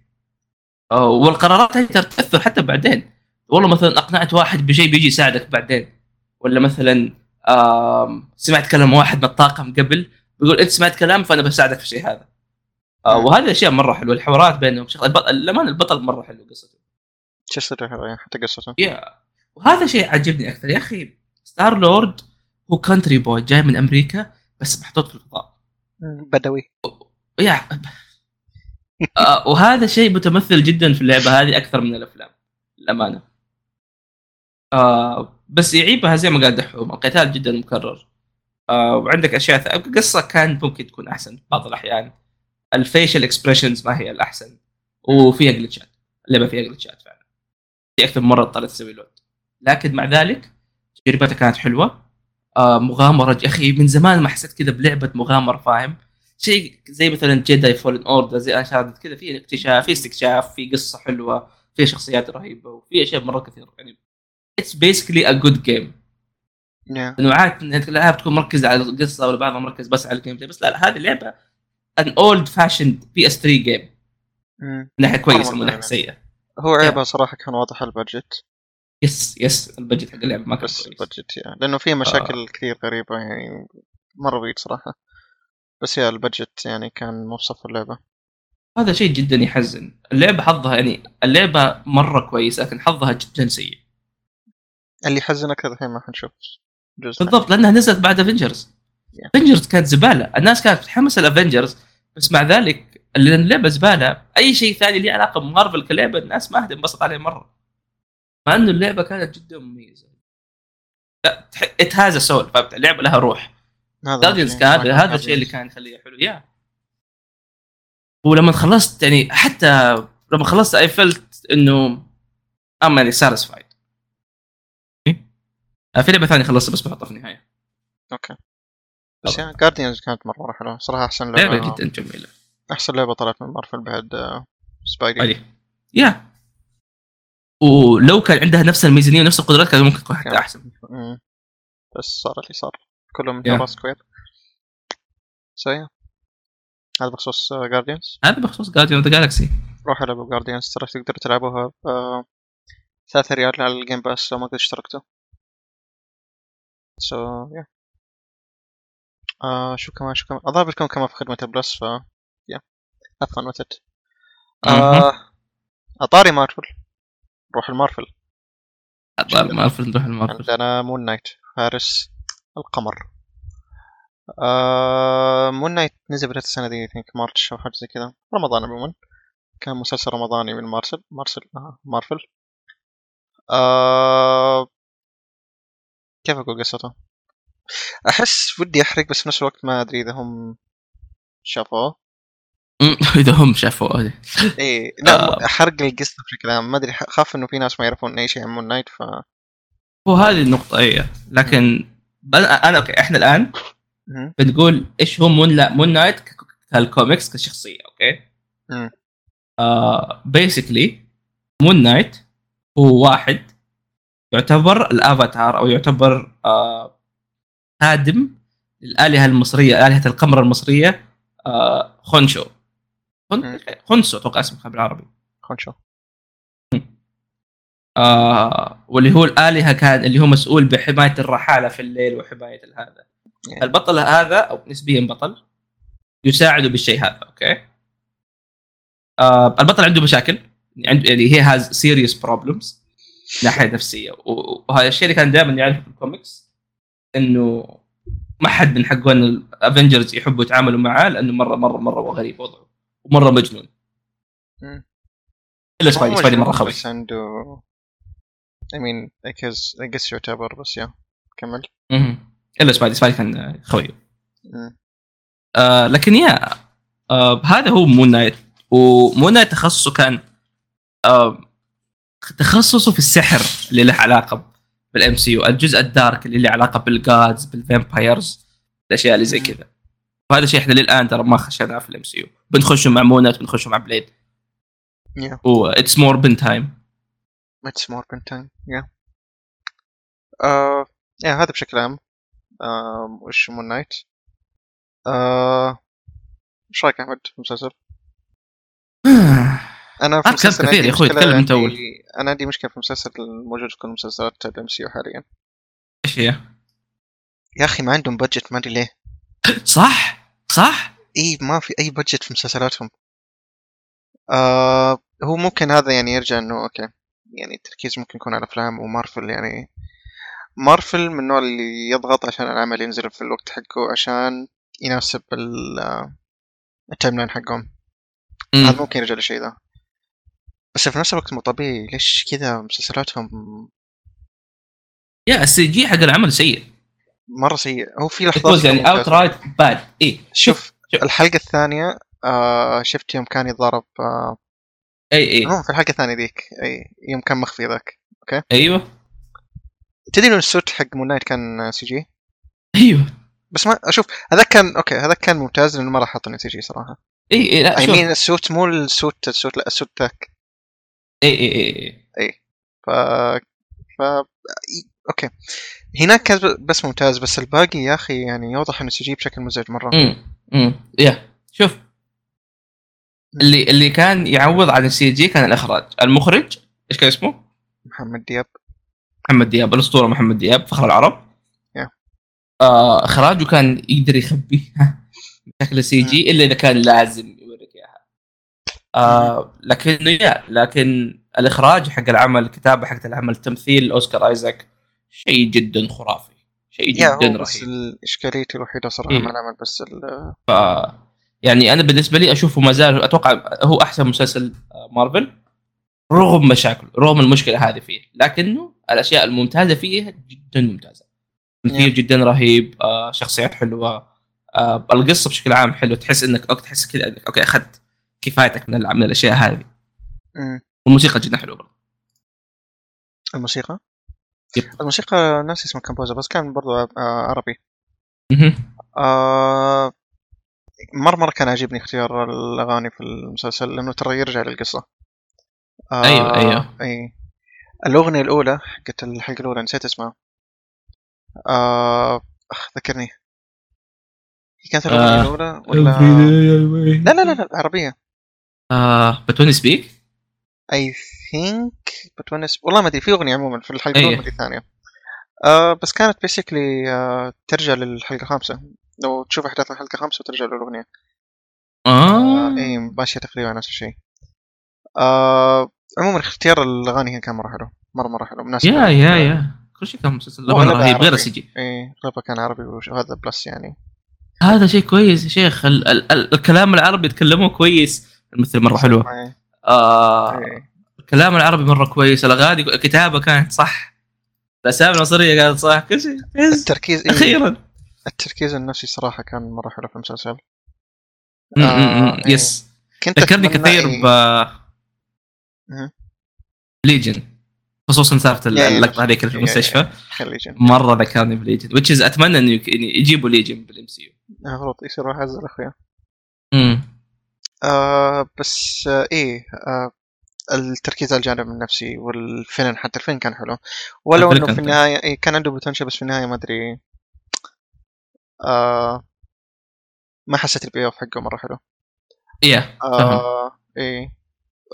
Speaker 2: آه، والقرارات هذه ترى تاثر حتى بعدين والله مثلا اقنعت واحد بشيء بيجي يساعدك بعدين ولا مثلا آم، سمعت كلام واحد من الطاقم قبل بيقول انت سمعت كلام فانا بساعدك في الشيء هذا آه، وهذه الاشياء مره حلوه الحوارات بينهم شغل البطل الأمان البطل مره حلو قصته
Speaker 1: شو يصير حلو يعني، حتى قصته
Speaker 2: يا وهذا شيء عجبني اكثر يا اخي ستار لورد هو كانتري بوي جاي من امريكا بس محطوط في الفضاء
Speaker 1: مم. بدوي
Speaker 2: يا آه، وهذا شيء متمثل جدا في اللعبه هذه اكثر من الافلام للامانه آه بس يعيبها زي ما قال دحوم القتال جدا مكرر آه وعندك اشياء ث- قصه كان ممكن تكون احسن في بعض الاحيان الفيشل اكسبريشنز ما هي الاحسن وفيها جلتشات اللعبه فيها جلتشات فعلا في اكثر من مره اضطريت اسوي لود لكن مع ذلك تجربتها كانت حلوه آه مغامره يا اخي من زمان ما حسيت كذا بلعبه مغامره فاهم شيء زي مثلا جيداي فولن اوردر زي انشارد كذا في اكتشاف في استكشاف في قصه حلوه في شخصيات رهيبه وفي اشياء مره كثير يعني اتس بيسكلي ا جود جيم
Speaker 1: يا.
Speaker 2: لانه عاده إن الالعاب تكون مركزه على القصه ولا بعضها مركز بس على الجيم بلاي بس لا لا هذه لعبه ان اولد فاشند بي اس 3 جيم
Speaker 1: مم.
Speaker 2: من ناحيه كويسه
Speaker 1: مرة
Speaker 2: ومن ناحيه
Speaker 1: مرة.
Speaker 2: سيئه
Speaker 1: هو عيبها صراحه كان واضح البادجت
Speaker 2: يس يس البجت حق اللعبه ما كان
Speaker 1: بس
Speaker 2: كويس
Speaker 1: البادجت يعني لانه فيه مشاكل
Speaker 2: آه.
Speaker 1: كثير غريبه يعني مره بعيد صراحه بس يا البادجت يعني كان مو بصف اللعبه
Speaker 2: هذا شيء جدا يحزن اللعبه حظها يعني اللعبه مره كويسه لكن حظها جدا سيء
Speaker 1: اللي يحزن اكثر الحين ما حنشوف جزء
Speaker 2: بالضبط لانها نزلت بعد افنجرز
Speaker 1: Yeah.
Speaker 2: افنجرز كانت زباله الناس كانت متحمسه لافنجرز بس مع ذلك لان اللعبه زباله اي شيء ثاني له علاقه بمارفل كلعبه الناس ما هتنبسط عليه مره مع انه اللعبه كانت جدا مميزه لا ات هاز سول فهمت اللعبه لها روح
Speaker 1: هذا يعني
Speaker 2: جارديانز
Speaker 1: الشيء.
Speaker 2: كان هذا الشيء اللي كان يخليه حلو يا ولما خلصت يعني حتى لما خلصت اي فلت انه ام يعني ساتيسفايد في لعبه ثانيه خلصتها بس بحطها في النهايه
Speaker 1: اوكي بس يعني جارديانز كانت مره مره حلوه صراحه احسن لعبه
Speaker 2: لعبه جدا جميله
Speaker 1: احسن لعبه طلعت من مارفل بعد آه، سبايدي
Speaker 2: علي يا ولو كان عندها نفس الميزانيه ونفس القدرات كان ممكن تكون حتى
Speaker 1: كان.
Speaker 2: احسن
Speaker 1: مم. بس صار اللي صار كله من
Speaker 2: Yeah.
Speaker 1: راس كوير سيء هذا بخصوص آه، جارديانز
Speaker 2: هذا بخصوص جارديان اوف جالكسي
Speaker 1: روح العبوا جارديانز ترى تقدروا تلعبوها ب 3 ريال على الجيم باس لو ما قد اشتركتوا سو يا آه شو كمان شو كمان الظاهر بتكون كمان في خدمة البلس ف يا هاف فن وذ آه اطاري مارفل روح المارفل
Speaker 2: مارفل نروح المارفل
Speaker 1: عندنا مون نايت فارس القمر آه مون نايت نزل بداية السنة دي ثينك مارتش أو حاجة زي كذا رمضان عموما كان مسلسل رمضاني من مارسل مارسل آه مارفل آه كيف أقول قصته؟ أحس ودي أحرق بس في نفس الوقت ما أدري إذا هم شافوه
Speaker 2: مم، اذا هم شافوا هذه
Speaker 1: إيه لا
Speaker 2: آه.
Speaker 1: حرق القصة بشكل عام ما أدري خاف إنه في ناس ما يعرفون أي شيء عن مون نايت ف
Speaker 2: وهذه النقطه ايه لكن انا أنا- اوكي احنا الان
Speaker 1: مم.
Speaker 2: بنقول ايش هو مون لا مون نايت ك- كالكوميكس كشخصيه اوكي؟
Speaker 1: مم.
Speaker 2: آه بيسكلي مون نايت هو واحد يعتبر الافاتار او يعتبر آه خادم للالهه المصريه الهه القمر المصريه آه خونشو خن-
Speaker 1: مم.
Speaker 2: خنسو اتوقع اسمها بالعربي
Speaker 1: خلنا نشوف
Speaker 2: آه واللي هو الالهه كان اللي هو مسؤول بحمايه الرحاله في الليل وحمايه هذا
Speaker 1: Yeah.
Speaker 2: البطل هذا او نسبيا بطل يساعده بالشيء هذا اوكي آه البطل عنده مشاكل عنده يعني هي هاز سيريس بروبلمز ناحيه نفسيه و- وهذا الشيء اللي كان دائما يعرف في الكوميكس انه ما حد من حقون الافنجرز يحبوا يتعاملوا معاه لانه مره مره مره غريب وضعه ومره مجنون
Speaker 1: مم.
Speaker 2: الا
Speaker 1: هو
Speaker 2: سبايدي سبايدي مره
Speaker 1: مجنون،
Speaker 2: خبيث
Speaker 1: بس عنده I mean I guess I guess يعتبر بس يا كمل
Speaker 2: مهم. الا سبايدي سبايدي كان خوي
Speaker 1: مم.
Speaker 2: آه لكن يا آه هذا هو مون نايت ومون نايت تخصصه كان آه تخصصه في السحر اللي له علاقه بالام سي يو الجزء الدارك اللي له علاقه بالجادز بالفامبايرز الاشياء اللي زي كذا وهذا شيء احنا للان ترى ما خشيناه في الام سي يو بنخشه مع مون نايت بنخشه مع بليد
Speaker 1: Yeah.
Speaker 2: و اتس مور بن تايم
Speaker 1: It's more than time yeah آه yeah هذا بشكل عام آه وش مون نايت آه ايش رايك احمد في المسلسل؟ انا في
Speaker 2: أتكلم
Speaker 1: المسلسل
Speaker 2: كثير
Speaker 1: عندي
Speaker 2: يا أخوي،
Speaker 1: مشكلة-
Speaker 2: تكلم أنت
Speaker 1: عندي-
Speaker 2: أول.
Speaker 1: انا عندي مشكله في المسلسل الموجود في كل مسلسلات الام سي حاليا
Speaker 2: ايش هي؟
Speaker 1: يا اخي ما عندهم بادجت ما ادري ليه
Speaker 2: صح صح
Speaker 1: اي إيه، ما في اي بادجت في مسلسلاتهم آه هو ممكن هذا يعني يرجع انه اوكي يعني التركيز ممكن يكون على افلام ومارفل يعني مارفل من النوع اللي يضغط عشان العمل ينزل في الوقت حقه عشان يناسب ال- آه، التايم لاين حقهم
Speaker 2: مم.
Speaker 1: هذا ممكن يرجع لشيء ذا بس في نفس الوقت مو طبيعي ليش كذا مسلسلاتهم
Speaker 2: يا السي جي حق العمل سيء
Speaker 1: مرة سيء هو في لحظات
Speaker 2: It was
Speaker 1: كده
Speaker 2: يعني
Speaker 1: ممتازة.
Speaker 2: اوت رايت باد اي
Speaker 1: شوف
Speaker 2: شوف.
Speaker 1: الحلقة الثانية آه شفت يوم كان يتضارب آه
Speaker 2: اي اي
Speaker 1: عموما في الحلقه الثانيه ذيك اي يوم كان مخفي ذاك
Speaker 2: ايوه
Speaker 1: تدري انه السوت حق مون نايت كان سي جي
Speaker 2: ايوه
Speaker 1: بس ما اشوف هذاك كان اوكي هذاك كان ممتاز لانه ما راح حطني سي جي صراحه
Speaker 2: اي اي إيه، لا
Speaker 1: اي
Speaker 2: شوف
Speaker 1: مين السوت مو السوت السوت لا السوت ذاك
Speaker 2: إيه، اي اي اي
Speaker 1: ف ف اوكي هناك كان بس ممتاز بس الباقي يا اخي يعني يوضح انه سي بشكل مزعج مره
Speaker 2: امم امم يا شوف اللي اللي كان يعوض عن السي جي كان الاخراج المخرج ايش كان اسمه؟
Speaker 1: محمد دياب
Speaker 2: محمد دياب الاسطوره محمد دياب فخر العرب
Speaker 1: يا.
Speaker 2: آه اخراجه كان يقدر يخبيها بشكل سي جي الا اذا كان لازم يوريك اياها آه لكن يا لكن الاخراج حق العمل الكتابه حق العمل تمثيل اوسكار ايزاك شيء جدا خرافي شيء
Speaker 1: يا هو
Speaker 2: جدا
Speaker 1: بس
Speaker 2: رهيب
Speaker 1: ال- اشكاليتي الوحيده صراحه
Speaker 2: إيه.
Speaker 1: مع العمل بس ال-
Speaker 2: ف يعني انا بالنسبه لي اشوفه ما زال اتوقع هو احسن مسلسل آه، مارفل رغم مشاكله رغم المشكله هذه فيه لكنه الاشياء الممتازه فيه جدا ممتازه تمثيل
Speaker 1: Yeah.
Speaker 2: جدا رهيب آه، شخصيات حلوه آه، القصه بشكل عام حلوه تحس انك أوك تحس كذا انك اوكي اخذت كفايتك من الع- من الاشياء هذه
Speaker 1: مم.
Speaker 2: والموسيقى جدا حلوه برضه
Speaker 1: الموسيقى
Speaker 2: يب.
Speaker 1: الموسيقى ناسي اسم الكمبوزر بس كان برضو آه، عربي
Speaker 2: مهم.
Speaker 1: آه، مرة مرة كان عاجبني اختيار الأغاني في المسلسل لأنه ترى يرجع للقصة آه،
Speaker 2: أيوة، أيوة.
Speaker 1: أي الأغنية الأولى حقت الحلقة الأولى نسيت اسمها آه، أخ ذكرني هي كانت الأغنية
Speaker 2: آه،
Speaker 1: الأولى ولا لا لا لا لا العربية
Speaker 2: آه، but when you speak
Speaker 1: اي ثينك بتونس والله ما ادري في اغنيه عموما في الحلقه الاولى
Speaker 2: أيه.
Speaker 1: ما ادري الثانيه آه بس كانت بيسكلي آه ترجع للحلقه الخامسه لو تشوف احداث الحلقه الخامسه وترجع للاغنيه
Speaker 2: اه
Speaker 1: آه اي ماشيه تقريبا نفس الشيء آه عموما اختيار الاغاني هنا كان مره حلو مره مره حلو مناسب
Speaker 2: يا يا يا كل شيء كان مسلسل
Speaker 1: وأغلبها
Speaker 2: رهيب غير
Speaker 1: عربي.
Speaker 2: السي جي
Speaker 1: اي غالبا إيه، كان عربي وش- وهذا بلس يعني
Speaker 2: هذا شيء كويس يا شيخ ال- ال- ال- الكلام العربي يتكلموه كويس الممثل مره حلوه
Speaker 1: إيه،
Speaker 2: آه
Speaker 1: إيه.
Speaker 2: الكلام العربي مره كويس الاغاني الكتابه كانت صح الاسامي المصريه كانت صح كل شيء بس
Speaker 1: التركيز إيه،
Speaker 2: اخيرا
Speaker 1: التركيز النفسي صراحه كان مره حلو في المسلسل
Speaker 2: م- م- م.
Speaker 1: إيه.
Speaker 2: يس
Speaker 1: كنت
Speaker 2: ذكرني
Speaker 1: أتمنى
Speaker 2: كثير
Speaker 1: إيه.
Speaker 2: ب
Speaker 1: مهم.
Speaker 2: ليجن خصوصا صارت ال-
Speaker 1: يا- يا.
Speaker 2: اللقطه هذيك في
Speaker 1: يا-
Speaker 2: المستشفى
Speaker 1: خلي يجي.
Speaker 2: مره ذكرني بليجن which is اتمنى انه يك- يعني يجيبوا ليجن بالام سي
Speaker 1: المفروض يصير واحد زي الاخويا
Speaker 2: يو
Speaker 1: آه بس آه ايه آه التركيز على الجانب النفسي والفيلم حتى الفيلم كان حلو ولو
Speaker 2: الفيلم
Speaker 1: انه في
Speaker 2: كان
Speaker 1: النهايه إيه كان عنده بوتنشل بس في النهايه ما ادري آه ما حسيت البي اوف حقه مره حلو
Speaker 2: يا
Speaker 1: آه ايه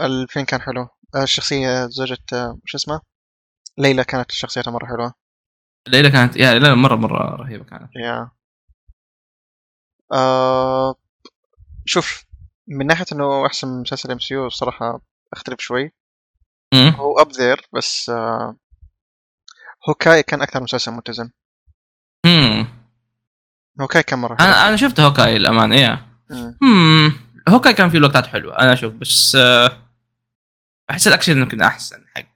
Speaker 1: الفيلم كان حلو آه، الشخصيه زوجة آه، شو اسمها ليلى كانت شخصيتها مره حلوه
Speaker 2: ليلى كانت يا ليلى مره مره رهيبه كانت
Speaker 1: يا آه شوف من ناحيه انه احسن مسلسل ام سي يو الصراحه اختلف شوي
Speaker 2: مم.
Speaker 1: هو اب ذير بس آه، هوكاي كان اكثر مسلسل متزن
Speaker 2: مم.
Speaker 1: هوكاي كان مره حلو
Speaker 2: انا انا شفت هوكاي الامانه يا
Speaker 1: مم.
Speaker 2: هم هوكاي كان فيه لقطات حلوه انا اشوف بس آه، احس الاكشن يمكن احسن حق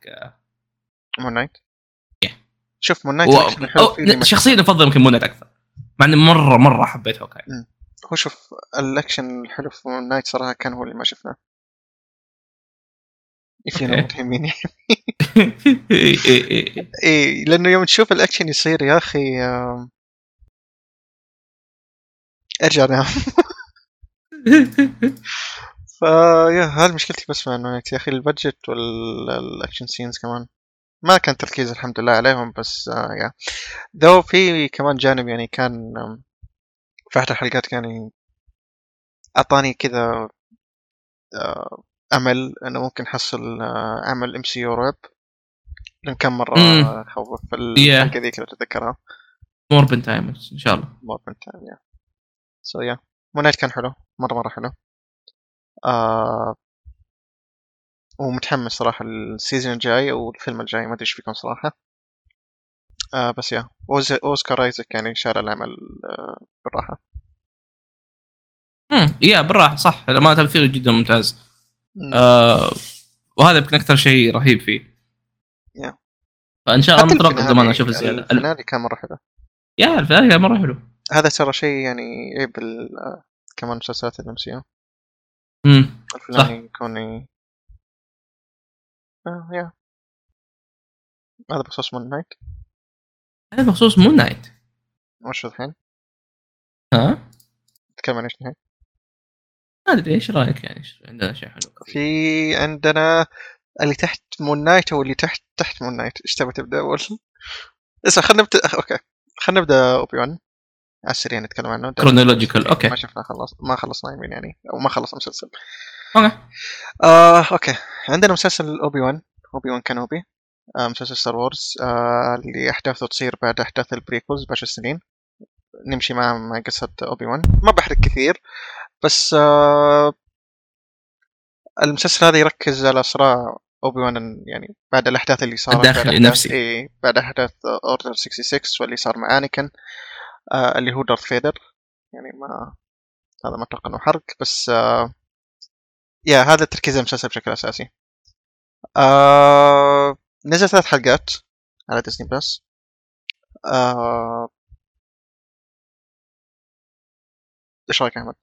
Speaker 1: مون نايت
Speaker 2: Yeah.
Speaker 1: شوف مون نايت
Speaker 2: و...
Speaker 1: الأكشن حلو
Speaker 2: أو...
Speaker 1: فيه لما-
Speaker 2: شخصيا افضل يمكن مونت اكثر مع اني مره مره حبيت هوكاي
Speaker 1: هو شوف الاكشن الحلو في مون نايت صراحه كان هو اللي ما شفناه
Speaker 2: Okay.
Speaker 1: فينا متهمين
Speaker 2: إي- إي- إي- إي.
Speaker 1: ايه لانه يوم تشوف الاكشن يصير يا اخي آه، ارجع نام فيا هذه مشكلتي بس مع نايت يا اخي البادجت والاكشن سينز كمان ما كان تركيز الحمد لله عليهم بس آه يا ذو في كمان جانب يعني كان آم، في احد الحلقات كان يعني اعطاني كذا آه، امل انه ممكن احصل آه، عمل ام سي يو رعب لان كان مره
Speaker 2: مم.
Speaker 1: خوف في
Speaker 2: Yeah.
Speaker 1: الحلقه ذيك لو تتذكرها
Speaker 2: موربن تايمز ان شاء الله
Speaker 1: ما كنت يا سو يا مونايت كان حلو مره مره حلو آه ومتحمس صراحه السيزون الجاي او الفيلم الجاي ما ادري ايش بيكون صراحه آه بس يا أوز... اوسكار ايزك يعني شال العمل آه بالراحه
Speaker 2: مم. يا بالراحه إيه، صح ما تمثيله جدا ممتاز
Speaker 1: مم.
Speaker 2: آه... وهذا يمكن اكثر شيء رهيب فيه
Speaker 1: يا.
Speaker 2: فان شاء الله
Speaker 1: حتى
Speaker 2: مترقب
Speaker 1: الفينالي- يعني
Speaker 2: زمان اشوف الزياده ال-
Speaker 1: الفينالي كان مره حلو
Speaker 2: يا الفينالي كان مره حلو
Speaker 1: هذا ترى شيء يعني عيب ال- آه، كمان مسلسلات الامسيه
Speaker 2: مم.
Speaker 1: الفينالي يكون ي- آه يا هذا بخصوص مون نايت
Speaker 2: هذا بخصوص مون نايت
Speaker 1: وش الحين؟
Speaker 2: ها
Speaker 1: نتكلم عن ايش الحين؟
Speaker 2: ما ادري ايش رايك يعني إيش- عندنا شيء حلو
Speaker 1: في عندنا اللي تحت مون نايت واللي تحت تحت مون نايت ايش تبغى تبدا اول؟ اسمع خلينا نبدا اوكي خلينا نبدا اوبي 1 على السريع نتكلم عنه إيه،
Speaker 2: كرونولوجيكال اوكي
Speaker 1: ما شفنا خلص ما خلصنا يمين يعني او ما خلص مسلسل
Speaker 2: اوكي
Speaker 1: آه، اوكي عندنا مسلسل اوبي وان اوبي وان كانوبي آه، مسلسل ستار وورز آه، اللي احداثه تصير بعد احداث البريكولز بعشر سنين نمشي مع مع قصه اوبي وان ما بحرق كثير بس آه، المسلسل هذا يركز على صراع اوبي وان يعني بعد الاحداث اللي صارت بعد
Speaker 2: الداخلي
Speaker 1: أحداث-
Speaker 2: النفسي.
Speaker 1: إيه بعد احداث اوردر 66 واللي صار مع انيكن آه، اللي هو دارث فيدر يعني ما هذا ما اتوقع انه حرق بس آه يا هذا تركيز المسلسل بشكل اساسي آه نزل ثلاث حلقات على ديزني بلس آه ايش رايك يا احمد؟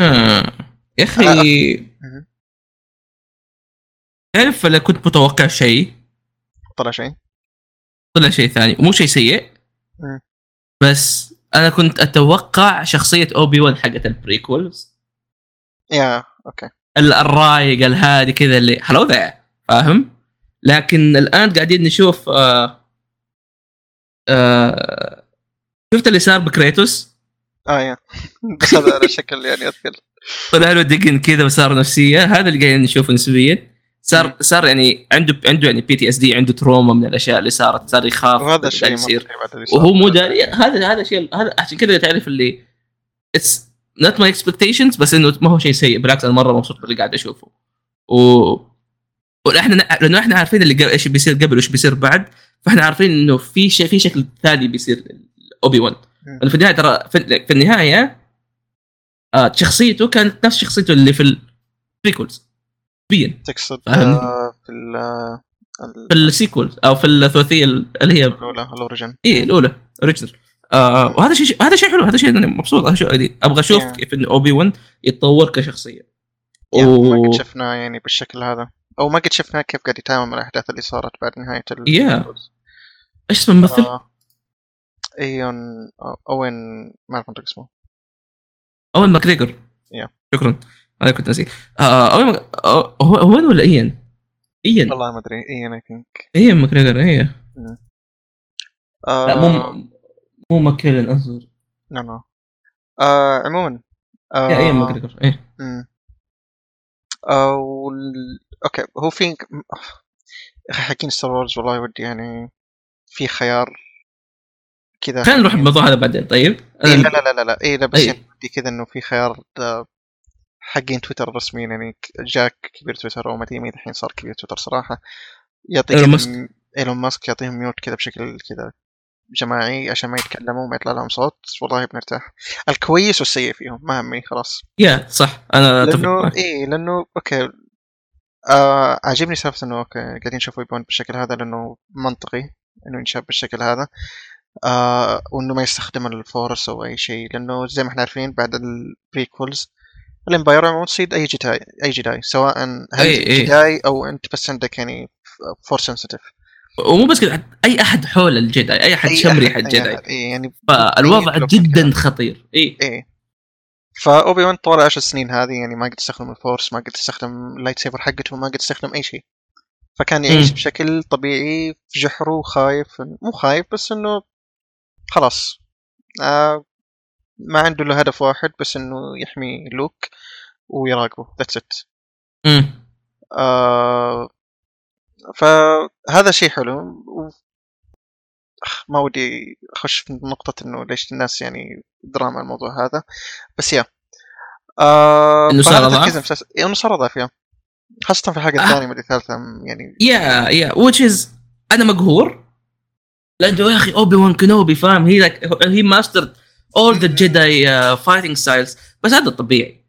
Speaker 2: آه. يا اخي
Speaker 1: مهم.
Speaker 2: تعرف لو كنت متوقع شيء
Speaker 1: طلع شيء؟
Speaker 2: طلع شيء ثاني مو شيء سيء
Speaker 1: مم.
Speaker 2: بس انا كنت اتوقع شخصيه اوبي وان حقت البريكولز
Speaker 1: يا اوكي
Speaker 2: ال- الرايق الهادي كذا اللي هلو ذا فاهم لكن الان قاعدين نشوف آه آه شفت اللي صار بكريتوس
Speaker 1: اه يا بس هذا على شكل يعني اذكر
Speaker 2: طلع له دقن كذا وصار نفسيه هذا اللي قاعدين نشوفه نسبيا صار
Speaker 1: مم.
Speaker 2: صار يعني عنده عنده يعني بي تي اس دي عنده تروما من الاشياء اللي صارت صار يخاف
Speaker 1: وهذا
Speaker 2: اللي
Speaker 1: الشيء
Speaker 2: قاعد يصير
Speaker 1: منطقي بعد اللي صار.
Speaker 2: وهو مو داري هذا هذا شيء هذا عشان كذا تعرف اللي اتس نوت ماي اكسبكتيشنز بس انه ما هو شيء سيء بالعكس انا مره مبسوط باللي قاعد اشوفه و واحنا نع- لانه احنا عارفين اللي قبل ايش بيصير قبل وايش بيصير بعد فاحنا عارفين انه في شيء في شكل ثاني بيصير اوبي وان
Speaker 1: مم.
Speaker 2: انه في النهايه ترى في, في النهايه آه شخصيته كانت نفس شخصيته اللي في البريكولز بين
Speaker 1: تقصد
Speaker 2: فاهمني.
Speaker 1: آه، في ال- آه، ال-
Speaker 2: في السيكولز او في الثلاثيه اللي هي
Speaker 1: الاولى الاوريجن
Speaker 2: ايه الاولى اوريجنال آه وهذا شيء هذا شيء حلو هذا شيء انا مبسوط هذا شيء جديد ابغى اشوف
Speaker 1: Yeah.
Speaker 2: كيف ان اوبي ون يتطور كشخصيه
Speaker 1: يعني
Speaker 2: و...
Speaker 1: ما قد شفناه يعني بالشكل هذا او ما قد شفناه كيف قاعد يتعامل مع الاحداث اللي صارت بعد نهايه ال
Speaker 2: Yeah. ايش اسم الممثل؟
Speaker 1: آه، ايون أو- اوين ما اعرف انطق اسمه
Speaker 2: اوين ماكريجور
Speaker 1: Yeah.
Speaker 2: شكرا انا كنت ناسي آه اوين مك- أو- هو اوين ولا ايان؟ ايان
Speaker 1: والله ما ادري ايون اي ثينك
Speaker 2: ايان ماكريجور اي إيه. لا
Speaker 1: آه،
Speaker 2: مو مو ماكيلن انظر
Speaker 1: لا لا آه، عموما آه،
Speaker 2: يا ايان ماكريجور ايه
Speaker 1: مم. آه، وال- اوكي هو في حقين ستار وورز والله ودي يعني في خيار كذا
Speaker 2: خلينا نروح الموضوع هذا بعدين طيب
Speaker 1: إيه لا لا لا لا, لا. إيه لا بس
Speaker 2: إيه.
Speaker 1: يعني عندي كذا انه في خيار آه، حقين تويتر الرسميين يعني ك- جاك كبير تويتر او ما ادري مين الحين صار كبير تويتر صراحه يعطي
Speaker 2: إيلون
Speaker 1: كذا
Speaker 2: ماسك.
Speaker 1: م- ايلون ماسك يعطيهم ميوت كذا بشكل كذا جماعي عشان ما يتكلموا وما يطلع لهم صوت والله بنرتاح الكويس والسيء فيهم ما همي خلاص
Speaker 2: يا صح انا اتفق
Speaker 1: لانه
Speaker 2: معك.
Speaker 1: اي لانه اوكي إيه، آه عاجبني سالفه انه اوكي قاعدين نشوفه يبون بالشكل هذا لانه منطقي انه ينشاف بالشكل هذا آه وانه ما يستخدم الفورس او اي شيء لانه زي ما احنا عارفين بعد البريكولز الامباير عموما تصيد اي جداي اي جداي سواء هل
Speaker 2: إي- إي.
Speaker 1: جداي او انت بس عندك يعني فور سنسيتيف
Speaker 2: ومو بس كذا حد- اي احد حول الجداي اي احد شمري حق الجداي
Speaker 1: اي يعني
Speaker 2: فالوضع
Speaker 1: يطلب
Speaker 2: جدا خطير إيه. اي
Speaker 1: ايه فاوبي وان طوال عشر سنين هذه يعني ما قد استخدم الفورس ما قد استخدم اللايت سيفر حقته ما قد استخدم اي شيء فكان يعيش
Speaker 2: مم.
Speaker 1: بشكل طبيعي في جحره وخايف مو خايف بس انه خلاص آه ما عنده له هدف واحد بس انه يحمي لوك ويراقبه ذاتس ات إيه.
Speaker 2: مم.
Speaker 1: آه فهذا شيء حلو و- أخ، ما ودي اخش في نقطة انه ليش الناس يعني دراما الموضوع هذا بس يا آه
Speaker 2: إنه صار
Speaker 1: فهذا
Speaker 2: أضعف؟
Speaker 1: تركيز المسلسل- إيه، انه صار اضعف يا خاصة في الحلقة
Speaker 2: آه.
Speaker 1: الثانية مدري الثالثة م- يعني
Speaker 2: يا يا which is انا مقهور لانه يا اخي اوبي وان كنوبي فاهم هي like هي ماستر all the Jedi uh, fighting styles بس هذا الطبيعي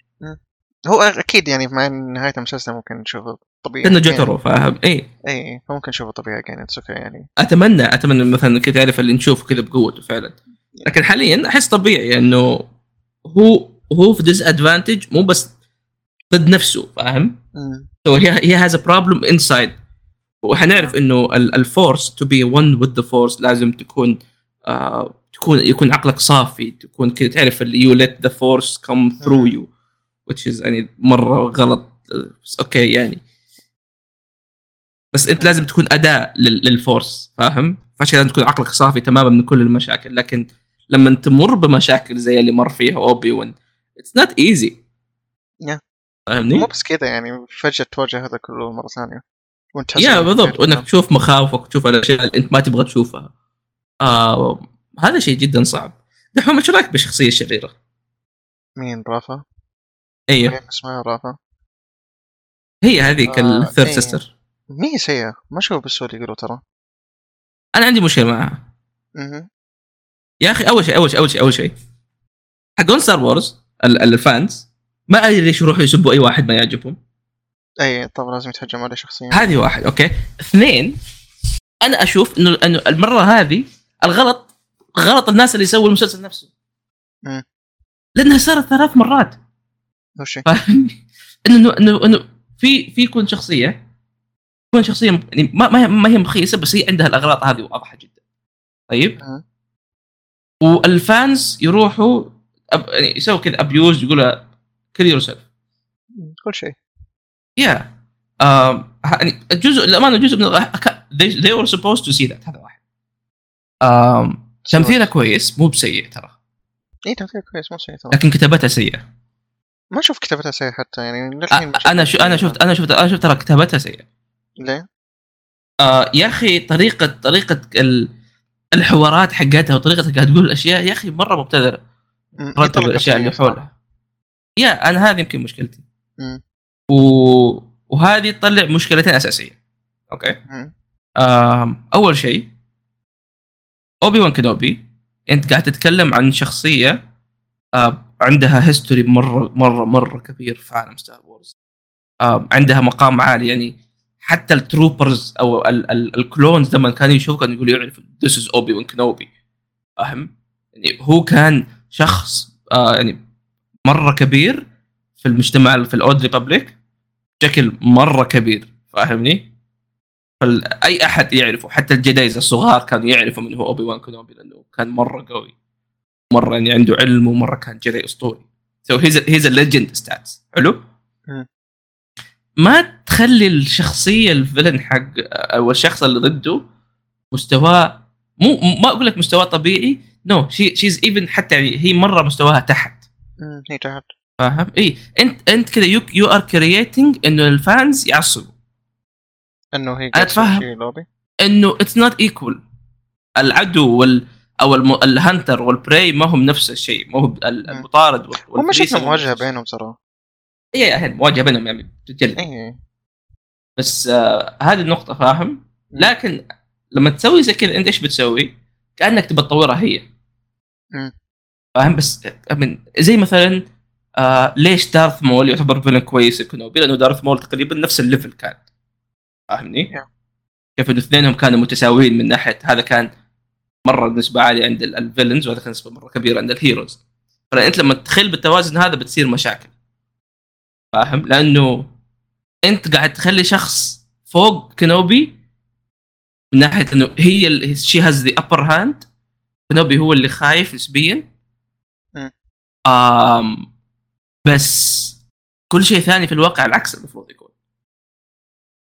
Speaker 1: هو اكيد يعني مع إن نهاية المسلسل ممكن نشوفه طبيعي
Speaker 2: كانه
Speaker 1: يعني-
Speaker 2: جوترو فاهم إيه. اي
Speaker 1: اي فممكن نشوفه طبيعي يعني اتس اوكي يعني
Speaker 2: اتمنى اتمنى مثلا كذا تعرف اللي نشوفه كذا بقوته فعلا لكن حاليا احس طبيعي انه هو هو في ديس ادفانتج مو بس ضد نفسه فاهم
Speaker 1: مم.
Speaker 2: So he, he has a problem inside وحنعرف انه ال- الفورس to be one with the force لازم تكون آه تكون يكون عقلك صافي تكون كذا تعرف اللي you let the force come through you which is يعني مره غلط بس اوكي يعني بس انت لازم تكون اداء لل- للفورس فاهم؟ فعشان كذا لازم تكون عقلك صافي تماما من كل المشاكل لكن لما تمر بمشاكل زي اللي مر فيها اوبي ون اتس نوت ايزي
Speaker 1: Yeah.
Speaker 2: فاهمني؟
Speaker 1: مو بس كذا يعني فجاه تواجه هذا كله مره ثانيه وانت
Speaker 2: يا بالضبط وانك تشوف مخاوفك وتشوف الاشياء اللي انت ما تبغى تشوفها آه هذا شيء جدا صعب دحوم ايش رايك بالشخصيه الشريره؟
Speaker 1: مين رافا؟
Speaker 2: ايوه
Speaker 1: مين اسمها رافا؟
Speaker 2: هي هذيك
Speaker 1: آه،
Speaker 2: الثيرد
Speaker 1: إيه.
Speaker 2: سيستر
Speaker 1: مي سيئة ما اشوف بالسوق يقولوا ترى
Speaker 2: انا عندي مشكله معها
Speaker 1: مهم.
Speaker 2: يا اخي اول شيء اول شيء اول شيء اول شيء حقون ستار وورز ال- الفانز ما ادري ليش يروحوا يسبوا اي واحد ما يعجبهم
Speaker 1: اي طبعا إيه، لازم يتهجم عليه شخصيا
Speaker 2: هذه واحد اوكي اثنين انا اشوف انه انه المره هذه الغلط غلط الناس اللي سووا المسلسل نفسه
Speaker 1: مم.
Speaker 2: لانها صارت ثلاث مرات
Speaker 1: وش هي؟
Speaker 2: فاهمني؟ انه انه انه في في يكون شخصيه تكون شخصيه يعني ما ما هي, ما هي مخيسه بس هي عندها الاغلاط هذه واضحه جدا طيب
Speaker 1: مم.
Speaker 2: والفانز يروحوا أب... يعني يسووا كذا ابيوز يقولها كل يور سيلف
Speaker 1: كل شيء
Speaker 2: يا آم، يعني جزء الامانه جزء من الغ- ك- they, they were supposed to see that هذا واحد آم، تمثيلها كويس مو بسيء ترى
Speaker 1: اي إيه، تمثيل كويس مو سيء ترى
Speaker 2: لكن كتابتها سيئه
Speaker 1: ما اشوف كتابتها سيئة حتى يعني للحين
Speaker 2: أ- انا شو انا شفت انا شفت انا شفت ترى كتابتها سيئه
Speaker 1: ليه؟
Speaker 2: آه، يا اخي طريقه طريقه ال... الحوارات حقتها وطريقتها قاعد تقول الاشياء يا اخي مره مبتذله
Speaker 1: مم. هي
Speaker 2: رتب
Speaker 1: طلقت
Speaker 2: الاشياء اللي
Speaker 1: سيئة صراحة.
Speaker 2: حولها يا انا هذه يمكن مشكلتي
Speaker 1: مم.
Speaker 2: و... وهذه تطلع مشكلتين اساسيه اوكي
Speaker 1: مم.
Speaker 2: آم، اول شيء اوبي وان كنوبي انت قاعد تتكلم عن شخصيه آه، عندها هيستوري مره مره مره كبير في عالم ستار وورز آه، عندها مقام عالي يعني حتى التروبرز او ال- ال- الكلونز لما كانوا يشوفوا كانوا يقولوا يعني يعرف ذس از اوبي وان كنوبي فاهم؟ يعني هو كان شخص آه يعني مره كبير في المجتمع في الاولد ريبابليك بشكل مره كبير فاهمني؟ فاي احد يعرفه حتى الجدايز الصغار كانوا يعرفوا من هو اوبي وان كنوبي لانه كان مره قوي مره يعني عنده علم ومره كان جداي اسطوري سو هيز هيز ليجند ستاتس حلو؟
Speaker 1: مم.
Speaker 2: ما تخلي الشخصيه الفيلن حق او الشخص اللي ضده مستواه مو ما اقول لك مستواه طبيعي نو شيز ايفن حتى يعني هي مره مستواها تحت
Speaker 1: مم. هي تحت
Speaker 2: فاهم؟ إيه، اي انت انت كذا يو يو ار كرييتنج انه الفانز يعصبوا
Speaker 1: انه هي
Speaker 2: أتفهم.
Speaker 1: شيء لوبي
Speaker 2: انه اتس نوت ايكول العدو وال او الم... الهنتر والبري ما هم نفس الشيء ما هو ب- ال-
Speaker 1: مم.
Speaker 2: المطارد وال...
Speaker 1: هم
Speaker 2: والفريسة
Speaker 1: شكلهم
Speaker 2: مو
Speaker 1: مواجهة
Speaker 2: نفس الشيء. إيه
Speaker 1: بينهم ترى إيه،
Speaker 2: اي أهل، مواجهه بينهم يعني بتتجلى
Speaker 1: اي
Speaker 2: بس آه هذه النقطة فاهم؟ لكن لما تسوي زي كذا انت ايش بتسوي؟ كانك تبى تطورها هي.
Speaker 1: مم.
Speaker 2: فاهم بس آه، I mean، زي مثلا آه ليش دارث مول يعتبر فيلن كويس كنوبي؟ لانه دارث مول تقريبا نفس الليفل كان. فاهمني؟
Speaker 1: Yeah.
Speaker 2: كيف انه اثنينهم كانوا متساويين من ناحيه هذا كان مره نسبه عاليه عند ال- الفيلنز وهذا كان نسبه مره كبيره عند الهيروز. فانت لما تخل بالتوازن هذا بتصير مشاكل. فاهم؟ لانه انت قاعد تخلي شخص فوق كنوبي من ناحيه انه هي شي هاز ذا ابر هاند كنوبي هو اللي خايف نسبيا
Speaker 1: مم.
Speaker 2: آم بس كل شيء ثاني في الواقع العكس المفروض يكون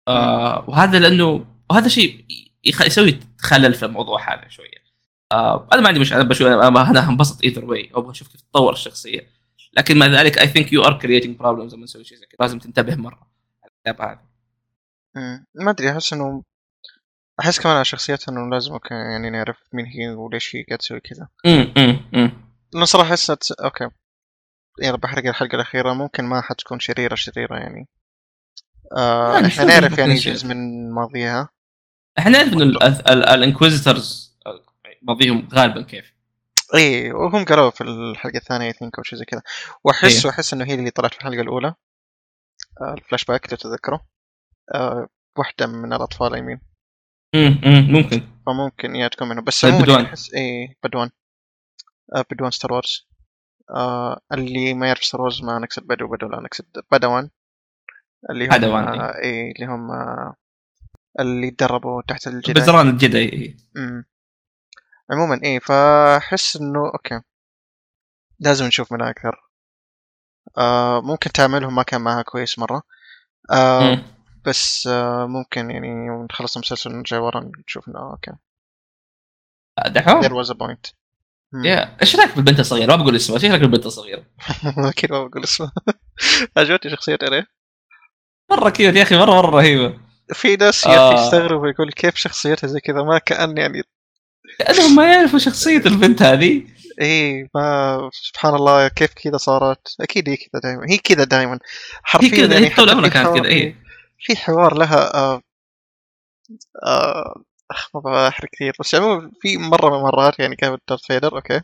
Speaker 2: آه وهذا لانه وهذا شيء يخ- يسوي خلل في الموضوع هذا شويه آه انا ما عندي مشكله انا بشوف انا أنا- انا هنبسط ايذر واي ابغى اشوف كيف تتطور الشخصيه لكن مع ذلك اي ثينك يو ار كرييتنج بروبلمز لما نسوي شيء زي كذا لازم تنتبه مره على الكتاب هذا
Speaker 1: مم. ما ادري احس انه احس كمان على شخصيتها انه لازم أوكي، يعني نعرف مين هي وليش هي قاعد تسوي كذا
Speaker 2: امم امم امم
Speaker 1: لانه صراحة احس إنها- اوكي يلا بحرق الحلقة الأخيرة ممكن ما حتكون شريرة شريرة يعني آه
Speaker 2: يعني
Speaker 1: احنا
Speaker 2: شوف
Speaker 1: نعرف
Speaker 2: إذا
Speaker 1: يعني
Speaker 2: كان شيء.
Speaker 1: جزء من ماضيها
Speaker 2: احنا نعرف انه الانكويزيتورز ماضيهم غالبا كيف
Speaker 1: اي وهم قالوا في الحلقة الثانية اي ثينك او شيء زي كذا واحس
Speaker 2: إيه.
Speaker 1: واحس انه هي اللي طلعت في الحلقة الأولى آه الفلاش باك لو تتذكروا آه واحدة من الأطفال اي مين
Speaker 2: امم امم ممكن
Speaker 1: فممكن يا تكون منه بس
Speaker 2: زي
Speaker 1: عموما
Speaker 2: بدوان.
Speaker 1: يعني احس اي بدوان آه بدوان ستار وورز آه اللي ما يعرف ستار وورز ما نقصد بدو بدو لا نقصد بدوان اللي هم
Speaker 2: بدوان،
Speaker 1: آه اي اللي هم آه اللي تدربوا تحت الجدار
Speaker 2: بزران الجدي
Speaker 1: امم عموما ايه فاحس انه اوكي لازم نشوف منها اكثر آه ممكن تعاملهم ما كان معها كويس مره آه
Speaker 2: أمم.
Speaker 1: بس آه ممكن يعني يوم نخلص المسلسل ونرجع ورا نشوف انه آه، اوكي there
Speaker 2: دحوم
Speaker 1: was a point Hmm. مم.
Speaker 2: يا ايش رايك بالبنت الصغيره ما بقول اسمها ايش رايك بالبنت الصغيره
Speaker 1: اكيد ما بقول اسمه عجبتني إيه. شخصيه اري
Speaker 2: مره كيوت يا اخي مره مره رهيبه
Speaker 1: في ناس يا اخي
Speaker 2: آه.
Speaker 1: يستغربوا يقول كيف شخصيتها زي كذا ما كان يعني
Speaker 2: كانهم ما يعرفوا شخصيه البنت هذه
Speaker 1: اي إيه، ما سبحان الله كيف كذا صارت اكيد هي كذا دائما هي كذا دائما
Speaker 2: هي
Speaker 1: حرفيا
Speaker 2: كذا
Speaker 1: يعني
Speaker 2: هي طول
Speaker 1: حتى
Speaker 2: عمرها
Speaker 1: في
Speaker 2: كانت
Speaker 1: حوار-
Speaker 2: كذا إيه. اي
Speaker 1: في حوار لها آه آه أخ، ما بحرق كثير بس عموما في مره من المرات يعني كانت دارث فيدر اوكي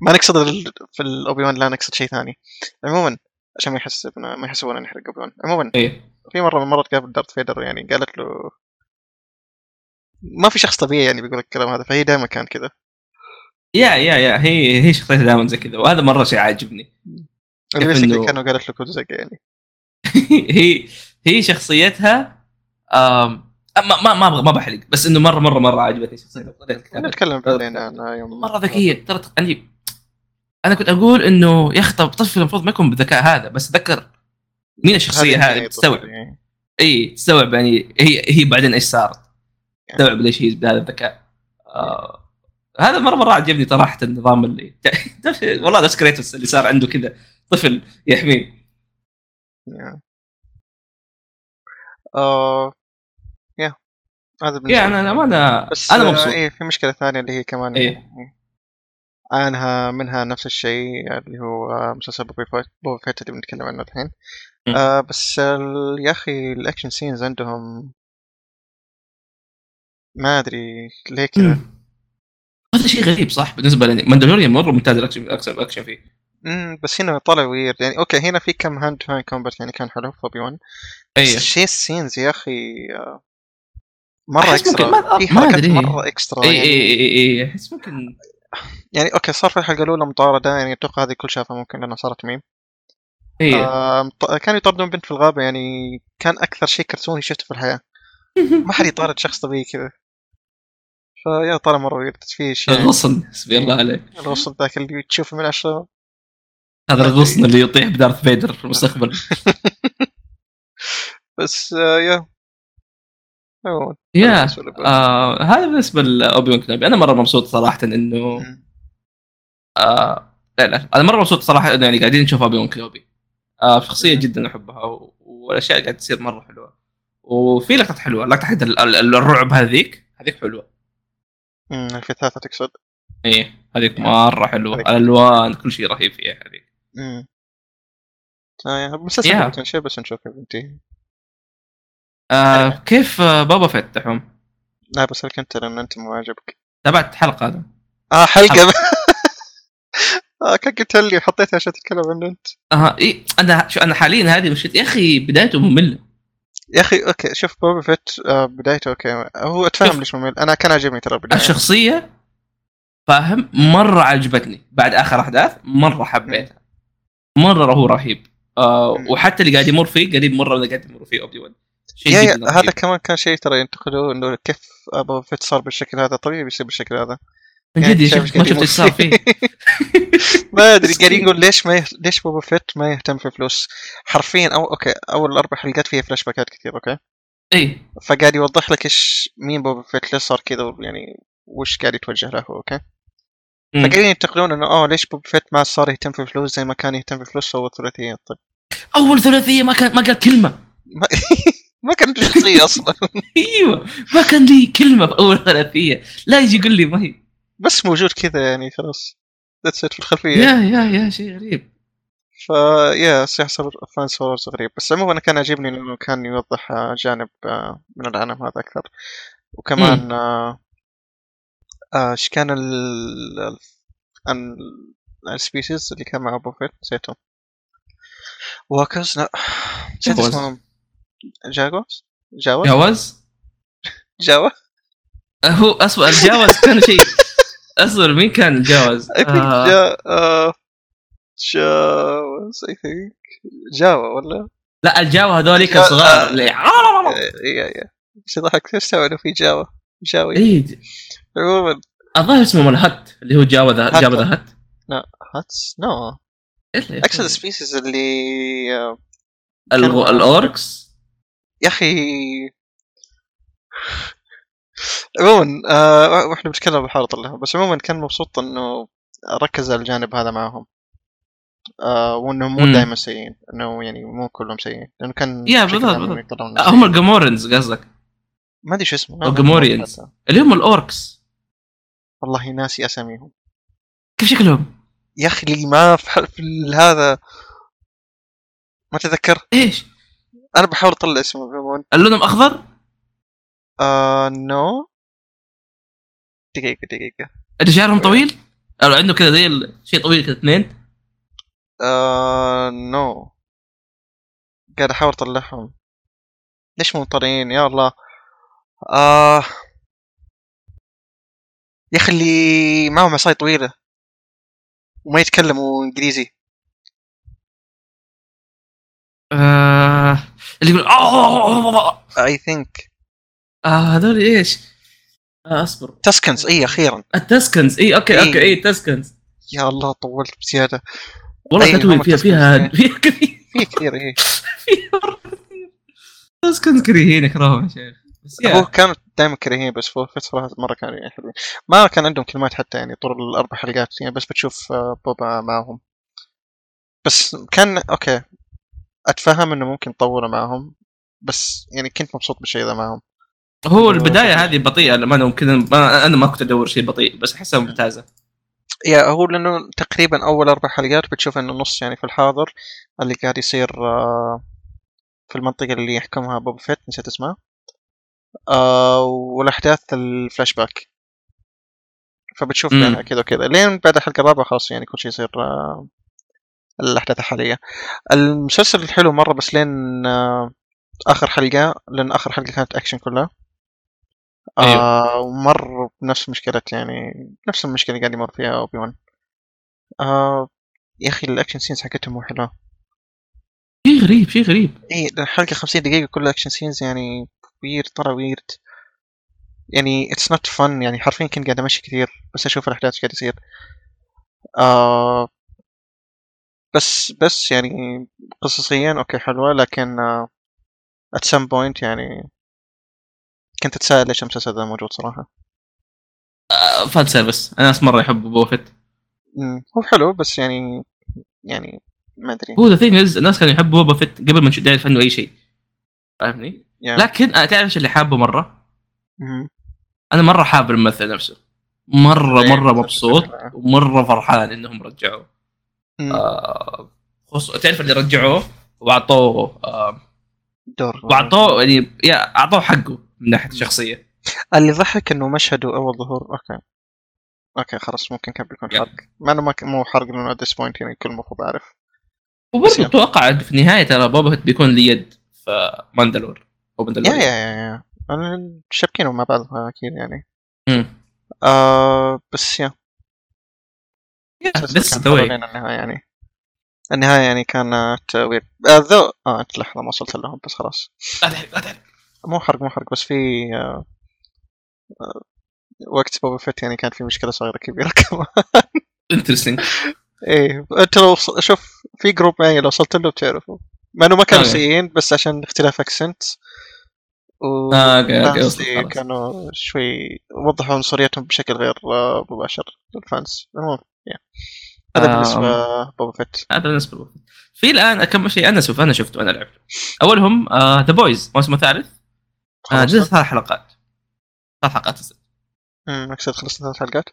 Speaker 1: ما نقصد ال- في الاوبي وان لا نقصد شيء ثاني عموما عشان ما يحس ما يحسبون اني احرق اوبي وان عموما
Speaker 2: اي
Speaker 1: في مره من المرات قابل دارث فيدر يعني قالت له ما في شخص طبيعي يعني بيقول الكلام هذا فهي دائما كانت كذا
Speaker 2: يا يا يا هي هي شخصيتها دائما زي كذا وهذا مره شيء عاجبني كيف
Speaker 1: basically
Speaker 2: إنه-
Speaker 1: كانوا قالت له كوزاك يعني
Speaker 2: هي هي شخصيتها آم ما ما ما ابغى ما بحرق بس انه مره مره مره عجبتني شخصيتها وطريقة الكتابة.
Speaker 1: نتكلم بعدين عنها يوم
Speaker 2: مره ذكيه ترى يعني انا كنت اقول انه يا اخي طب طفل المفروض ما يكون بالذكاء هذا بس ذكر مين الشخصيه
Speaker 1: هذه
Speaker 2: هذه
Speaker 1: يعني
Speaker 2: تستوعب
Speaker 1: يعني.
Speaker 2: اي تستوعب يعني هي هي بعدين ايش صارت تستوعب ليش هي بهذا الذكاء آه هذا مره مره عجبني صراحه النظام اللي تعرف شيء- والله نفس كريتوس اللي صار عنده كذا طفل يحميه
Speaker 1: Yeah. آه، yeah. هذا بالنسبة
Speaker 2: يعني انا
Speaker 1: لي.
Speaker 2: ما انا
Speaker 1: بس
Speaker 2: انا مبسوط
Speaker 1: ايه في مشكله ثانيه اللي هي كمان
Speaker 2: إيه.
Speaker 1: يعني عنها منها نفس الشيء اللي هو آه، مسلسل بوبي فيت بوبي فيت اللي بنتكلم عنه الحين
Speaker 2: مم.
Speaker 1: آه بس ال- يا اخي الاكشن سينز عندهم ما ادري ليه كذا
Speaker 2: مم. هذا شيء غريب صح بالنسبه لي ماندلوريان مره ممتاز الاكشن اكشن اكشن فيه
Speaker 1: مم، بس هنا طلع ويرد يعني اوكي هنا في كم هاند تو هاند كومبات يعني كان حلو فوبي 1
Speaker 2: اي
Speaker 1: بس شيء السينز يا اخي آه، مره
Speaker 2: أحس ممكن
Speaker 1: اكسترا
Speaker 2: ما-
Speaker 1: في
Speaker 2: ما
Speaker 1: حركات
Speaker 2: أدري. إيه،
Speaker 1: مره اكسترا
Speaker 2: اي
Speaker 1: يعني
Speaker 2: اي اي اي احس ممكن
Speaker 1: يعني اوكي صار في الحلقه الاولى مطارده يعني اتوقع هذه كل شافها ممكن لانها صارت ميم
Speaker 2: اي
Speaker 1: آه، مط- كانوا يطاردون بنت في الغابه يعني كان اكثر شيء كرتوني شفته في الحياه ما حد يطارد شخص طبيعي كذا فيا ترى مره ويرد في شيء
Speaker 2: الغصن إيه. حسبي الله عليك
Speaker 1: الغصن ذاك اللي تشوفه من عشرة
Speaker 2: هذا الغصن اللي يطيح بدارث فيدر في المستقبل
Speaker 1: بس آه، يا عموماً، هذا
Speaker 2: يا
Speaker 1: بالنسبة لي.
Speaker 2: آه هذا بالنسبه لاوبي وان كنوبي انا مره مبسوط صراحه انه
Speaker 1: مم.
Speaker 2: آه لا لا انا مره مبسوط صراحه انه يعني قاعدين نشوف ابي كلوبي آه شخصيه
Speaker 1: مم.
Speaker 2: جدا احبها و- والاشياء قاعد تصير مره حلوه وفي لقطات حلوه لقطه حق ال- ال- الرعب هذيك هذيك حلوه
Speaker 1: مم، في ثلاثه تقصد
Speaker 2: ايه هذيك مره حلوه
Speaker 1: هذيك.
Speaker 2: الالوان كل شيء رهيب فيها هذيك
Speaker 1: مم. آه، يا، مسلسل
Speaker 2: يا.
Speaker 1: ممتع، شيء بس نشوف يا بنتي
Speaker 2: آه كيف آه، بابا فيت دحوم
Speaker 1: لا بس لك انت لان انت مو عاجبك
Speaker 2: تابعت حلقه هذا
Speaker 1: اه حلقه آه، كان قلت لي وحطيتها عشان تتكلم عنه انت
Speaker 2: اها اي انا إيه، شو انا حاليا هذه مشيت يا اخي بدايته ممله
Speaker 1: يا اخي اوكي شوف بوبا فيت آه، بدايته اوكي هو اتفهم
Speaker 2: شوف.
Speaker 1: ليش ممل انا كان عاجبني ترى البدايه
Speaker 2: الشخصيه فاهم مره عجبتني بعد اخر احداث مره حبيتها مره هو رهيب آه
Speaker 1: مم.
Speaker 2: وحتى اللي قاعد يمر فيه قريب مره من اللي قاعد يمر فيه اوبي ون شيء
Speaker 1: يا
Speaker 2: جدا
Speaker 1: يا
Speaker 2: رهيب.
Speaker 1: هذا كمان كان شيء ترى ينتقدوه انه كيف بوبا فيت صار بالشكل هذا طبيعي بيصير بالشكل هذا
Speaker 2: من
Speaker 1: يعني
Speaker 2: جد يا
Speaker 1: شايف
Speaker 2: شيخ ما
Speaker 1: قاعد
Speaker 2: شفت ايش صار فيه
Speaker 1: ما ادري قاعدين نقول ليش ما يهت... ليش بوبا فيت ما يهتم في فلوس حرفيا او اوكي اول اربع حلقات فيها فلاش باكات كثير اوكي
Speaker 2: اي
Speaker 1: فقاعد يوضح لك ايش مين بوبا فيت ليش صار كذا يعني وش قاعد يتوجه له هو، اوكي
Speaker 2: مم.
Speaker 1: فقاعدين ينتقدون انه اه ليش بوبا فيت ما صار يهتم في فلوس زي ما كان يهتم في فلوس هو ثلاثيه طيب
Speaker 2: اول ثلاثيه ما كان ما قال كلمه
Speaker 1: ما, ما كان عنده شخصيه اصلا
Speaker 2: ايوه ما كان لي كلمه في اول ثلاثيه لا يجي يقول لي ما هي
Speaker 1: بس موجود كذا يعني خلاص ذاتس في الخلفيه
Speaker 2: يا يا يا شيء غريب
Speaker 1: فا يا سيحصل فان سولرز غريب بس عموما انا كان عاجبني انه كان يوضح آه، جانب آه، من العالم هذا اكثر وكمان آه، آه، ايش كان ال ال- ال- السبيسيز اللي كان مع بوفيت نسيتهم واكرز لا نسيت
Speaker 2: جاوز.
Speaker 1: اسمهم جاكوز جاوا
Speaker 2: جاوز
Speaker 1: جاوا
Speaker 2: آه، هو اصبر الجاوز كان شيء اصبر مين كان الجاوز؟
Speaker 1: اي ثينك
Speaker 2: آه،
Speaker 1: جا آه، جاوز اي ثينك جاوا ولا
Speaker 2: لا الجاوة هذوليك
Speaker 1: آه،
Speaker 2: الصغار
Speaker 1: آه.
Speaker 2: اللي
Speaker 1: يا يا بس ضحكت ايش سوى انه في جاوا جاوي
Speaker 2: اي
Speaker 1: عموما
Speaker 2: إيه، الظاهر اسمه مال هت اللي هو جاوا ذا
Speaker 1: هت.
Speaker 2: جاوا ذا هت
Speaker 1: هاتس نو
Speaker 2: إيه اللي-
Speaker 1: um, اقصد السبيسيز اللي آه،
Speaker 2: الغ- الاوركس
Speaker 1: يا اخي عموما آه احنا بنتكلم بحارة الله بس عموما كان مبسوط انه ركز على الجانب هذا معهم آه وانهم مو
Speaker 2: مم.
Speaker 1: دائما سيئين انه يعني مو كلهم سيئين لانه كان
Speaker 2: يا
Speaker 1: بشكل
Speaker 2: بالضبط،
Speaker 1: عام
Speaker 2: بالضبط.
Speaker 1: يطلعون
Speaker 2: آه، هم الجمورنز قصدك
Speaker 1: ما ادري شو اسمه
Speaker 2: أو Gamorreans. اللي هم الاوركس
Speaker 1: والله ناسي اساميهم
Speaker 2: كيف شكلهم؟
Speaker 1: يا اخي اللي ما في في هذا ما تذكر
Speaker 2: ايش؟
Speaker 1: انا بحاول اطلع اسمه عموما
Speaker 2: لونهم اخضر؟
Speaker 1: آه نو دقيقة دقيقة
Speaker 2: اللي شعرهم طويل؟ أو عندهم كذا زي ال- شيء طويل كذا اثنين
Speaker 1: آه نو قاعد احاول اطلعهم ليش مو مطلعين يا الله آه يا اخي اللي معهم عصاي طويلة وما يتكلموا انجليزي
Speaker 2: آه... اللي يقول آه،
Speaker 1: اي ثينك
Speaker 2: آه، هذول ايش؟ آه، اصبر
Speaker 1: تسكنز اي اخيرا
Speaker 2: التسكنز إيه، اي اوكي
Speaker 1: إيه.
Speaker 2: اوكي اي تسكنز
Speaker 1: يا الله طولت بزيادة
Speaker 2: والله
Speaker 1: أيوة،
Speaker 2: كانت طويل
Speaker 1: هم
Speaker 2: فيها فيها
Speaker 1: التسكنز.
Speaker 2: فيها كثير
Speaker 1: في كثير ايه
Speaker 2: فيها مرة كثير. تسكنز كريهين اكرههم يا شيخ بس يعني. يا.
Speaker 1: هو كانوا دائما كريهين يعني، بس في فترة مرة كانوا يعني حلوين ما كان عندهم كلمات حتى يعني طول الأربع حلقات يعني بس بتشوف آه، بوبا معهم بس كان أوكي أتفهم إنه ممكن طولوا معهم بس يعني كنت مبسوط بالشيء ذا معهم
Speaker 2: هو البدايه هذه بطيئه لما انا ممكن ما انا ما كنت ادور شيء بطيء بس احسها ممتازه
Speaker 1: يا هو لأنه تقريبا أول أربع حلقات بتشوف إنه نص يعني في الحاضر اللي قاعد يصير آه، في المنطقة اللي يحكمها بوبا فيت نسيت اسمها آه، والأحداث الفلاش باك فبتشوف
Speaker 2: مم.
Speaker 1: بينها كذا وكذا لين بعد الحلقة الرابعة خلاص يعني كل شيء يصير آه، الأحداث الحالية المسلسل الحلو مرة بس لين آه، آخر حلقة لأن آخر حلقة كانت أكشن كلها آه ومر بنفس مشكلة يعني نفس المشكلة اللي قاعد يمر فيها أوبي وان آه يا أخي الأكشن سينز حقتهم مو حلوة
Speaker 2: شيء غريب شيء غريب
Speaker 1: اي الحلقة 50 دقيقة كلها اكشن سينز يعني ويرد طلع ويرد يعني اتس نوت فن يعني حرفيا كنت قاعد امشي كثير بس اشوف الاحداث ايش قاعد يصير آه بس بس يعني قصصيا اوكي حلوة لكن آه، ات سم بوينت يعني كنت اتساءل ليش المسلسل ذا موجود صراحة
Speaker 2: آه، فان سيرفس انا ناس مره يحب بوفيت
Speaker 1: مم، هو حلو بس يعني يعني ما ادري
Speaker 2: هو ذا ثينج الناس كانوا يحبوا بوبا فيت قبل ما نعرف عنه اي شيء فاهمني؟
Speaker 1: يعني
Speaker 2: لكن انا تعرف ايش اللي حابه مره؟
Speaker 1: مم،
Speaker 2: انا مره حاب الممثل نفسه مره
Speaker 1: إيه،
Speaker 2: مره
Speaker 1: نفس
Speaker 2: مبسوط
Speaker 1: الفكرة.
Speaker 2: ومره فرحان انهم رجعوه
Speaker 1: مم،
Speaker 2: آه، خصوصا تعرف اللي رجعوه واعطوه آه،
Speaker 1: دور
Speaker 2: واعطوه يعني يا اعطوه حقه من ناحيه الشخصيه
Speaker 1: اللي ضحك انه مشهده اول ظهور اوكي اوكي خلاص ممكن كان بيكون
Speaker 2: يلا.
Speaker 1: حرق مع انه ما ك- مو حرق لانه ات بوينت يعني كل المفروض اعرف
Speaker 2: وبرضه
Speaker 1: زين.
Speaker 2: اتوقع في النهايه ترى بوبا فيت بيكون لي يد في ماندلور
Speaker 1: يا
Speaker 2: او ماندلور
Speaker 1: يا يا يا أنا- شابكينهم مع بعض اكيد يعني
Speaker 2: مم.
Speaker 1: آه بس يا
Speaker 2: بس
Speaker 1: كان حلو
Speaker 2: ذا
Speaker 1: لين النهايه يعني النهايه يعني كانت ويرد آه ذو اه أنت لحظه ما وصلت لهم بس خلاص مو حرق مو حرق بس في آه آه، وقت بوبا فيت يعني كان في مشكله صغيره كبيره كمان
Speaker 2: انترستنج
Speaker 1: ايه انت لو وص- شوف في جروب معين لو وصلت له بتعرفه مع انه ما كانوا
Speaker 2: أوكي.
Speaker 1: سيئين بس عشان اختلاف اكسنت و
Speaker 2: آه، أوكي، أوكي،
Speaker 1: fans
Speaker 2: وصلت،
Speaker 1: اللي
Speaker 2: خلاص.
Speaker 1: كانوا شوي وضحوا عنصريتهم بشكل غير آه، مباشر للفانس المهم يا. هذا
Speaker 2: آم.
Speaker 1: بالنسبه بوبا فيت
Speaker 2: هذا بالنسبه لي في الان كم شيء انا شوف انا شفته انا لعبته آه، اولهم ذا بويز الموسم الثالث آه،
Speaker 1: خلصت؟
Speaker 2: جزء ثلاث حلقات ثلاث حلقات
Speaker 1: امم اقصد خلصت ثلاث حلقات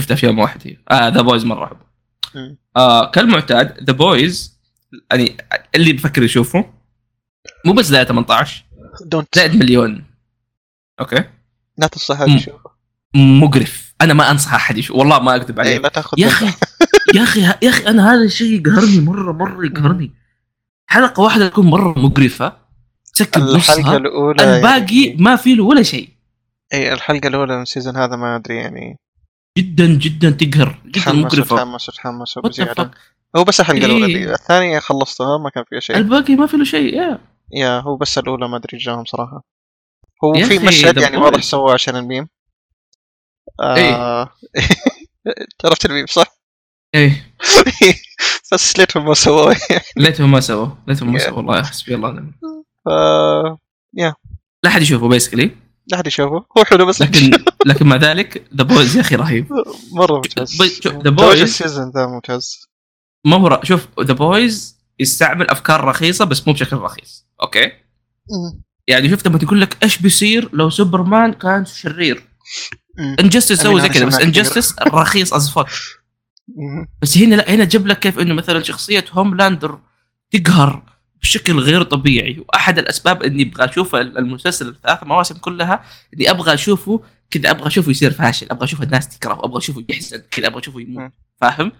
Speaker 2: شفتها في يوم واحد هي ذا بويز مره احبه
Speaker 1: مم.
Speaker 2: آه كالمعتاد ذا بويز يعني اللي بفكر يشوفه مو بس زائد 18
Speaker 1: دونت
Speaker 2: زائد مليون اوكي
Speaker 1: لا تنصح هذا إيه،
Speaker 2: مم.
Speaker 1: يشوفه
Speaker 2: مقرف انا ما انصح احد يشوف والله ما اكذب
Speaker 1: إيه،
Speaker 2: عليك
Speaker 1: لا تاخذ
Speaker 2: يا اخي يا اخي يا اخي انا هذا الشيء يقهرني مره مره يقهرني حلقه واحده تكون مره مقرفه تسكب
Speaker 1: الحلقه
Speaker 2: نصها
Speaker 1: الاولى
Speaker 2: الباقي
Speaker 1: يعني-
Speaker 2: ما في له ولا شيء
Speaker 1: اي الحلقه الاولى من السيزون هذا ما ادري يعني
Speaker 2: جدا جدا تقهر جدا
Speaker 1: تحمس
Speaker 2: مقرفه
Speaker 1: وتحمس وتحمس
Speaker 2: What the
Speaker 1: وبزياده
Speaker 2: fuck؟
Speaker 1: هو بس الحلقه الاولى
Speaker 2: إيه.
Speaker 1: دي الثانيه خلصتها ما كان فيها شيء
Speaker 2: الباقي ما في له شيء يا
Speaker 1: يا هو بس الاولى ما ادري جاهم صراحه هو
Speaker 2: يا
Speaker 1: في
Speaker 2: أخي،
Speaker 1: مشهد
Speaker 2: The
Speaker 1: يعني
Speaker 2: Boys.
Speaker 1: واضح سواه عشان الميم
Speaker 2: إيه.
Speaker 1: آه... عرفت الميم صح؟
Speaker 2: ايه
Speaker 1: بس ليتهم ما سووه
Speaker 2: ليتهم ما سووا ليتهم ما
Speaker 1: Yeah.
Speaker 2: سووا والله حسبي الله ونعم
Speaker 1: ف... يا.
Speaker 2: لا احد يشوفه بيسكلي
Speaker 1: آه، لا احد يشوفه هو حلو بس
Speaker 2: لكن لكن مع ذلك ذا بويز يا اخي رهيب
Speaker 1: مره ممتاز
Speaker 2: بس شوف، The
Speaker 1: توجه
Speaker 2: Boys-
Speaker 1: السيزون ذا ممتاز
Speaker 2: ما هو ر- شوف ذا بويز يستعمل افكار رخيصه بس مو بشكل رخيص اوكي
Speaker 1: مم.
Speaker 2: يعني شفت لما تقول لك ايش بيصير لو سوبرمان كان شرير
Speaker 1: مم.
Speaker 2: انجستس
Speaker 1: أمين،
Speaker 2: سوى زي
Speaker 1: أنا
Speaker 2: كذا بس
Speaker 1: سمعت كثير.
Speaker 2: انجستس رخيص از فك
Speaker 1: مم.
Speaker 2: بس هنا لا هنا جاب لك كيف انه مثلا شخصيه هوملاندر تقهر بشكل غير طبيعي واحد الاسباب اني ابغى اشوف المسلسل الثلاث مواسم كلها اني ابغى اشوفه كذا ابغى اشوفه يصير فاشل ابغى اشوف الناس تكرهه ابغى اشوفه يحزن كذا ابغى اشوفه
Speaker 1: مم.
Speaker 2: يموت فاهم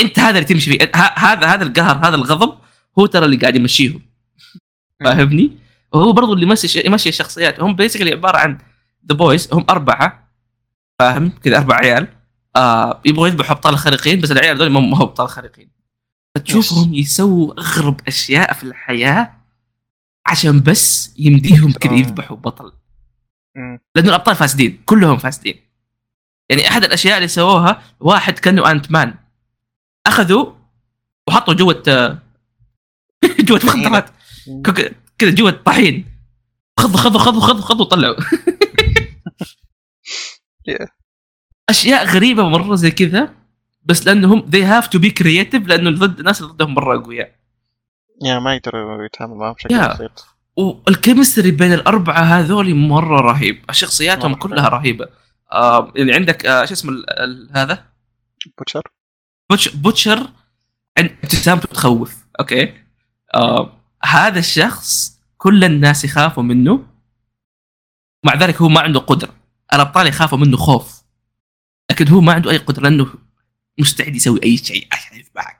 Speaker 2: انت هذا اللي تمشي فيه ه- هذا هذا القهر هذا الغضب هو ترى اللي قاعد يمشيهم فاهمني وهو برضو اللي يمشي يمشي الشخصيات هم بيسكلي عباره عن ذا بويز هم اربعه فاهم كذا اربع عيال آه يبغوا يذبحوا ابطال خارقين بس العيال هذول ما هم ما هم ابطال خارقين فتشوفهم يسووا اغرب اشياء في الحياه عشان بس يمديهم كذا
Speaker 1: آه.
Speaker 2: يذبحوا بطل
Speaker 1: مم.
Speaker 2: لانه الابطال فاسدين كلهم فاسدين يعني احد الاشياء اللي سووها واحد كانه انت مان اخذوا وحطوا جوة جوة مخدرات كوكا- كذا جوة طحين خذوا خذوا خذوا خذوا خذوا طلعوا
Speaker 1: Yeah.
Speaker 2: اشياء غريبه مره زي كذا بس لانهم they have to be creative لانه ضد الناس اللي ضدهم مره اقوياء
Speaker 1: يا ما يقدروا يتعاملوا معاه بشكل
Speaker 2: يا.
Speaker 1: بسيط
Speaker 2: والكيمستري بين الاربعه هذول مره رهيب شخصياتهم
Speaker 1: مرة.
Speaker 2: كلها رهيبه آه يعني عندك آه شو اسمه ال- ال- هذا
Speaker 1: بوتشر
Speaker 2: بوتش بوتشر عند ابتسامته تخوف اوكي آه هذا الشخص كل الناس يخافوا منه مع ذلك هو ما عنده قدره الابطال يخافوا منه خوف لكن هو ما عنده اي قدره لانه مستعد يسوي اي شيء عشان يذبحك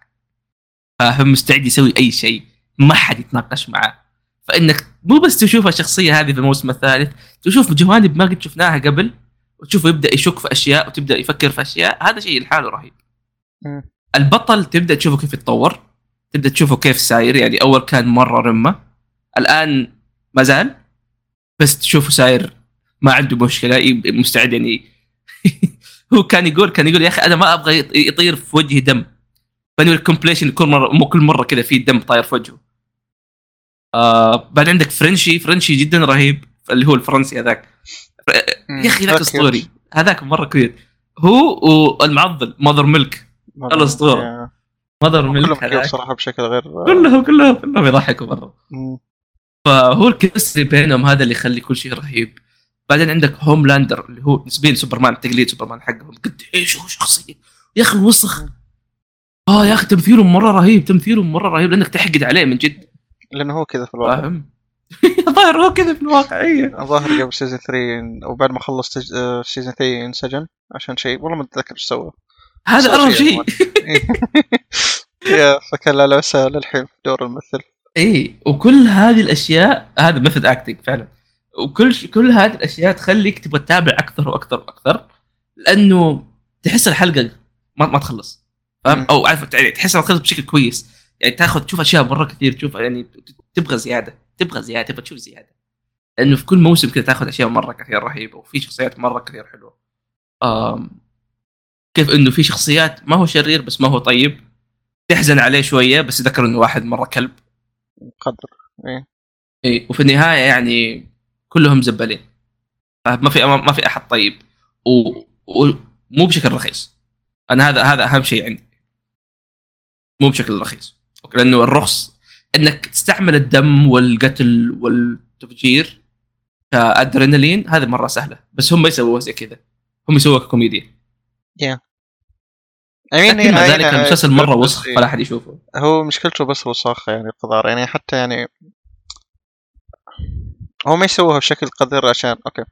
Speaker 2: فاهم مستعد يسوي اي شيء ما حد يتناقش معاه فانك مو بس تشوف الشخصيه هذه في الموسم الثالث تشوف جوانب ما قد شفناها قبل وتشوفه يبدا يشك في اشياء وتبدا يفكر في اشياء هذا شيء لحاله رهيب
Speaker 1: مم.
Speaker 2: البطل تبدا تشوفه كيف يتطور تبدا تشوفه كيف ساير يعني اول كان مره رمه الان ما زال بس تشوفه ساير ما عنده مشكله يب- مستعد يعني هو كان يقول كان يقول يا اخي انا ما ابغى يط- يطير في وجهي دم فانه الكومبليشن كل مره مو كل مره كذا في دم طاير في وجهه آه بعد عندك فرنشي فرنشي جدا رهيب اللي هو الفرنسي هذاك يا اخي ذاك اسطوري هذاك مره كويس هو والمعضل ماذر ميلك الأسطورة. ماذر
Speaker 1: كلهم
Speaker 2: ميلك
Speaker 1: كيوت
Speaker 2: هذاك
Speaker 1: صراحه بشكل غير آه،
Speaker 2: كلهم كلهم كلهم يضحكوا مره
Speaker 1: مم.
Speaker 2: فهو الكيمستري بينهم هذا اللي يخلي كل شيء رهيب بعدين عندك هوملاندر اللي هو نسبيا سوبرمان تقليد سوبرمان حقهم قد ايش هو شخصيه يا اخي الوسخ اه يا اخي تمثيله مره رهيب تمثيله مره رهيب لانك تحقد عليه من جد
Speaker 1: لانه هو كذا في الواقع
Speaker 2: فاهم ظاهر هو كذا في الواقعيه
Speaker 1: الظاهر قبل سيزون 3 وبعد ما خلص تج... آه، سيزون 3 انسجن عشان شيء والله ما اتذكر ايش سوى
Speaker 2: هذا
Speaker 1: صار
Speaker 2: اغرب
Speaker 1: شيء
Speaker 2: شيء
Speaker 1: يا فكان لا لعسى للحين في دور الممثل
Speaker 2: اي وكل هذه الاشياء هذا ميثود اكتنج فعلا وكل ش... كل هذه الاشياء تخليك تبغى تتابع اكثر واكثر واكثر لانه تحس الحلقه ما, ما تخلص فاهم
Speaker 1: مم.
Speaker 2: او عارف يعني تحس انها تخلص بشكل كويس يعني تاخذ تشوف اشياء مره كثير تشوف يعني ت- ت- تبغى زياده تبغى زياده تبغى تشوف زياده لانه في كل موسم كذا تاخذ اشياء مره كثير رهيبه وفي شخصيات مره كثير حلوه آم... كيف انه في شخصيات ما هو شرير بس ما هو طيب تحزن عليه شويه بس تذكر انه واحد مره كلب
Speaker 1: مقدر
Speaker 2: اي إيه، وفي النهايه يعني كلهم زبالين ما في ما في احد طيب و- ومو بشكل رخيص انا هذا هذا اهم شيء عندي مو بشكل رخيص أوكي، لانه الرخص انك تستعمل الدم والقتل والتفجير كادرينالين هذه مره سهله بس هم ما يسووها زي كذا هم يسووها ككوميديا
Speaker 1: يعني
Speaker 2: لكن مع ذلك المسلسل مره وسخ فلا احد يشوفه
Speaker 1: هو مشكلته بس وساخة يعني القذارة يعني حتى يعني هو ما يسووها بشكل قذر عشان اوكي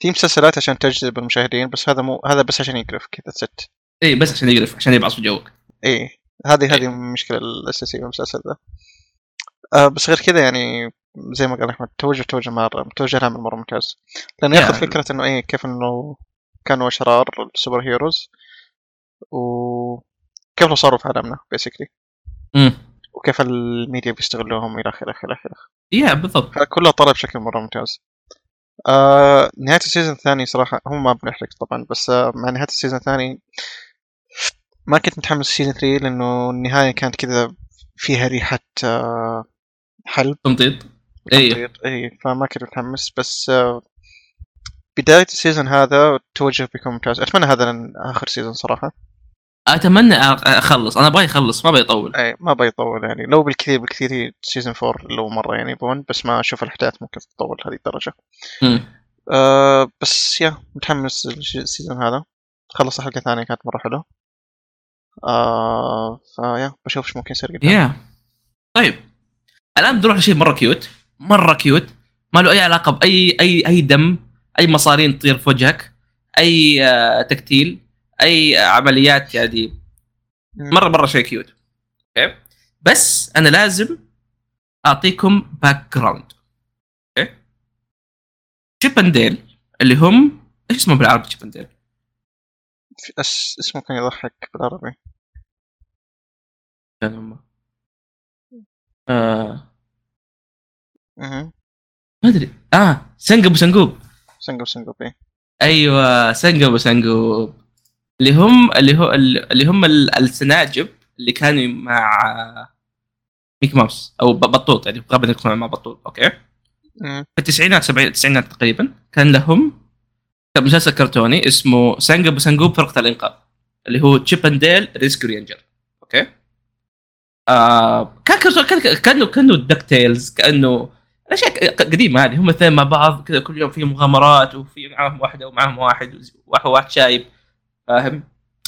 Speaker 1: في مسلسلات عشان تجذب المشاهدين بس هذا مو هذا بس عشان يقرف كذا ست
Speaker 2: اي إيه، بس عشان يقرف عشان يبعص في جوك
Speaker 1: ايه هذه هذه المشكلة الأساسية بالمسلسل ذا آه بس غير كذا يعني زي ما قال أحمد توجه توجه مرة توجه العمل مرة ممتاز لأنه ياخذ
Speaker 2: Yeah.
Speaker 1: فكرة إنه إيه كيف إنه كانوا أشرار السوبر هيروز وكيف لو صاروا في عالمنا بيسكلي
Speaker 2: امم
Speaker 1: وكيف الميديا بيستغلوهم إلى آخره إلى آخره
Speaker 2: يا إيه، بالضبط
Speaker 1: كله طلع بشكل مره ممتاز آه نهاية السيزون الثاني صراحة هو ما بنحرق طبعا بس آه مع نهاية السيزون الثاني ما كنت متحمس لسيزون 3 لأنه النهاية كانت كذا فيها ريحة آه حلب
Speaker 2: تمطيط ايوه
Speaker 1: اي فما كنت متحمس بس آه، بداية السيزون هذا التوجه بيكون ممتاز اتمنى هذا لن- اخر سيزون صراحة
Speaker 2: اتمنى أ- اخلص انا ابغى يخلص ما ابغى يطول
Speaker 1: اي ما بيطول يعني لو بالكثير بالكثير سيزون 4 لو مرة يعني يبون بس ما اشوف الاحداث ممكن تتطول هذه الدرجة
Speaker 2: مم.
Speaker 1: أه بس يا متحمس للش- السيزون هذا خلصت حلقة ثانية كانت مرة حلوة أه فيا بشوف ايش ممكن يصير قدام
Speaker 2: يا طيب الان بنروح لشيء مره كيوت مره كيوت ما له اي علاقه باي اي اي دم اي مصارين تطير في وجهك اي آه، تكتيل اي آه، عمليات يعني مره مره شيء كيوت اوكي بس انا لازم اعطيكم باك جراوند اوكي شيبنديل اللي هم ايش اسمه بالعربي شيبنديل؟
Speaker 1: في- أس... اسمه كان يضحك بالعربي
Speaker 2: كان هم آه
Speaker 1: اها
Speaker 2: ما ادري اه سنجب وسنجوب
Speaker 1: سنجو سنجو بي
Speaker 2: ايوه سنجب وسنجوب اللي هم اللي هو اللي هم ال- السناجب اللي كانوا مع ميكي ماوس او ب- بطوط يعني غالبا يكونوا مع بطوط اوكي
Speaker 1: أها.
Speaker 2: في التسعينات سبعينات التسعينات تقريبا كان لهم كان مسلسل كرتوني اسمه سانجب وسانجوب فرقة الإنقاذ اللي هو تشيب اند ديل ريسكيو رينجر اوكي آه كان كرتون كان كانه كانه دك تيلز كانه الاشياء ك- قديمه هذه هم الاثنين مع بعض كذا كل يوم في مغامرات وفي معاهم واحده ومعاهم واحد وواحد واحد شايب فاهم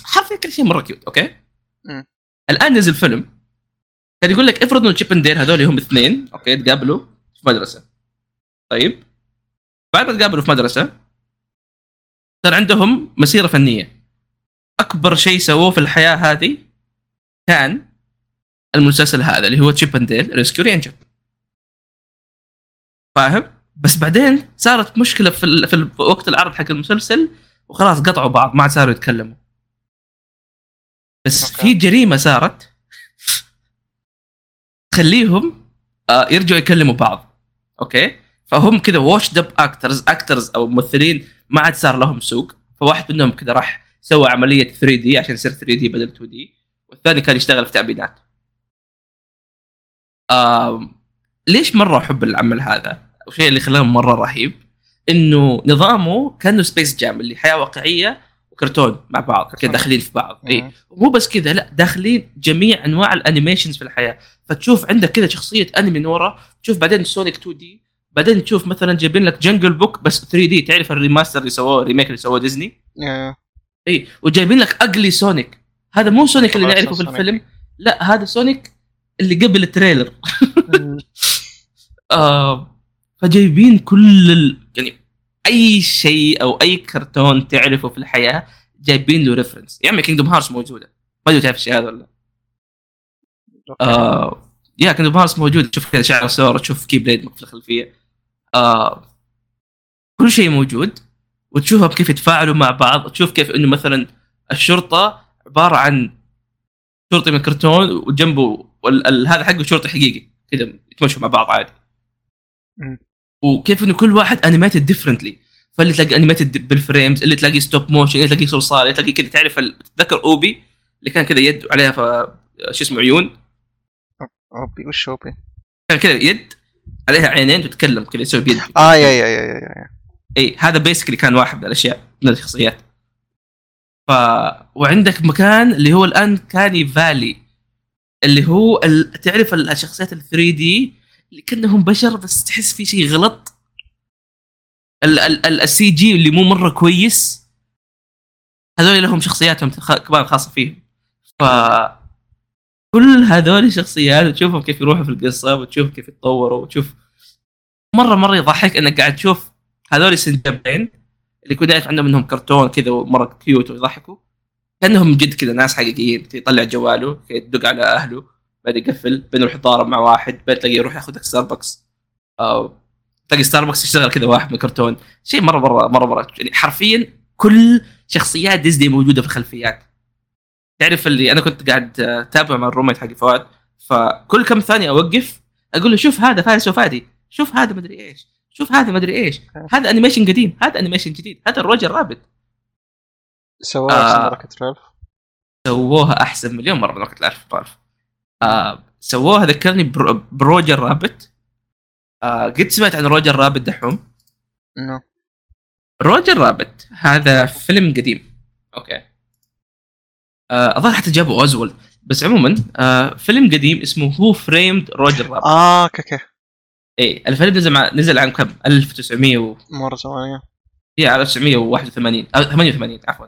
Speaker 2: حرفيا كل شيء مره كيوت اوكي
Speaker 1: مم.
Speaker 2: الان نزل فيلم كان يقول لك افرض انه تشيب اند ديل هذول هم اثنين اوكي تقابلوا في مدرسه طيب بعد ما تقابلوا في مدرسه صار عندهم مسيره فنيه اكبر شيء سووه في الحياه هذه كان المسلسل هذا اللي هو تشيب اند ديل ريسكيو رينجر فاهم بس بعدين صارت مشكله في ال... في ال- في وقت العرض حق المسلسل وخلاص قطعوا بعض ما عاد صاروا يتكلموا بس
Speaker 1: أوكي.
Speaker 2: في جريمه صارت تخليهم آه، يرجعوا يكلموا بعض اوكي فهم كذا واشد اب اكترز اكترز او ممثلين ما عاد صار لهم سوق فواحد منهم كذا راح سوى عمليه 3 دي عشان يصير 3 دي بدل 2 دي والثاني كان يشتغل في تعبينات آم، ليش مره احب العمل هذا والشيء اللي خلاه مره رهيب انه نظامه كانه سبيس جام اللي حياه واقعيه وكرتون مع بعض كذا داخلين في بعض اي
Speaker 1: مم.
Speaker 2: مو بس كذا لا داخلين جميع انواع الانيميشنز في الحياه فتشوف عندك كذا شخصيه انمي من ورا تشوف بعدين سونيك 2 دي بعدين تشوف مثلا جايبين لك جنجل بوك بس 3 دي تعرف الريماستر اللي سووه الريميك اللي سووه ديزني
Speaker 1: يا-
Speaker 2: اي إيه، وجايبين لك اجلي سونيك هذا مو سونيك اللي
Speaker 1: طبعاً
Speaker 2: نعرفه في
Speaker 1: سونيك.
Speaker 2: الفيلم لا هذا سونيك اللي قبل التريلر
Speaker 1: مم.
Speaker 2: آه فجايبين كل ال... يعني اي شيء او اي كرتون تعرفه في الحياه جايبين له ريفرنس يا عمي كينجدوم هارس موجوده ما ادري تعرف الشيء هذا ولا لا. آه يا كينجدوم هارس موجود تشوف كذا شعر سورا تشوف كي بليد في الخلفيه آه كل شيء موجود وتشوفهم كيف يتفاعلوا مع بعض تشوف كيف انه مثلا الشرطه عباره عن شرطي من كرتون وجنبه وال- ال- هذا حقه شرطي حقيقي كذا يتمشوا مع بعض عادي
Speaker 1: مم.
Speaker 2: وكيف انه كل واحد انيميتد ديفرنتلي فاللي تلاقي انيميتد بالفريمز اللي تلاقي ستوب موشن اللي تلاقي صلصال اللي تلاقي كذا تعرف ال- تتذكر اوبي اللي كان كذا يد عليها ف... شو اسمه عيون
Speaker 1: اوبي وش اوبي؟
Speaker 2: كان كذا يد عليها عينين تتكلم كذا يسوي بيد
Speaker 1: اه يا يا يا يا- يا
Speaker 2: اي هذا بيسكلي كان واحد من الاشياء من الشخصيات ف وعندك مكان اللي هو الان كاني فالي اللي هو ال... تعرف ال- الشخصيات ال 3 دي اللي كانهم بشر بس تحس في شيء غلط ال- ال- ال- السي جي اللي مو مره كويس هذول لهم شخصياتهم تخ- كمان خاصه فيهم ف كل هذول الشخصيات وتشوفهم كيف يروحوا في القصه وتشوف كيف يتطوروا وتشوف مره مره يضحك انك قاعد تشوف هذول السنجابين اللي كنت عارف عندهم انهم كرتون كذا ومره كيوت ويضحكوا كانهم جد كذا ناس حقيقيين يطلع جواله يدق على اهله بعدين يقفل بعدين يروح يتضارب مع واحد بعدين تلاقيه يروح ياخذك ستاربكس او آه، تلاقي ستاربكس يشتغل كذا واحد من كرتون شيء مره مره مره مره يعني حرفيا كل شخصيات ديزني موجوده في الخلفيات تعرف اللي انا كنت قاعد اتابع مع الروميت حقي فؤاد فكل كم ثانيه اوقف اقول له شوف هذا فارس وفادي شوف هذا مدري ايش شوف هذا مدري ايش هذا انيميشن قديم هذا انيميشن جديد هذا الرجل رابط
Speaker 1: سواه
Speaker 2: آه.
Speaker 1: احسن ركت رالف
Speaker 2: سووها احسن مليون مره من وقت الالف طالف آه سووها ذكرني برو- بروجر رابت آه قد سمعت عن روجر رابط دحوم
Speaker 1: نو
Speaker 2: روجر رابط هذا فيلم قديم اوكي آه، الظاهر حتى جابوا اوزولد بس عموما آه، فيلم قديم اسمه هو فريمد روجر رابط
Speaker 1: اه اوكي اوكي
Speaker 2: اي إيه، الفيلم نزل مع نزل عام كم 1900 و...
Speaker 1: مره زمان
Speaker 2: يا 1981 أو 88 عفوا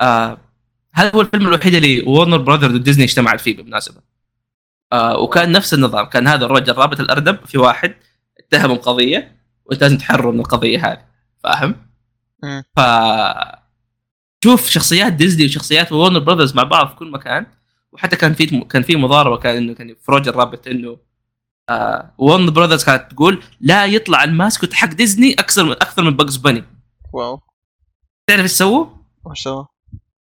Speaker 2: آه هذا هو الفيلم الوحيد اللي ورنر براذرز وديزني اجتمعت فيه بالمناسبه آه وكان نفس النظام كان هذا الرجل رابط الاردب في واحد اتهمه بقضيه وانت لازم تحرره من القضيه هذه فاهم؟
Speaker 1: مم.
Speaker 2: ف شوف شخصيات ديزني وشخصيات ورنر براذرز مع بعض في كل مكان وحتى كان في كان في مضاربه كان انه كان في روجر رابط انه آه ورنر براذرز كانت تقول لا يطلع الماسكوت حق ديزني اكثر من اكثر من باجز باني
Speaker 1: واو
Speaker 2: تعرف ايش سووا؟
Speaker 1: وش سوى؟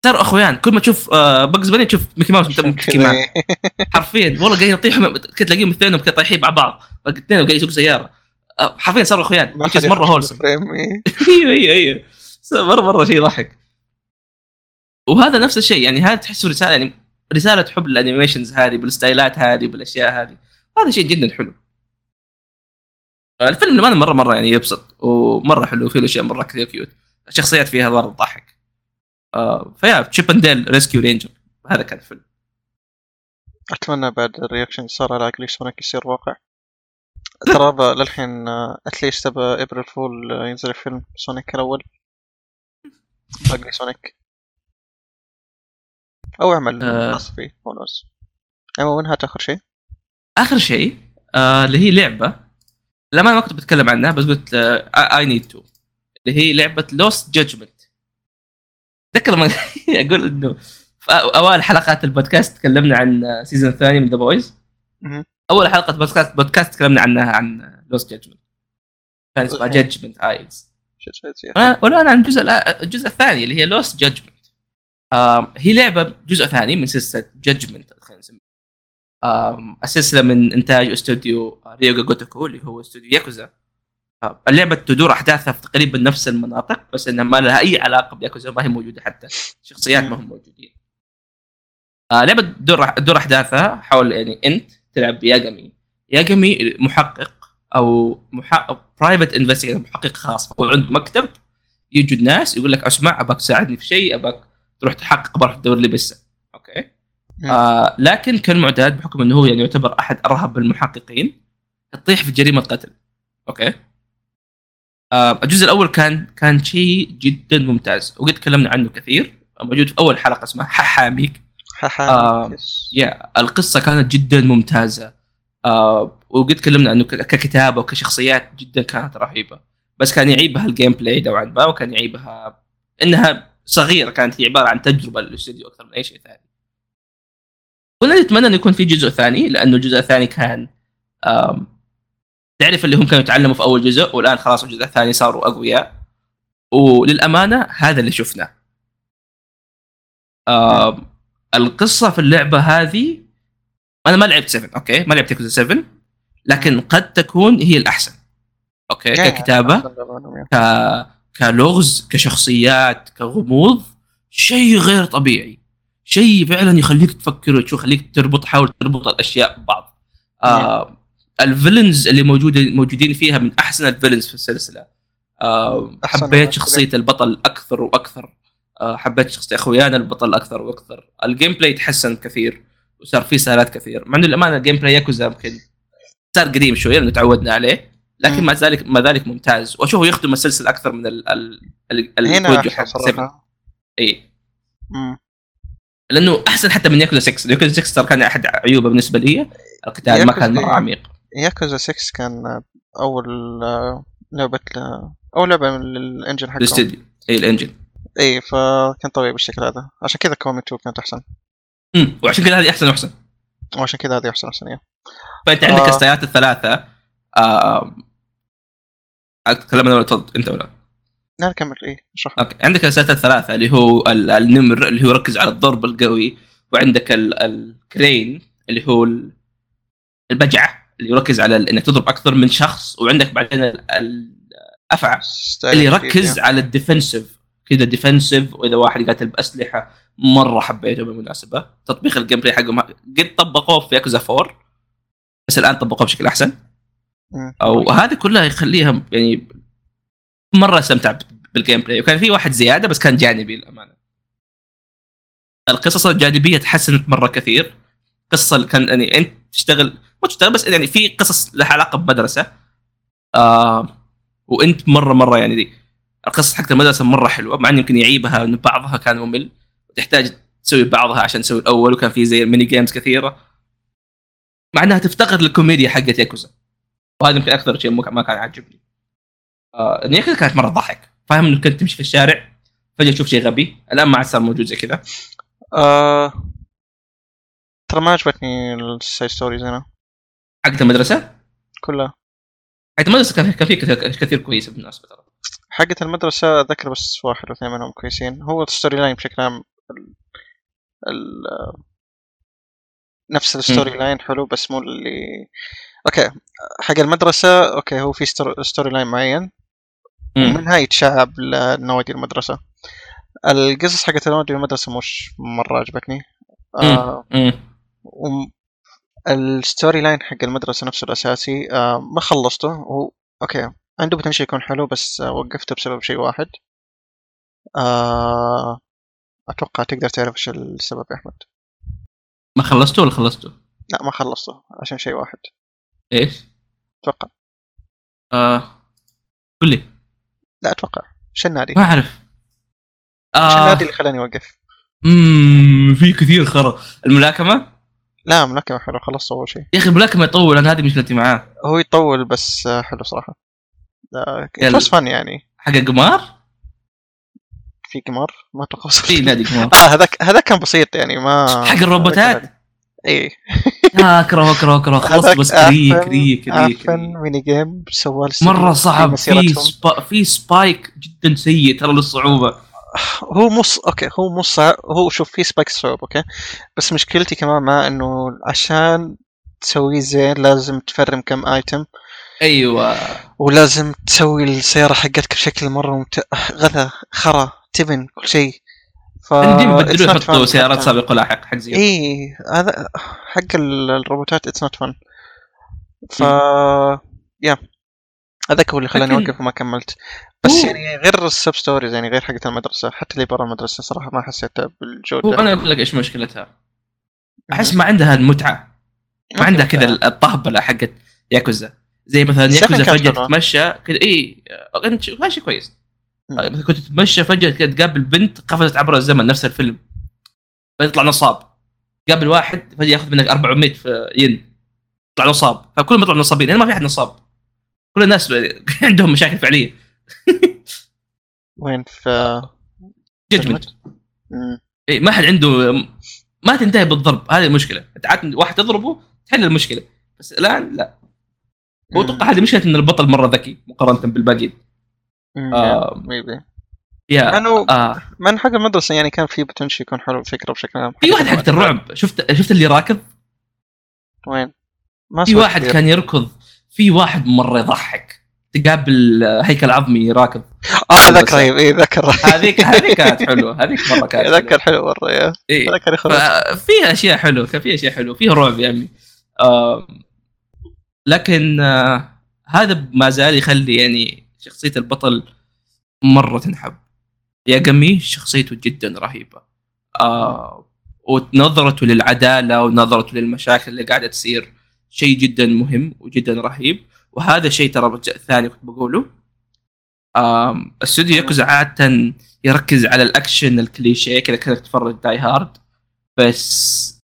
Speaker 2: صاروا اخويان كل ما تشوف باجز بني تشوف ميكي ماوس متكي
Speaker 1: إيه.
Speaker 2: معاه حرفيا والله قاعدين يطيحوا كنت تلاقيهم الاثنين كذا طايحين مع بعض الاثنين قاعدين يسوقوا سياره آه، حرفيا صاروا اخويان
Speaker 1: ما
Speaker 2: which is
Speaker 1: حد
Speaker 2: مره
Speaker 1: يخش
Speaker 2: هولسم
Speaker 1: الفريم، إيه.
Speaker 2: ايوه ايوه ايوه صار مره مره شيء يضحك وهذا نفس الشيء يعني هذا تحسه رساله يعني رساله حب الانيميشنز هذه بالستايلات هذه بالاشياء هذه هذا شيء جدا حلو آه، الفيلم للأمانة مره مره يعني يبسط ومره حلو فيه اشياء مره كثير كيوت الشخصيات فيها مره تضحك آه، فيا تشيب اند ديل ريسكيو رينجر هذا كان الفيلم
Speaker 1: اتمنى بعد الرياكشن اللي صار على جليش سونيك يصير واقع ترى هذا للحين آه، اتليست تبى ابريل فول آه، ينزل فيلم سونيك الاول باقي سونيك او اعمل
Speaker 2: آه.
Speaker 1: خاص فيه ونوز عموما هات اخر شيء
Speaker 2: اخر شيء آه اللي هي لعبه لما ما كنت بتكلم عنها بس قلت آه، اي نيد تو اللي هي لعبه لوست جادجمنت اتذكر لما اقول انه في أو- اوائل حلقات البودكاست تكلمنا عن سيزون الثاني من ذا بويز
Speaker 1: مهم.
Speaker 2: اول حلقه بودكاست بودكاست تكلمنا عنها عن لوست جادجمنت كان اسمها
Speaker 1: أوكي.
Speaker 2: جادجمنت ايلز
Speaker 1: شو شو- شو-
Speaker 2: ولا ولا عن الجزء الآ- الجزء الثاني اللي هي لوست جادجمنت هي لعبه جزء ثاني من سلسله جادجمنت خلينا نسميها آم، السلسله من انتاج استوديو ريوغا جوتوكو اللي هو استوديو ياكوزا آه، اللعبه تدور احداثها في تقريبا نفس المناطق بس انها ما لها اي علاقه بياكوزا ما هي موجوده حتى شخصيات ما هم موجودين آه، لعبه تدور تدور احداثها حول يعني انت تلعب بياجامي ياجامي محقق او محقق برايفت انفستيجيتور محقق خاص هو عنده مكتب يجوا ناس يقول لك اسمع اباك تساعدني في شيء اباك تروح تحقق بروح تدور لي بسه اوكي
Speaker 1: مم.
Speaker 2: آه لكن كالمعتاد بحكم انه هو يعني يعتبر احد ارهب المحققين تطيح في جريمه قتل اوكي آه الجزء الاول كان كان شيء جدا ممتاز وقد تكلمنا عنه كثير آه، موجود في اول حلقه اسمها ححاميك
Speaker 1: ححا
Speaker 2: آم،
Speaker 1: يس.
Speaker 2: يا القصه كانت جدا ممتازه آه وقد تكلمنا عنه ك- ككتابه وكشخصيات جدا كانت رهيبه بس كان يعيبها الجيم بلاي نوعا ما وكان يعيبها انها صغيره كانت هي عباره عن تجربه للاستوديو اكثر من اي شيء ثاني كنا نتمنى انه يكون في جزء ثاني لانه الجزء الثاني كان آم، تعرف اللي هم كانوا يتعلموا في اول جزء والان خلاص الجزء الثاني صاروا اقوياء وللامانه هذا اللي شفناه آم، القصه في اللعبه هذه انا ما لعبت 7 اوكي ما لعبت ياكوزا 7 لكن قد تكون هي الاحسن اوكي
Speaker 1: يعني
Speaker 2: ككتابه
Speaker 1: أحسن لهم يعني.
Speaker 2: ك... كلغز كشخصيات كغموض شيء غير طبيعي شيء فعلا يخليك تفكر وتشوف يخليك تربط حاول تربط الاشياء ببعض آه الفيلنز اللي موجوده موجودين فيها من احسن الفيلنز في السلسله آه
Speaker 1: أحسن
Speaker 2: حبيت
Speaker 1: الناس.
Speaker 2: شخصيه البطل اكثر واكثر آه حبيت شخصيه اخويانا البطل اكثر واكثر الجيم بلاي تحسن كثير وصار فيه سهالات كثير مع انه الامانه الجيم بلاي ياكوزا يمكن صار قديم شويه لانه تعودنا عليه لكن
Speaker 1: مم.
Speaker 2: مع ذلك ما ذلك ممتاز واشوفه يخدم السلسله اكثر من ال ال ال
Speaker 1: هنا
Speaker 2: التوجه
Speaker 1: احسن
Speaker 2: حق 7
Speaker 1: صراحه
Speaker 2: اي
Speaker 1: مم.
Speaker 2: لانه احسن حتى من ياكوزا 6 ياكوزا 6 ترى كان احد عيوبه بالنسبه لي القتال ما كان
Speaker 1: ياكوزا-
Speaker 2: مره عميق
Speaker 1: ياكوزا 6 كان آه، اول آه، لعبه آه، اول لعبه من الانجن حقهم
Speaker 2: الاستوديو اي الانجن
Speaker 1: اي إيه، فكان طبيعي بالشكل هذا عشان كذا كومي 2 كانت احسن
Speaker 2: أمم، وعشان كذا هذه احسن واحسن
Speaker 1: وعشان كذا هذه احسن احسن إيه.
Speaker 2: فانت عندك
Speaker 1: آه.
Speaker 2: الستايات الثلاثه آه اتكلم انا ولا تفضل انت ولا
Speaker 1: لا نكمل اي نعم، إيه، اشرح
Speaker 2: اوكي عندك الاساسات الثلاثه اللي هو ال- النمر اللي هو يركز على الضرب القوي وعندك ال- الكرين اللي هو ال- البجعه اللي يركز على ال- انك تضرب اكثر من شخص وعندك بعدين ال- ال- الافعى
Speaker 1: ستايل
Speaker 2: اللي
Speaker 1: جديد،
Speaker 2: يركز
Speaker 1: يعني.
Speaker 2: على الديفنسيف كذا ديفنسيف واذا واحد قاتل باسلحه مره حبيته بالمناسبه تطبيق الجيم بلاي حقهم قد طبقوه في ياكوزا 4 بس الان طبقوه بشكل احسن
Speaker 1: مم.
Speaker 2: او هذه كلها يخليها يعني مره استمتع بالجيم بلاي وكان في واحد زياده بس كان جانبي للامانه القصص الجانبيه تحسنت مره كثير قصه اللي كان يعني انت تشتغل ما تشتغل بس يعني في قصص لها علاقه بمدرسه آه وانت مره مره يعني دي القصص حقت المدرسه مره حلوه مع ان يمكن يعيبها ان بعضها كان ممل تحتاج تسوي بعضها عشان تسوي الاول وكان في زي ميني جيمز كثيره مع انها تفتقد للكوميديا حقت ياكوزا وهذا يمكن اكثر شيء ما ما كان عاجبني آه ان ياكوزا كانت مره ضحك فاهم انك كنت تمشي في الشارع فجاه تشوف شيء غبي الان ما عاد صار موجود زي كذا
Speaker 1: آه... ترى ما عجبتني السايد ستوريز انا
Speaker 2: حقت المدرسه
Speaker 1: كلها
Speaker 2: حقت المدرسه كان كان في كثير, كثير كويسه بالمناسبه ترى
Speaker 1: حقة المدرسة أذكر بس واحد أو اثنين منهم كويسين هو الستوري لاين بشكل عام ال... ال... نفس الستوري لاين حلو بس مو اللي أوكي حق المدرسة أوكي هو في ستور... ستوري لاين معين
Speaker 2: مم.
Speaker 1: منها يتشعب لنوادي المدرسة القصص حقت نوادي المدرسة مش مرة عجبتني آه
Speaker 2: مم.
Speaker 1: وم- الستوري لاين حق المدرسة نفسه الأساسي آه ما خلصته هو أوكي عنده بوتنشل يكون حلو بس آه وقفته بسبب شيء واحد آه أتوقع تقدر تعرف إيش السبب يا أحمد
Speaker 2: ما خلصته ولا خلصته؟
Speaker 1: لا ما خلصته عشان شيء واحد
Speaker 2: ايش؟
Speaker 1: أتوقع
Speaker 2: آه قول لي
Speaker 1: لا أتوقع شو النادي؟
Speaker 2: ما اعرف
Speaker 1: شو
Speaker 2: آه
Speaker 1: النادي اللي خلاني أوقف؟
Speaker 2: امم في كثير خرا الملاكمه
Speaker 1: لا ملاكمة حلو خلصت أول شيء
Speaker 2: يا اخي الملاكمه يطول انا هذه مشكلتي معاه
Speaker 1: هو يطول بس آه حلو صراحة آه
Speaker 2: يلا.
Speaker 1: بس فن يعني
Speaker 2: حق قمار؟
Speaker 1: في قمار ما أتوقع
Speaker 2: في
Speaker 1: وصلت
Speaker 2: نادي قمار
Speaker 1: اه هذاك هذاك كان بسيط يعني ما
Speaker 2: حق الروبوتات
Speaker 1: ايه
Speaker 2: يا اكره اكره اكره خلص
Speaker 1: هذاك
Speaker 2: بس كري
Speaker 1: أعفن-
Speaker 2: كري كري
Speaker 1: عفن
Speaker 2: كري
Speaker 1: ميني جيم سواه للسيتي
Speaker 2: مره
Speaker 1: في
Speaker 2: صعب في
Speaker 1: مسيرتهم.
Speaker 2: سبا في سبايك جدا سيء ترى للصعوبه
Speaker 1: هو مو ص- اوكي هو مو صعب هو شوف في سبايك صعب اوكي بس مشكلتي كمان مع انه عشان تسويه زين لازم تفرم كم ايتم أيوة.
Speaker 2: ايوه
Speaker 1: ولازم تسوي السيارة حقتك بشكل مرة ممت... غثا خرا تبن كل شيء ف
Speaker 2: عندي
Speaker 1: آه، it's
Speaker 2: بدلوا
Speaker 1: not
Speaker 2: يعني يحطوا
Speaker 1: fun
Speaker 2: سيارات
Speaker 1: حتى.
Speaker 2: سابقه لاحق حق زي
Speaker 1: اي إيه، هذا حق ال- الروبوتات اتس نوت فن ف يا هذاك هو اللي خلاني
Speaker 2: إيه. لكن-
Speaker 1: اوقف وما كملت بس
Speaker 2: أوه.
Speaker 1: يعني غير السب ستوريز يعني غير حقت المدرسه حتى اللي برا المدرسه صراحه ما حسيتها
Speaker 2: هو
Speaker 1: بالجوده
Speaker 2: انا اقول لك ايش مشكلتها احس ما عندها المتعه ما عندها كذا الطهبله حقت ياكوزا زي مثلا
Speaker 1: Seven
Speaker 2: ياكوزا
Speaker 1: كانت
Speaker 2: فجاه
Speaker 1: حلوة.
Speaker 2: تتمشى كذا اي آه، انت ماشي كويس
Speaker 1: مم.
Speaker 2: آه، مثلا كنت تتمشى فجاه كذا تقابل بنت قفزت عبر الزمن نفس الفيلم فيطلع نصاب قابل واحد فجاه ياخذ منك 400 في ين يطلع نصاب فكلهم يطلعوا نصابين هنا ما في احد نصاب كل الناس عندهم مشاكل فعليه
Speaker 1: وين في
Speaker 2: ججمنت
Speaker 1: مم.
Speaker 2: إيه ما حد عنده ما تنتهي بالضرب هذه المشكله انت عاد واحد تضربه تحل المشكله بس الان لا واتوقع هذه مشكله ان البطل مره ذكي مقارنه بالباقيين
Speaker 1: مم.
Speaker 2: آه.
Speaker 1: maybe.
Speaker 2: يا
Speaker 1: لانه
Speaker 2: آه.
Speaker 1: من حق المدرسه يعني كان في بوتنشي يكون حلو الفكره بشكل عام
Speaker 2: في واحد حق الرعب شفت شفت اللي راكض
Speaker 1: وين ما
Speaker 2: في
Speaker 1: سويت
Speaker 2: واحد
Speaker 1: كثير.
Speaker 2: كان يركض في واحد مره يضحك تقابل هيكل عظمي راكض
Speaker 1: اه
Speaker 2: المدرسة.
Speaker 1: ذاك رهيب اي ذاك رهيب
Speaker 2: هذيك هذيك كانت حلوه هذيك مره كانت حلوة.
Speaker 1: ذاك حلو مره يا
Speaker 2: إيه.
Speaker 1: ذاك يخرب
Speaker 2: فيها اشياء حلوه كان فيها اشياء حلوه فيها رعب يا عمي آم، لكن آه، هذا ما زال يخلي يعني شخصيه البطل مره تنحب يا قمي شخصيته جدا رهيبه آه، ونظرته للعداله ونظرته للمشاكل اللي قاعده تصير شيء جدا مهم وجدا رهيب وهذا شيء ترى رجع- ثاني كنت بقوله آم، استوديو ياكوزا عاده يركز على الاكشن الكليشيه كذا كانك تتفرج داي هارد بس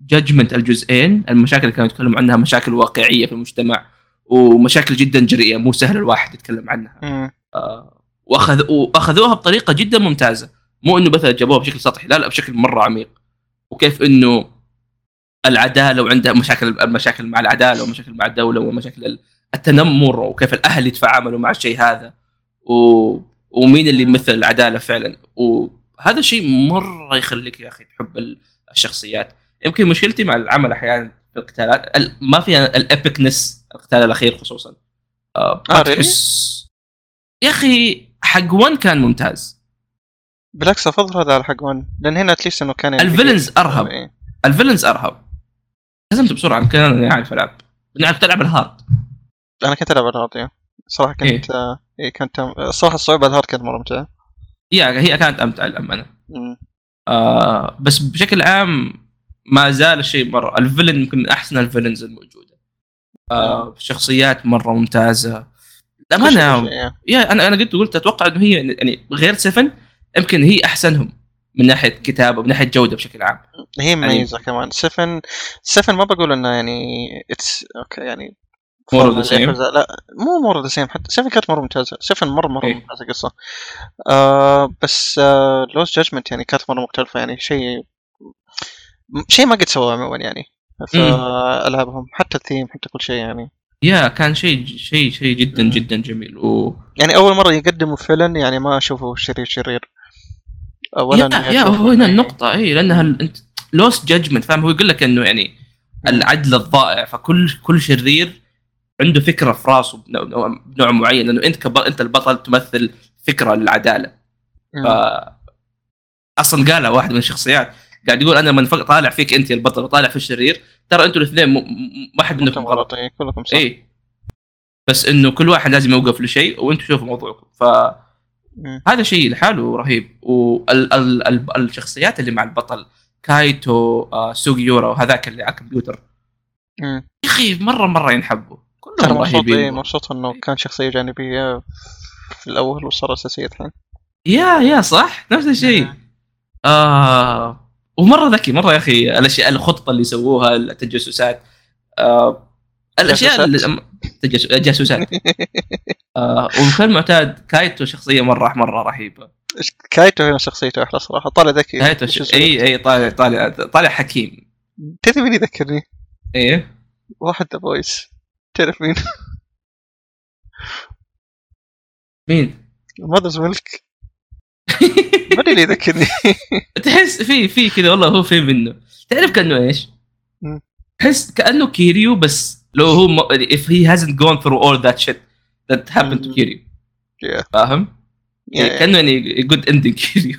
Speaker 2: جادجمنت الجزئين المشاكل اللي كانوا يتكلموا عنها مشاكل واقعيه في المجتمع ومشاكل جدا جريئه مو سهل الواحد يتكلم عنها
Speaker 1: مم.
Speaker 2: آه، واخذ واخذوها بطريقه جدا ممتازه مو انه مثلا جابوها بشكل سطحي لا لا بشكل مره عميق وكيف انه العداله وعندها مشاكل المشاكل مع العداله ومشاكل مع الدوله ومشاكل التنمر وكيف الاهل يتفاعلوا مع الشيء هذا و... ومين اللي يمثل العداله فعلا وهذا شيء مره يخليك يا اخي تحب ال- الشخصيات يمكن مشكلتي مع العمل احيانا في القتالات ال- ما فيها الابكنس القتال الاخير خصوصا آه، ما
Speaker 1: آه، really؟
Speaker 2: تحس- يا اخي حق 1 كان ممتاز
Speaker 1: بالعكس افضل هذا على حق 1 لان هنا اتليست انه كان يعني
Speaker 2: الفيلنز ارهب
Speaker 1: إيه.
Speaker 2: الفيلنز ارهب هزمت بسرعه يمكن انا عارف العب نعرف تلعب الهارد
Speaker 1: انا كنت العب على الهارد يعني. صراحه
Speaker 2: إيه.
Speaker 1: كنت آه، اي كنت الصراحه الصعوبه على الهارد كانت مره ممتعه
Speaker 2: يا هي كانت امتع للامانه
Speaker 1: مم.
Speaker 2: آه بس بشكل عام ما زال الشيء مره الفيلن يمكن من احسن الفيلنز الموجوده آه شخصيات مره ممتازه
Speaker 1: كل
Speaker 2: للامانه
Speaker 1: شيء، يعني.
Speaker 2: يا انا انا قلت قلت اتوقع انه هي يعني غير 7 يمكن هي احسنهم من ناحيه كتابه من ناحيه جوده بشكل عام
Speaker 1: هي
Speaker 2: يعني
Speaker 1: مميزه كمان 7 7 ما بقول انه يعني اتس اوكي يعني
Speaker 2: More of the
Speaker 1: فضل
Speaker 2: same.
Speaker 1: الأحرزة. لا مو مور ذا سيم حتى 7 كانت مره ممتازه 7 مره مره
Speaker 2: إيه.
Speaker 1: ممتازه قصه آه بس آه لوس جادجمنت يعني كانت مره مختلفه يعني شيء شيء ما قد سواه عموما يعني في
Speaker 2: مم.
Speaker 1: العابهم حتى الثيم حتى كل شيء يعني
Speaker 2: يا كان شيء شيء شيء جدا
Speaker 1: مم.
Speaker 2: جدا جميل و
Speaker 1: يعني اول مره يقدموا فيلن يعني ما اشوفه شرير شرير إيه. اولا
Speaker 2: يا, يا هو هنا النقطة اي لانها ال- انت لوس جادجمنت فاهم هو يقول لك انه يعني العدل الضائع فكل كل شرير عنده فكرة في راسه بنوع- نوع بنوع معين لانه انت كب... انت البطل تمثل فكرة للعدالة
Speaker 1: إيه،
Speaker 2: ف اصلا قالها واحد من الشخصيات قاعد يقول انا من فق- طالع فيك انت يا البطل وطالع في الشرير ترى انتوا الاثنين م... م... واحد منكم
Speaker 1: كلكم
Speaker 2: غلط
Speaker 1: غلط إيه، كلكم صح
Speaker 2: اي بس انه كل واحد لازم يوقف لشيء وانتم شوفوا موضوعكم ف
Speaker 1: مم.
Speaker 2: هذا شيء لحاله رهيب والشخصيات اللي مع البطل كايتو آه، سوغيورا وهذاك اللي على الكمبيوتر
Speaker 1: مم.
Speaker 2: يا اخي مره مره ينحبوا
Speaker 1: ترى
Speaker 2: كلهم
Speaker 1: إيه. مبسوط إيه،
Speaker 2: رهيبين
Speaker 1: مبسوط انه كان شخصيه جانبيه في الاول وصار اساسيه الحين
Speaker 2: يا يا صح نفس الشيء
Speaker 1: نعم.
Speaker 2: آه ومره ذكي مره يا اخي الاشياء الخطه اللي سووها التجسسات آه الاشياء
Speaker 1: تجسسات؟
Speaker 2: اللي تجس- جاسوسات آه وكان معتاد كايتو شخصيه مره مره رهيبه
Speaker 1: إيه، كايتو هنا شخصيته احلى صراحه طالع ذكي
Speaker 2: كايتو
Speaker 1: مش
Speaker 2: ش... إيه.
Speaker 1: أسود.
Speaker 2: اي اي طالع طالع طالع حكيم
Speaker 1: تدري مين يذكرني؟
Speaker 2: ايه
Speaker 1: واحد ذا فويس تعرف مين؟
Speaker 2: مين؟
Speaker 1: ماذرز ميلك ما ادري ليه يذكرني
Speaker 2: تحس في في كذا والله هو في منه تعرف كانه ايش؟
Speaker 1: مم.
Speaker 2: تحس كانه كيريو بس لو هو م... if he hasn't gone through all that shit that happened to
Speaker 1: مم.
Speaker 2: كيريو
Speaker 1: Yeah.
Speaker 2: فاهم؟
Speaker 1: Yeah,
Speaker 2: كانه يعني جود اندنج كيريو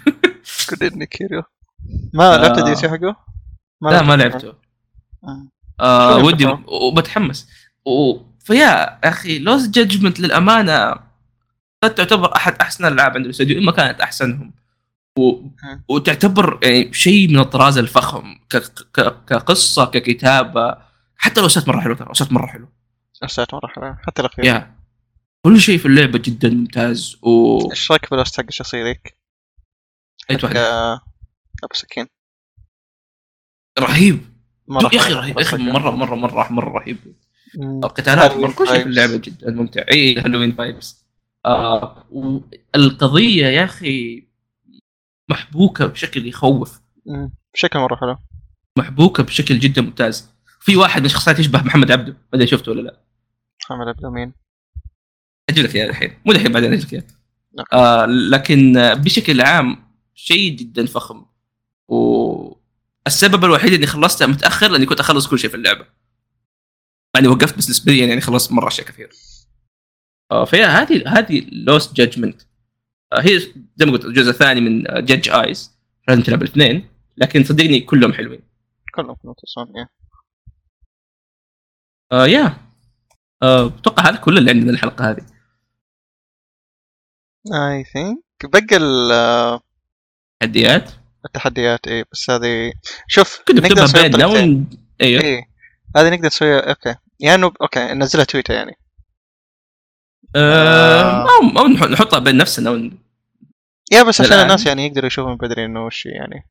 Speaker 1: كنت اني كيريو ما لعبت
Speaker 2: آه.
Speaker 1: الدي سي حقه؟
Speaker 2: لا ما لعبته
Speaker 1: مم.
Speaker 2: آه
Speaker 1: شو
Speaker 2: ودي
Speaker 1: لعبته؟
Speaker 2: وبتحمس و... فيا اخي لوس جادجمنت للامانه قد تعتبر احد احسن الالعاب عند الاستوديو اما كانت احسنهم
Speaker 1: مم.
Speaker 2: وتعتبر يعني شيء من الطراز الفخم ك... ك... كقصه ككتابه حتى الاوسات مره حلوه ترى الاوسات مره حلوه
Speaker 1: أرسلت مرة حلوة حتى الأخير
Speaker 2: يا كل شيء في اللعبه جدا ممتاز و
Speaker 1: ايش رايك بالاست حق الشخصية ذيك؟
Speaker 2: أي واحد
Speaker 1: آه، أبو سكين
Speaker 2: رهيب
Speaker 1: مرة
Speaker 2: يا اخي
Speaker 1: حلوة.
Speaker 2: رهيب يا اخي
Speaker 1: مرة
Speaker 2: مره مره مره مره رهيب
Speaker 1: مم.
Speaker 2: القتالات
Speaker 1: هالوين
Speaker 2: مرة كل شيء في
Speaker 1: vibes.
Speaker 2: اللعبه جدا ممتع اي هالوين فايبس آه القضيه يا اخي محبوكه بشكل يخوف
Speaker 1: مم. بشكل مرة حلو
Speaker 2: محبوكه بشكل جدا ممتاز في واحد من الشخصيات يشبه محمد عبده ما ادري شفته ولا لا
Speaker 1: محمد عبد الأمين
Speaker 2: اجيب لك اياه الحين مو الحين بعدين اجيب لك اياه
Speaker 1: نعم.
Speaker 2: آه، لكن آه، بشكل عام شيء جدا فخم و السبب الوحيد اني خلصتها متاخر لاني كنت اخلص كل شيء في اللعبه يعني وقفت بس نسبيا يعني خلصت مره اشياء كثير آه، فهي هذه هذه لوست جادجمنت هي زي ما قلت الجزء الثاني من جادج ايز لازم تلعب الاثنين لكن صدقني كلهم حلوين
Speaker 1: كلهم كانوا تصميم إيه.
Speaker 2: آه يا آه، اتوقع هذا كل اللي عندنا الحلقه هذه
Speaker 1: I think بقى ال- آه،
Speaker 2: تحديات
Speaker 1: التحديات إيه بس هذه شوف
Speaker 2: كنت
Speaker 1: نقدر
Speaker 2: بتبقى
Speaker 1: نسويها
Speaker 2: بيننا
Speaker 1: بطريقتين.
Speaker 2: ون... ايوه
Speaker 1: إيه هذه نقدر نسويها أوكي يعني أوكي ننزلها تويتر يعني
Speaker 2: آه، او او نح- نحطها بين نفسنا ون...
Speaker 1: يا بس عشان
Speaker 2: الآن.
Speaker 1: الناس يعني يقدروا يشوفوا من بدري انه وش يعني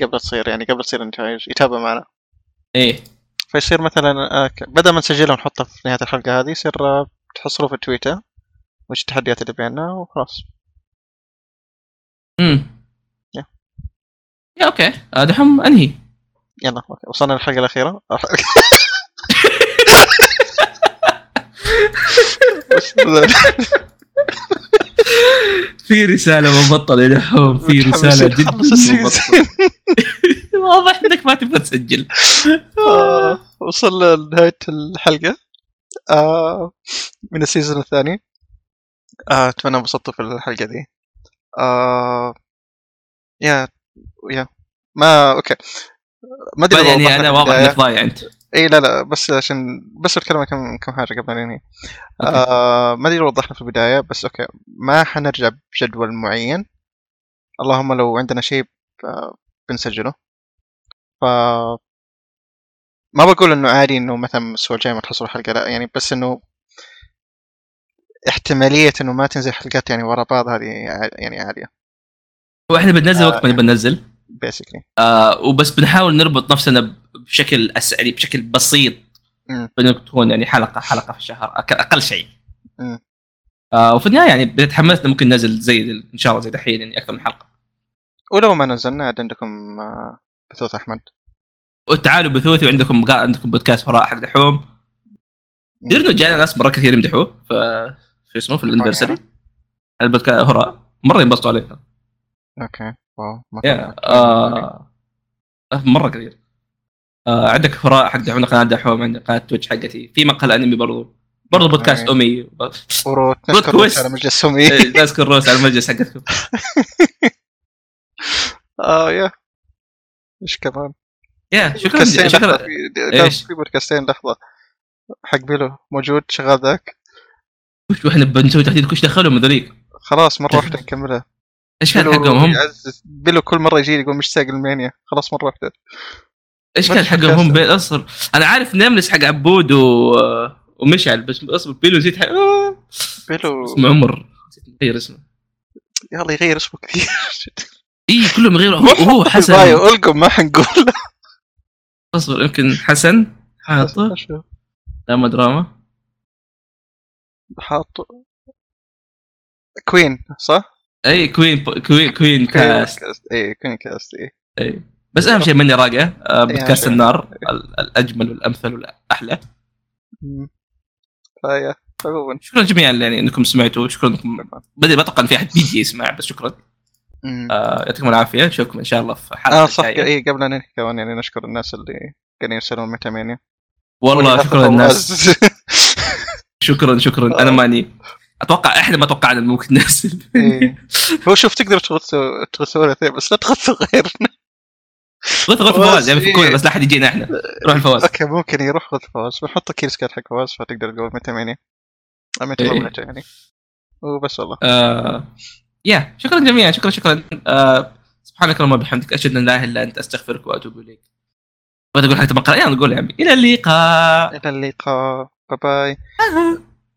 Speaker 1: قبل تصير يعني قبل تصير النتائج يتابع معنا
Speaker 2: ايه
Speaker 1: فيصير مثلا آه، ك- بدل ما نسجلها ونحطها في نهايه الحلقه هذه يصير آه، تحصلوا في تويتر وش التحديات اللي بيننا وخلاص
Speaker 2: امم
Speaker 1: يا.
Speaker 2: يا اوكي آه، دحوم انهي
Speaker 1: يلا أوكي. وصلنا للحلقه الاخيره
Speaker 2: في رساله مبطله يا دحوم في
Speaker 1: متحمسين
Speaker 2: رساله جدا
Speaker 1: نخلص السيزون.
Speaker 2: مبطله واضح انك ما تبغى تسجل
Speaker 1: آه، وصلنا لنهايه الحلقه آه، من السيزون الثاني آه، اتمنى انبسطتوا في الحلقه دي آه، يا يا ما اوكي ما ادري
Speaker 2: يعني
Speaker 1: وضحنا في
Speaker 2: انا واضح يعني
Speaker 1: البداية.
Speaker 2: انك ضايع انت
Speaker 1: اي إيه، لا لا بس عشان بس بتكلم عن كم كم حاجه قبل ان انهي
Speaker 2: أوكي.
Speaker 1: آه ما ادري لو وضحنا في البدايه بس اوكي ما حنرجع بجدول معين اللهم لو عندنا شيء آه، بنسجله ف ما بقول انه عادي انه مثلا الاسبوع الجاي ما تحصل حلقه لا يعني بس انه احتماليه انه ما تنزل حلقات يعني ورا بعض هذه ع- يعني عاليه
Speaker 2: واحنا
Speaker 1: آه.
Speaker 2: بننزل وقت ما بننزل
Speaker 1: بيسكلي
Speaker 2: آه، وبس بنحاول نربط نفسنا ب- بشكل أس... يعني بشكل بسيط
Speaker 1: مم.
Speaker 2: بأن تكون يعني حلقه حلقه في الشهر اقل, أقل شيء
Speaker 1: مم.
Speaker 2: آه وفي النهايه يعني بتحمسنا ممكن ننزل زي ال- ان شاء الله زي دحين يعني اكثر من حلقه
Speaker 1: ولو ما نزلنا عاد عندكم آه، بثوث احمد
Speaker 2: وتعالوا بثوثي وعندكم قا- عندكم بودكاست وراء حق دحوم تدري انه جانا ناس مره كثير يمدحوه ف شو اسمه في الانفرساري البودكاست هراء مره ينبسطوا عليه
Speaker 1: اوكي واو ما
Speaker 2: يا
Speaker 1: كان-
Speaker 2: آه مره كثير آه عندك هراء حق دحوم قناه دحوم عندك قناه تويتش حقتي في مقال انمي برضو برضو بودكاست إيه،
Speaker 1: أوكي.
Speaker 2: امي
Speaker 1: ورو
Speaker 2: Plot
Speaker 1: تذكر
Speaker 2: twist.
Speaker 1: على مجلس امي
Speaker 2: ماسك الروس على المجلس حقتكم
Speaker 1: اه يا ايش كمان؟
Speaker 2: يا شكرا
Speaker 1: بودكاستين لحظه
Speaker 2: شكرا
Speaker 1: في كان
Speaker 2: إيش؟
Speaker 1: في بودكاستين لحظه حق بيلو موجود شغال ذاك
Speaker 2: وش احنا بنسوي تحديد وش دخلهم ذوليك
Speaker 1: خلاص مره واحده نكملها
Speaker 2: ايش كان حقهم هم
Speaker 1: يعزز بيلو كل مره يجي يقول مشتاق المانيا خلاص مره واحده
Speaker 2: ايش
Speaker 1: ما
Speaker 2: كان
Speaker 1: تفكر
Speaker 2: حقهم هم
Speaker 1: أصلاً.
Speaker 2: بين اصبر انا عارف نملس حق عبود و... ومشعل بس اصبر بيلو نسيت حق... آه.
Speaker 1: بيلو
Speaker 2: اسمه عمر نسيت نغير اسمه
Speaker 1: يلا يغير اسمه كثير
Speaker 2: اي إيه، كلهم غير هو, هو حسن
Speaker 1: بايو القم ما حنقول
Speaker 2: اصبر يمكن حسن حاطه دراما دراما
Speaker 1: حاطه كوين صح؟
Speaker 2: اي كوين كوين كوين كاست
Speaker 1: اي كوين كاست اي
Speaker 2: اي بس اهم شيء مني راقه آه، بودكاست
Speaker 1: عشان.
Speaker 2: النار ال- الاجمل والامثل والاحلى
Speaker 1: مم. فيا عموما
Speaker 2: شكرا جميعا يعني انكم سمعتوا شكرا انكم بدري بتوقع ان في احد بيجي يسمع بس شكرا
Speaker 1: مم.
Speaker 2: آه، يعطيكم العافيه نشوفكم ان شاء الله في حلقه
Speaker 1: اه صح
Speaker 2: جاية.
Speaker 1: اي قبل ان ننهي كمان يعني نشكر الناس اللي كانوا يرسلون متى مانيا
Speaker 2: والله شكرا للناس شكرا شكرا انا
Speaker 1: آه.
Speaker 2: ماني اتوقع احنا ما توقعنا إنه ممكن ننزل
Speaker 1: إيه. هو شوف تقدر تغثوا تغثوا ولا شيء، بس لا تغثوا غيرنا
Speaker 2: غث غث
Speaker 1: فواز،
Speaker 2: فواز يعني في
Speaker 1: إيه.
Speaker 2: كوره بس لا احد يجينا احنا روح الفواز
Speaker 1: اوكي ممكن يروح غث فواز بنحط كيس كات حق فواز فتقدر تقول متى مانيا آه، متى
Speaker 2: إيه.
Speaker 1: مانيا يعني وبس والله
Speaker 2: آه، يا شكرا جميعا شكرا شكرا آه، سبحانك اللهم وبحمدك اشهد ان لا اله الا انت استغفرك واتوب اليك بغيت اقول حاجه تبقى يلا نقول يا عمي الى اللقاء
Speaker 1: الى اللقاء باي باي